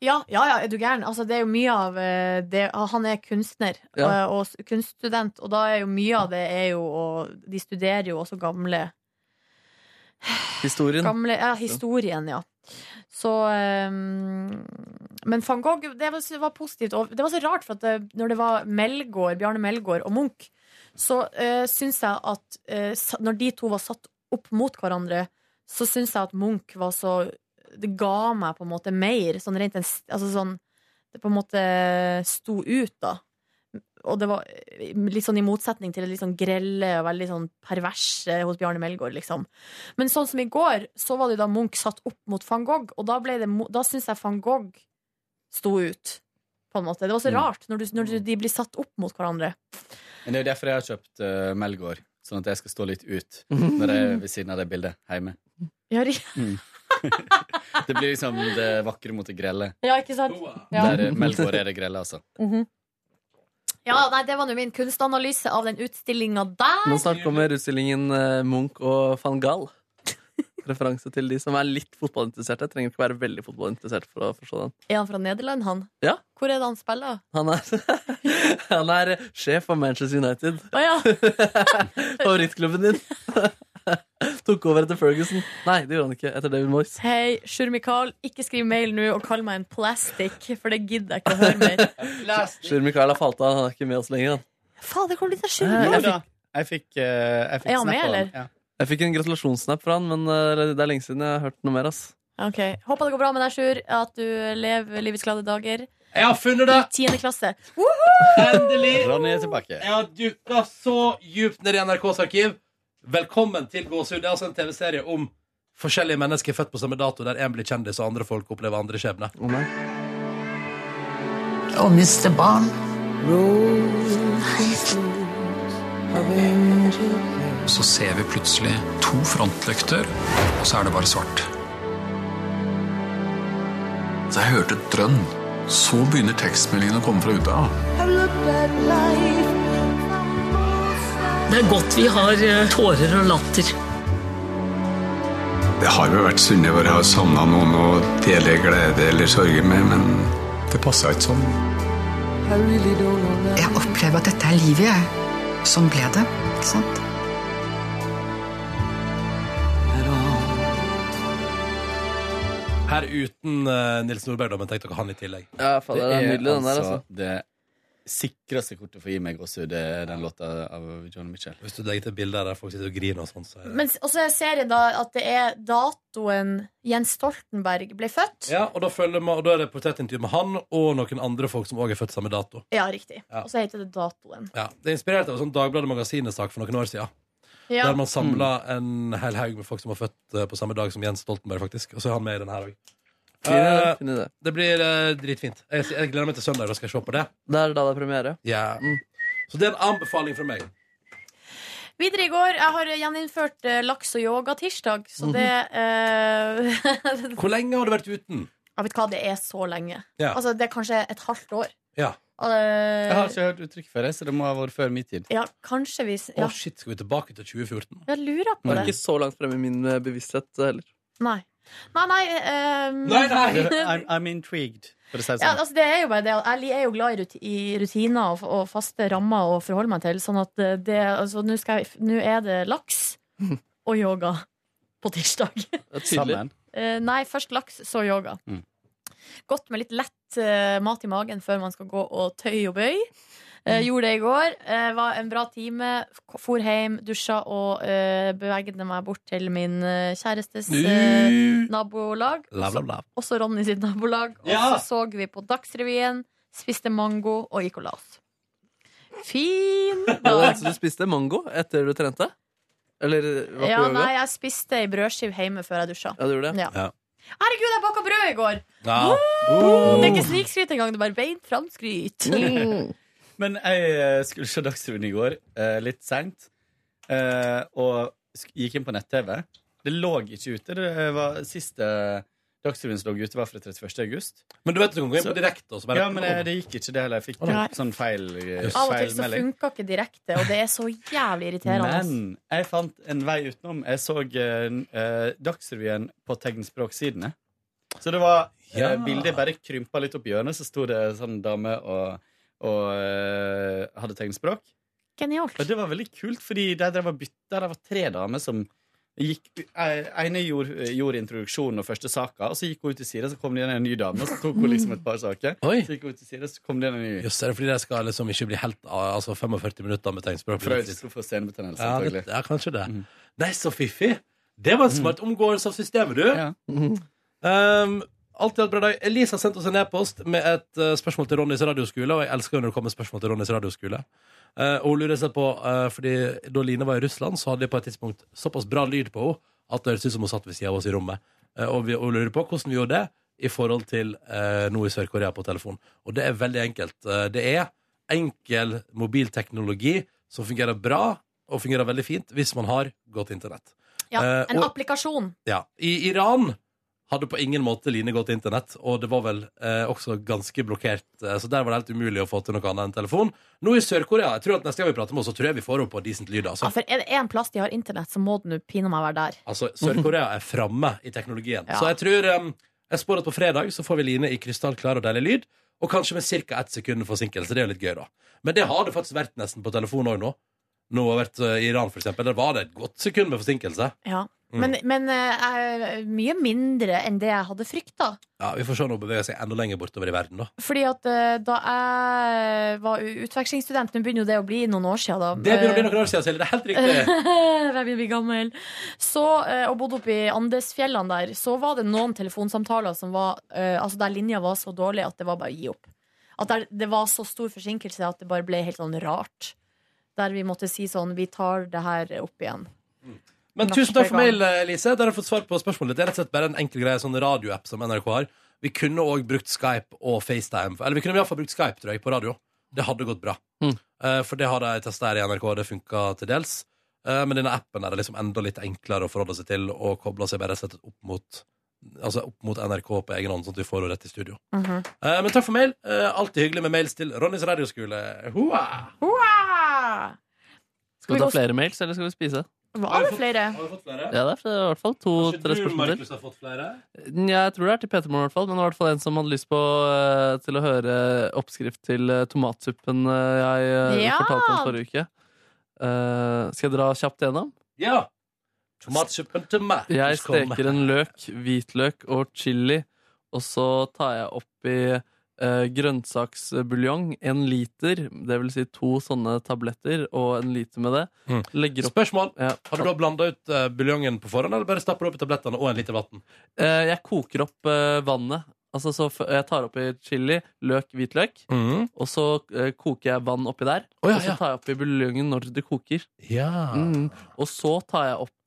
[SPEAKER 2] Ja, ja, ja, er du gæren? Altså, det er jo mye av eh, det ah, Han er kunstner
[SPEAKER 3] Ja.
[SPEAKER 2] eh, og, s- kunststudent, og da er jo mye av det er jo og, De studerer jo også gamle,
[SPEAKER 3] Historien.
[SPEAKER 2] gamle ja, historien, ja. Så eh, Men van Gogh, det var, var positivt. Og det var så rart, for at det, når det var Melgaard, Bjarne Melgaard og Munch, så uh, syns jeg at eh, sa- når de to var satt opp mot hverandre, så syns jeg at Munch var så Det ga meg på en måte mer, sånn rent en, altså sånn Det på en måte sto ut, da. og det var eh, litt sånn i motsetning til det litt sånn grelle og veldig sånn perverse hos Bjarne Melgaard, liksom. Men sånn som i går, så var det da Munch satt opp mot van Gogh, og da, ble det, Mo- da syns jeg van Gogh sto ut, på en måte. Det var så
[SPEAKER 8] Mm.
[SPEAKER 2] rart, når, du, når du, de blir satt opp mot hverandre.
[SPEAKER 8] Men det er jo derfor jeg har kjøpt eh, Melgaard, sånn at jeg skal stå litt ut når jeg er ved siden av det bildet hjemme.
[SPEAKER 2] Ja, ri-
[SPEAKER 8] Det blir liksom det vakre mot det grelle.
[SPEAKER 2] ja ikke sant? Ja.
[SPEAKER 8] Der eh, Melgaard er det grelle, altså.
[SPEAKER 2] Mhm. Ja, nei, det var nå min kunstanalyse av den utstillinga der.
[SPEAKER 3] Men snart kommer utstillingen eh, Munch og van Gaal. Referanse til de som er litt fotballinteresserte. Trenger ikke være veldig fotballinteressert for å forstå den.
[SPEAKER 2] Er han fra Nederland, han?
[SPEAKER 3] Ja.
[SPEAKER 2] Hvor er det han spiller?
[SPEAKER 3] Han er, han er sjef for Manchester United.
[SPEAKER 2] Å ja.
[SPEAKER 3] Favorittklubben din. Tok over etter Ferguson. Nei, det gjorde han ikke. Etter David Moyes.
[SPEAKER 2] Hei, Sjur-Mikael, ikke skriv mail nå og kall meg en plastic, for det gidder jeg ikke å høre mer.
[SPEAKER 3] Sjur Mikael har falt av. Han er ikke med oss lenger. Han.
[SPEAKER 2] Fader, hvor blitt av
[SPEAKER 8] Jo
[SPEAKER 2] Sjur-Mikael?
[SPEAKER 8] da, jeg fikk, eh, jeg fikk
[SPEAKER 2] Er han med,
[SPEAKER 8] snap av
[SPEAKER 2] eller?
[SPEAKER 8] Ja.
[SPEAKER 3] Jeg fikk en gratulasjonssnap fra han, men eh, det er lenge siden jeg har hørt noe mer. ass
[SPEAKER 2] Ok, Håper det går bra med deg, Sjur, at du lever livets glade dager.
[SPEAKER 1] Jeg har funnet det!
[SPEAKER 2] I tiende klasse.
[SPEAKER 1] Endelig!
[SPEAKER 8] Ronny er tilbake.
[SPEAKER 1] Jeg har dukka så djupt ned i NRKs arkiv. Velkommen til Gåsehud. Det er altså en TV-serie om forskjellige mennesker født på samme dato, der én blir kjendis, og andre folk opplever andre skjebne.
[SPEAKER 3] Å, nei.
[SPEAKER 9] Å miste barn. Så ser vi plutselig to frontlykter, og så er det bare svart. Så jeg hørte et drønn. Så begynner tekstmeldingene å komme fra Uta.
[SPEAKER 10] Det er godt vi har eh, tårer og latter.
[SPEAKER 9] Det har vel vært Sunniva har savna noen å dele glede eller sorger med, men det passa ikke sånn.
[SPEAKER 10] Jeg opplever at dette er livet, jeg. Sånn ble det. Ikke sant?
[SPEAKER 1] Her uten eh, Nils Nordberg, da, men tenk dere han i tillegg.
[SPEAKER 3] Ja, fader, det er nydelig, den der, altså.
[SPEAKER 8] det sikreste kortet for å gi meg gåsehud, det er den låta av John Mitchell.
[SPEAKER 1] Hvis du legger til bilder der folk sitter og griner og sånn, så er det
[SPEAKER 2] Men s- Og så er serien da at det er datoen Jens Stoltenberg ble født.
[SPEAKER 1] ja, og da, følger man, og da er det portrettintervju med han og noen andre folk som òg er født samme dato.
[SPEAKER 2] Ja, riktig.
[SPEAKER 1] Ja.
[SPEAKER 2] Og så heter det datoen.
[SPEAKER 1] Ja, Det er inspirert av en sånn Dagbladet Magasinet-sak for noen år siden.
[SPEAKER 2] Ja.
[SPEAKER 1] Der man samla en hel haug med folk som var født eh, på samme dag som Jens Stoltenberg, faktisk. Og så er han med i den her Eh, òg.
[SPEAKER 3] Fin idé, fin idé.
[SPEAKER 1] Det blir eh, dritfint. Jeg, jeg gleder meg til søndag, da skal jeg se på det.
[SPEAKER 3] Det er da det er premiere.
[SPEAKER 1] Ja.
[SPEAKER 3] Mm.
[SPEAKER 1] Så det er en anbefaling fra meg.
[SPEAKER 2] Videre i går, jeg har gjeninnført eh, laks og yoga tirsdag, så
[SPEAKER 1] Mhm.
[SPEAKER 2] det eh, Jeg
[SPEAKER 1] Hvor lenge har du vært uten?
[SPEAKER 2] vet hva, det er så lenge.
[SPEAKER 1] Ja.
[SPEAKER 2] Altså, det er kanskje et halvt år.
[SPEAKER 1] Ja.
[SPEAKER 2] Eh,
[SPEAKER 8] Jeg har ikke hørt uttrykk før, jeg, så det må ha vært før min tid.
[SPEAKER 2] ja, kanskje vi s-
[SPEAKER 1] Å,
[SPEAKER 2] ja,
[SPEAKER 1] shit, skal vi tilbake til
[SPEAKER 8] Mm.
[SPEAKER 1] 2014?
[SPEAKER 2] Jeg lurer på
[SPEAKER 3] Det er
[SPEAKER 2] det.
[SPEAKER 3] ikke så langt fremme i min eh, bevissthet eh, heller.
[SPEAKER 2] Nei. Nei, nei, eh,
[SPEAKER 8] I'm, I'm intrigued, for å si det
[SPEAKER 2] Ja,
[SPEAKER 8] sånn.
[SPEAKER 2] altså det er jo bare det. at Jeg er jo glad i ruti- i rutiner og, og faste rammer å forholde meg til. Sånn at eh, det Altså, nå skal jeg- nå er det laks og yoga på tirsdag.
[SPEAKER 3] Det er tydelig.
[SPEAKER 8] Sammen.
[SPEAKER 2] Eh, nei, først laks, så yoga.
[SPEAKER 8] Mm.
[SPEAKER 2] Godt med litt lett eh, mat i magen før man skal gå og tøy og bøy. Eh, Gjorde det i går. Eh, var en bra time. K- For hjem, dusja og eh, beveget meg bort til min eh, kjærestes eh, nabolag.
[SPEAKER 1] Lav, lav, lav.
[SPEAKER 2] Også Ronny sitt nabolag. Og
[SPEAKER 1] Ja!
[SPEAKER 2] så så vi på Dagsrevyen, spiste mango og gikk og la oss. Fin dag!
[SPEAKER 3] Så du spiste mango etter du trente? Eller var på
[SPEAKER 2] Ja,
[SPEAKER 3] yoga?
[SPEAKER 2] nei, jeg spiste ei brødskive hjemme før jeg dusja.
[SPEAKER 3] Ja, du gjorde det?
[SPEAKER 2] Ja. Herregud, jeg baka brød i går!
[SPEAKER 1] Ja.
[SPEAKER 3] Oh.
[SPEAKER 2] Det er ikke snikskryt engang, det er bare beint framskryt.
[SPEAKER 8] Men jeg eh, skulle se Dagsrevyen i går, eh, litt seint, eh, og sk- gikk inn på nett-TV. Det lå ikke ute. Det eh, var siste Dagsrevyen som lå ute, var fra 31. august.
[SPEAKER 1] Men du vet du kan gå inn på
[SPEAKER 8] Så-
[SPEAKER 1] direkte og så bare
[SPEAKER 8] Ja, men eh, det gikk ikke, det heller. Jeg fikk
[SPEAKER 2] Nei.
[SPEAKER 8] sånn feil, eh,
[SPEAKER 1] Yes.
[SPEAKER 2] Av og til
[SPEAKER 8] feil
[SPEAKER 2] så
[SPEAKER 8] melding.
[SPEAKER 2] funka ikke direkte, og det er så jævlig irriterende.
[SPEAKER 8] Men jeg fant en vei utenom. Jeg så eh, n- eh, Dagsrevyen på tegnspråksidene. Så det var
[SPEAKER 1] Ja.
[SPEAKER 8] eh, Bildet bare krympa litt opp i hjørnet, så sto det sånn dame og, og eh, hadde tegnspråk. Og
[SPEAKER 2] Genialt.
[SPEAKER 8] det var veldig kult, fordi de drev og bytta. Det var tre damer som gikk eh, ene gjorde, gjorde introduksjonen og første saka, og så gikk hun ut til sida, så kom det igjen en ny dame, og så tok hun liksom et par saker.
[SPEAKER 1] Oi!
[SPEAKER 8] Så gikk hun ut til sida, så kom det igjen en ny.
[SPEAKER 1] Jøss, er det fordi de skal liksom ikke bli helt ah, Altså 45 minutter med tegnspråk?
[SPEAKER 8] Frøydis skulle få senebetennelse,
[SPEAKER 1] Ja, det,
[SPEAKER 8] antagelig.
[SPEAKER 1] ja, kanskje det.
[SPEAKER 8] Mm.
[SPEAKER 1] Nei, så fiffig! Det var en smart omgåelse av systemet, du.
[SPEAKER 8] Ja.
[SPEAKER 1] Um, Alltid hatt bra dag. Elise har sendt oss en e-post med et eh, spørsmål til Ronnys radioskole, og jeg elsker jo når det kommer spørsmål til Ronnys radioskole. Eh, og hun lurer seg på, eh, fordi da Line var i Russland, så hadde de på et tidspunkt såpass bra lyd på henne at det høres ut som hun satt ved siden av oss i rommet. Eh, og vi, hun lurer på hvordan vi gjorde det i forhold til eh, noe i Sør-Korea på telefon. Og det er veldig enkelt. Eh, det er enkel mobilteknologi som fungerer bra, og fungerer veldig fint hvis man har godt internett.
[SPEAKER 2] Ja,
[SPEAKER 1] Eh,
[SPEAKER 2] en
[SPEAKER 1] og-
[SPEAKER 2] applikasjon.
[SPEAKER 1] ja. I Iran hadde på ingen måte Line gått internett, og det var vel eh, også ganske blokkert. Eh, så der var det helt umulig å få til noe annet enn telefon. Nå i Sør-Korea jeg tror at neste gang vi prater med henne, så tror jeg vi får henne på decent lyd.
[SPEAKER 2] Ja,
[SPEAKER 1] Altså.
[SPEAKER 2] for er det én plass de har internett, så må det nå pinadø meg være der.
[SPEAKER 1] Altså, Sør-Korea er framme i teknologien.
[SPEAKER 2] Ja.
[SPEAKER 1] Så jeg tror em, Jeg spår at på fredag så får vi Line i krystallklar og deilig lyd, og kanskje med ca. ett sekund forsinkelse. Det er jo litt gøy, da. Men det har det faktisk vært nesten på telefon òg nå. Nå har jeg vært eh, i Iran, for eksempel. Der var det et godt sekund med forsinkelse.
[SPEAKER 2] Ja.
[SPEAKER 1] Mm.
[SPEAKER 2] Men, men eh, jeg- mye mindre enn det jeg hadde frykta.
[SPEAKER 1] Ja, Vi får se om hun beveger seg enda lenger bortover i verden, da.
[SPEAKER 2] Fordi at eh, da jeg var u- utvekslingsstudent Nå begynner jo det å bli noen år siden da.
[SPEAKER 1] Det begynner å bli noen år siden, Silje. Det er helt riktig.
[SPEAKER 2] Jeg begynner å bli gammel. Så, eh, og bodde oppe i Andesfjellene der, så var det noen telefonsamtaler som var eh, Altså der linja var så dårlig at det var bare å gi opp. At der, det var så stor forsinkelse at det bare ble helt sånn rart. Der vi måtte si sånn Vi tar det her opp igjen.
[SPEAKER 1] Men
[SPEAKER 2] Natt
[SPEAKER 1] tusen takk
[SPEAKER 2] på
[SPEAKER 1] for
[SPEAKER 2] gang.
[SPEAKER 1] mail, Elise. Der har jeg fått svar på spørsmålet ditt. Det er rett og slett bare en enkel greie, sånn radioapp som NRK har. Vi kunne òg brukt Skype og FaceTime. Eller vi kunne iallfall brukt Skype, tror jeg, på radio. Det hadde gått bra. Eh, For det hadde jeg testa her i NRK, og det funka til dels. Eh, Men denne appen er det liksom enda litt enklere å forholde seg til, og koble seg bare rett og slett opp mot Altså opp mot NRK på egen hånd, sånn at vi får henne rett i studio. Eh, Men takk for mail. Eh, Alltid hyggelig med mails til Ronnys radioskole. Hoa!
[SPEAKER 2] Hurra!
[SPEAKER 3] Skal
[SPEAKER 2] Ah! vi
[SPEAKER 3] vi ta
[SPEAKER 2] gå-
[SPEAKER 3] flere mails, eller skal vi spise?
[SPEAKER 2] Var det flere?
[SPEAKER 3] Ja, det er i hvert fall to-tre spørsmål til.
[SPEAKER 1] har fått flere?
[SPEAKER 3] Nja, Jeg tror det er til Petermoren, i hvert fall. Men det var i hvert fall en som hadde lyst på eh, til å høre oppskrift til eh, tomatsuppen eh, jeg eh,
[SPEAKER 2] Ja.
[SPEAKER 3] fortalte om forrige uke. Eh, skal jeg dra kjapt gjennom?
[SPEAKER 1] Ja. Tomatsuppen til meg.
[SPEAKER 3] Jeg
[SPEAKER 1] Skal komme.
[SPEAKER 3] steker en løk, hvitløk og chili, og så tar jeg oppi eh, grønnsaksbuljong, en liter, det vil si to sånne tabletter, og en liter med det.
[SPEAKER 1] Mm.
[SPEAKER 3] Legger opp
[SPEAKER 1] Spørsmål.
[SPEAKER 3] Ja.
[SPEAKER 1] Har du da blanda ut eh, buljongen på forhånd, eller bare stapper du opp i tablettene og en liter vann?
[SPEAKER 3] Eh, jeg koker opp eh, vannet. Altså, så f jeg tar oppi chili, løk, hvitløk, og så eh, koker jeg vann oppi der.
[SPEAKER 1] Å, ja,
[SPEAKER 3] og så
[SPEAKER 1] ja. Ah.
[SPEAKER 3] tar jeg oppi buljongen når det koker.
[SPEAKER 1] Ja.
[SPEAKER 3] Mm. Og så tar jeg oppi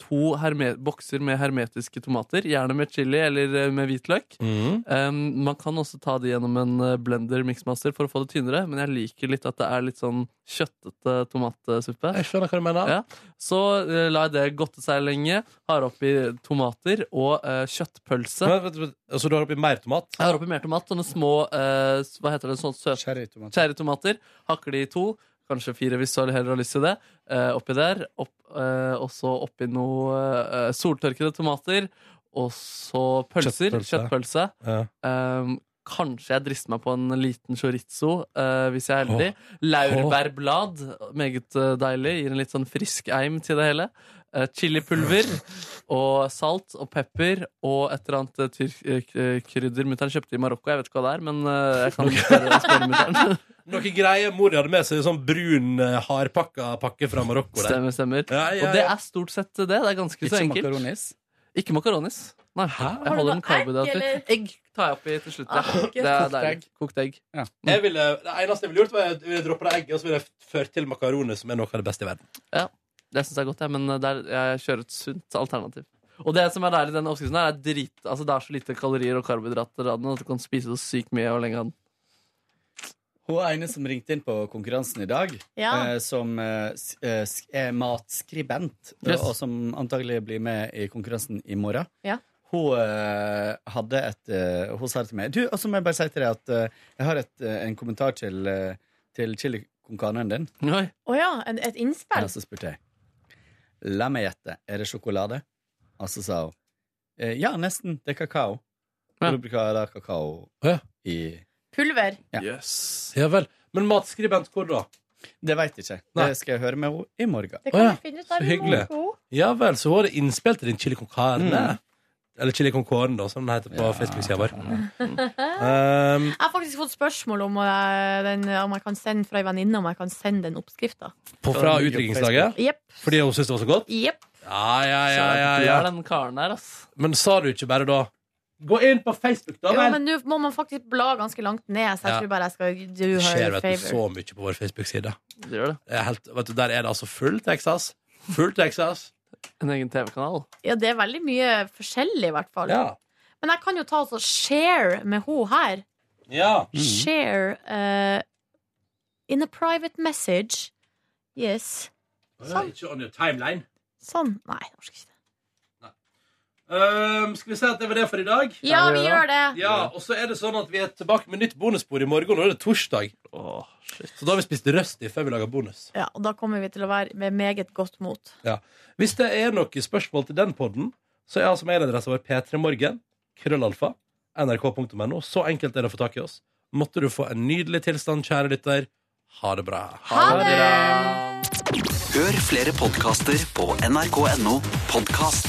[SPEAKER 3] to herme bokser med hermetiske tomater, gjerne med chili eller eh, med hvitløk.
[SPEAKER 1] Mm.
[SPEAKER 3] Um, man kan også ta det gjennom en eh, blender mixmaster for å få det tynnere, men jeg liker litt at det er litt sånn kjøttete tomatsuppe.
[SPEAKER 1] Jeg skjønner hva du mener.
[SPEAKER 3] Ja. Så eh, lar jeg det godte seg lenge, har oppi tomater og eh, kjøttpølse.
[SPEAKER 1] Men, vent, vent, Så du altså, har oppi mer tomat?
[SPEAKER 3] Jeg har oppi mer tomat, sånne små eh, s- hva heter det, sånn søt
[SPEAKER 8] Cherrytomat.
[SPEAKER 3] cherrytomater. Hakker de i to, kanskje fire hvis du heller har lyst til det. Eh, oppi der. Opp, eh, og så oppi noe eh, soltørkede tomater. Og så pølser.
[SPEAKER 1] Kjøttpølse.
[SPEAKER 3] kjøttpølse.
[SPEAKER 1] Ja.
[SPEAKER 3] Ehm, kanskje jeg drister meg på en liten chorizo, eh, hvis jeg er heldig. Laurbærblad, meget eh, deilig. Gir en litt sånn frisk eim til det hele. Eh, chilipulver og salt og pepper og et eller annet eh, tyrk- eh, k- eh, krydder mutter'n kjøpte i Marokko. Jeg vet ikke hva det er, men eh, jeg kan spørre, spørre mutter'n.
[SPEAKER 1] Noe greie mor hadde med seg, sånn brun eh, hardpakka pakke fra Marokko. Der.
[SPEAKER 3] Stemmer, stemmer.
[SPEAKER 1] Ja, ja,
[SPEAKER 3] Og det
[SPEAKER 1] ja.
[SPEAKER 3] er stort sett det. Det er ganske så
[SPEAKER 8] Ikke
[SPEAKER 3] enkelt.
[SPEAKER 8] makaronis.
[SPEAKER 3] Ikke makaronis. Nei,
[SPEAKER 2] Har
[SPEAKER 3] jeg
[SPEAKER 2] du
[SPEAKER 3] holder
[SPEAKER 2] noe
[SPEAKER 3] en
[SPEAKER 2] egg,
[SPEAKER 3] karbohydrater.
[SPEAKER 2] eller?
[SPEAKER 3] Egg tar jeg oppi til slutt.
[SPEAKER 2] Ah,
[SPEAKER 3] Ja.
[SPEAKER 2] ok.
[SPEAKER 3] Det er
[SPEAKER 8] Kokt egg.
[SPEAKER 3] deilig. Kokt egg.
[SPEAKER 1] Jeg ville, det eneste jeg ville gjort, var jeg ville droppe det egget og så ville jeg ført til makaroni, som er noe av det beste i verden.
[SPEAKER 3] Det syns jeg er godt, jeg, men der, jeg kjører et sunt alternativ. Og det som er deilig, i den oppskriften her, er drit, altså det er så lite kalorier og karbohydrater av den at du kan spise så sykt mye og lenge av den.
[SPEAKER 8] Hun ene som ringte inn på konkurransen i dag,
[SPEAKER 2] Ja.
[SPEAKER 8] eh, som eh, s- eh, sk- er matskribent, eh,
[SPEAKER 3] Yes.
[SPEAKER 8] og som antagelig blir med i konkurransen i morgen,
[SPEAKER 2] Ja.
[SPEAKER 8] hun, eh, hadde et, eh, hun sa det til meg. Du, og så må jeg bare si til deg at eh, jeg har et, eh, en kommentar til, eh, til chili con carnen din.
[SPEAKER 3] Oi.
[SPEAKER 2] Å ja, en, et innspill?
[SPEAKER 8] Og så spurte jeg La meg gjette, er det sjokolade? Og så sa hun eh, Ja, nesten. Det er kakao.
[SPEAKER 3] Ja.
[SPEAKER 8] Og du bruker da kakao
[SPEAKER 1] Ja.
[SPEAKER 8] i
[SPEAKER 2] Pulver?
[SPEAKER 8] Ja.
[SPEAKER 1] Ja vel. Men matskribent hvor da?
[SPEAKER 8] Det veit jeg ikke.
[SPEAKER 1] Nei.
[SPEAKER 8] Det skal jeg høre med henne i morgen.
[SPEAKER 2] Det
[SPEAKER 1] Å
[SPEAKER 2] kan
[SPEAKER 1] ja,
[SPEAKER 2] vi finne ut der.
[SPEAKER 1] så
[SPEAKER 2] i morgen.
[SPEAKER 1] Ja vel, så hun hadde innspill til din chili con carne.
[SPEAKER 8] Mm.
[SPEAKER 1] Eller chili con corn, da, som den heter på
[SPEAKER 8] Ja.
[SPEAKER 1] Facebook-sida vår. Um,
[SPEAKER 2] Jeg har faktisk fått spørsmål om, eh, den, om jeg kan sende fra ei venninne om jeg kan sende den oppskrifta.
[SPEAKER 1] på, fra utdrikningslaget?
[SPEAKER 2] Jepp.
[SPEAKER 1] Fordi hun syntes det var så godt?
[SPEAKER 2] Jepp.
[SPEAKER 1] Ja, ja,
[SPEAKER 3] Så
[SPEAKER 1] ja, ja,
[SPEAKER 3] Du
[SPEAKER 1] ja.
[SPEAKER 3] er den karen der, ass.
[SPEAKER 1] Men sa du ikke bare da Gå inn på Facebook, da
[SPEAKER 2] Jo,
[SPEAKER 1] vel!
[SPEAKER 2] men nå må man faktisk bla ganske langt ned, så jeg
[SPEAKER 1] Ja.
[SPEAKER 2] tror bare jeg skal do
[SPEAKER 1] Det skjer
[SPEAKER 2] her a
[SPEAKER 1] vet du, så
[SPEAKER 2] favor.
[SPEAKER 1] mye på vår Facebook-side.
[SPEAKER 3] Det gjør det.
[SPEAKER 1] Det er helt- vet du, Der er det altså full Texas. Full Texas.
[SPEAKER 3] En egen TV-kanal.
[SPEAKER 2] Ja, det er veldig mye forskjellig, i hvert fall.
[SPEAKER 1] Ja.
[SPEAKER 2] Men jeg kan jo ta altså share med ho her.
[SPEAKER 1] Ja.
[SPEAKER 2] Share eh, in a private message. Yes. Sånn.
[SPEAKER 1] Ikke on your timeline.
[SPEAKER 2] Sånn. Nei, jeg orker ikke det.
[SPEAKER 1] Ehm, skal vi si at det var det for i dag?
[SPEAKER 2] Ja, vi gjør det.
[SPEAKER 1] Ja, Og så er det sånn at vi er tilbake med nytt bonusbord i morgen. Og da er det torsdag. så da har vi spist røsti før vi lager bonus.
[SPEAKER 2] Ja, og da kommer vi til å være med meget godt mot.
[SPEAKER 1] Ja. Hvis det er noen spørsmål til den podden, så er altså mailadressen vår p3morgen. Krøllalfa. NRK.no. Så enkelt er det å få tak i oss. Måtte du få en nydelig tilstand, kjære lytter. Ha det bra.
[SPEAKER 11] Hør flere podkaster på nrk.no podkast.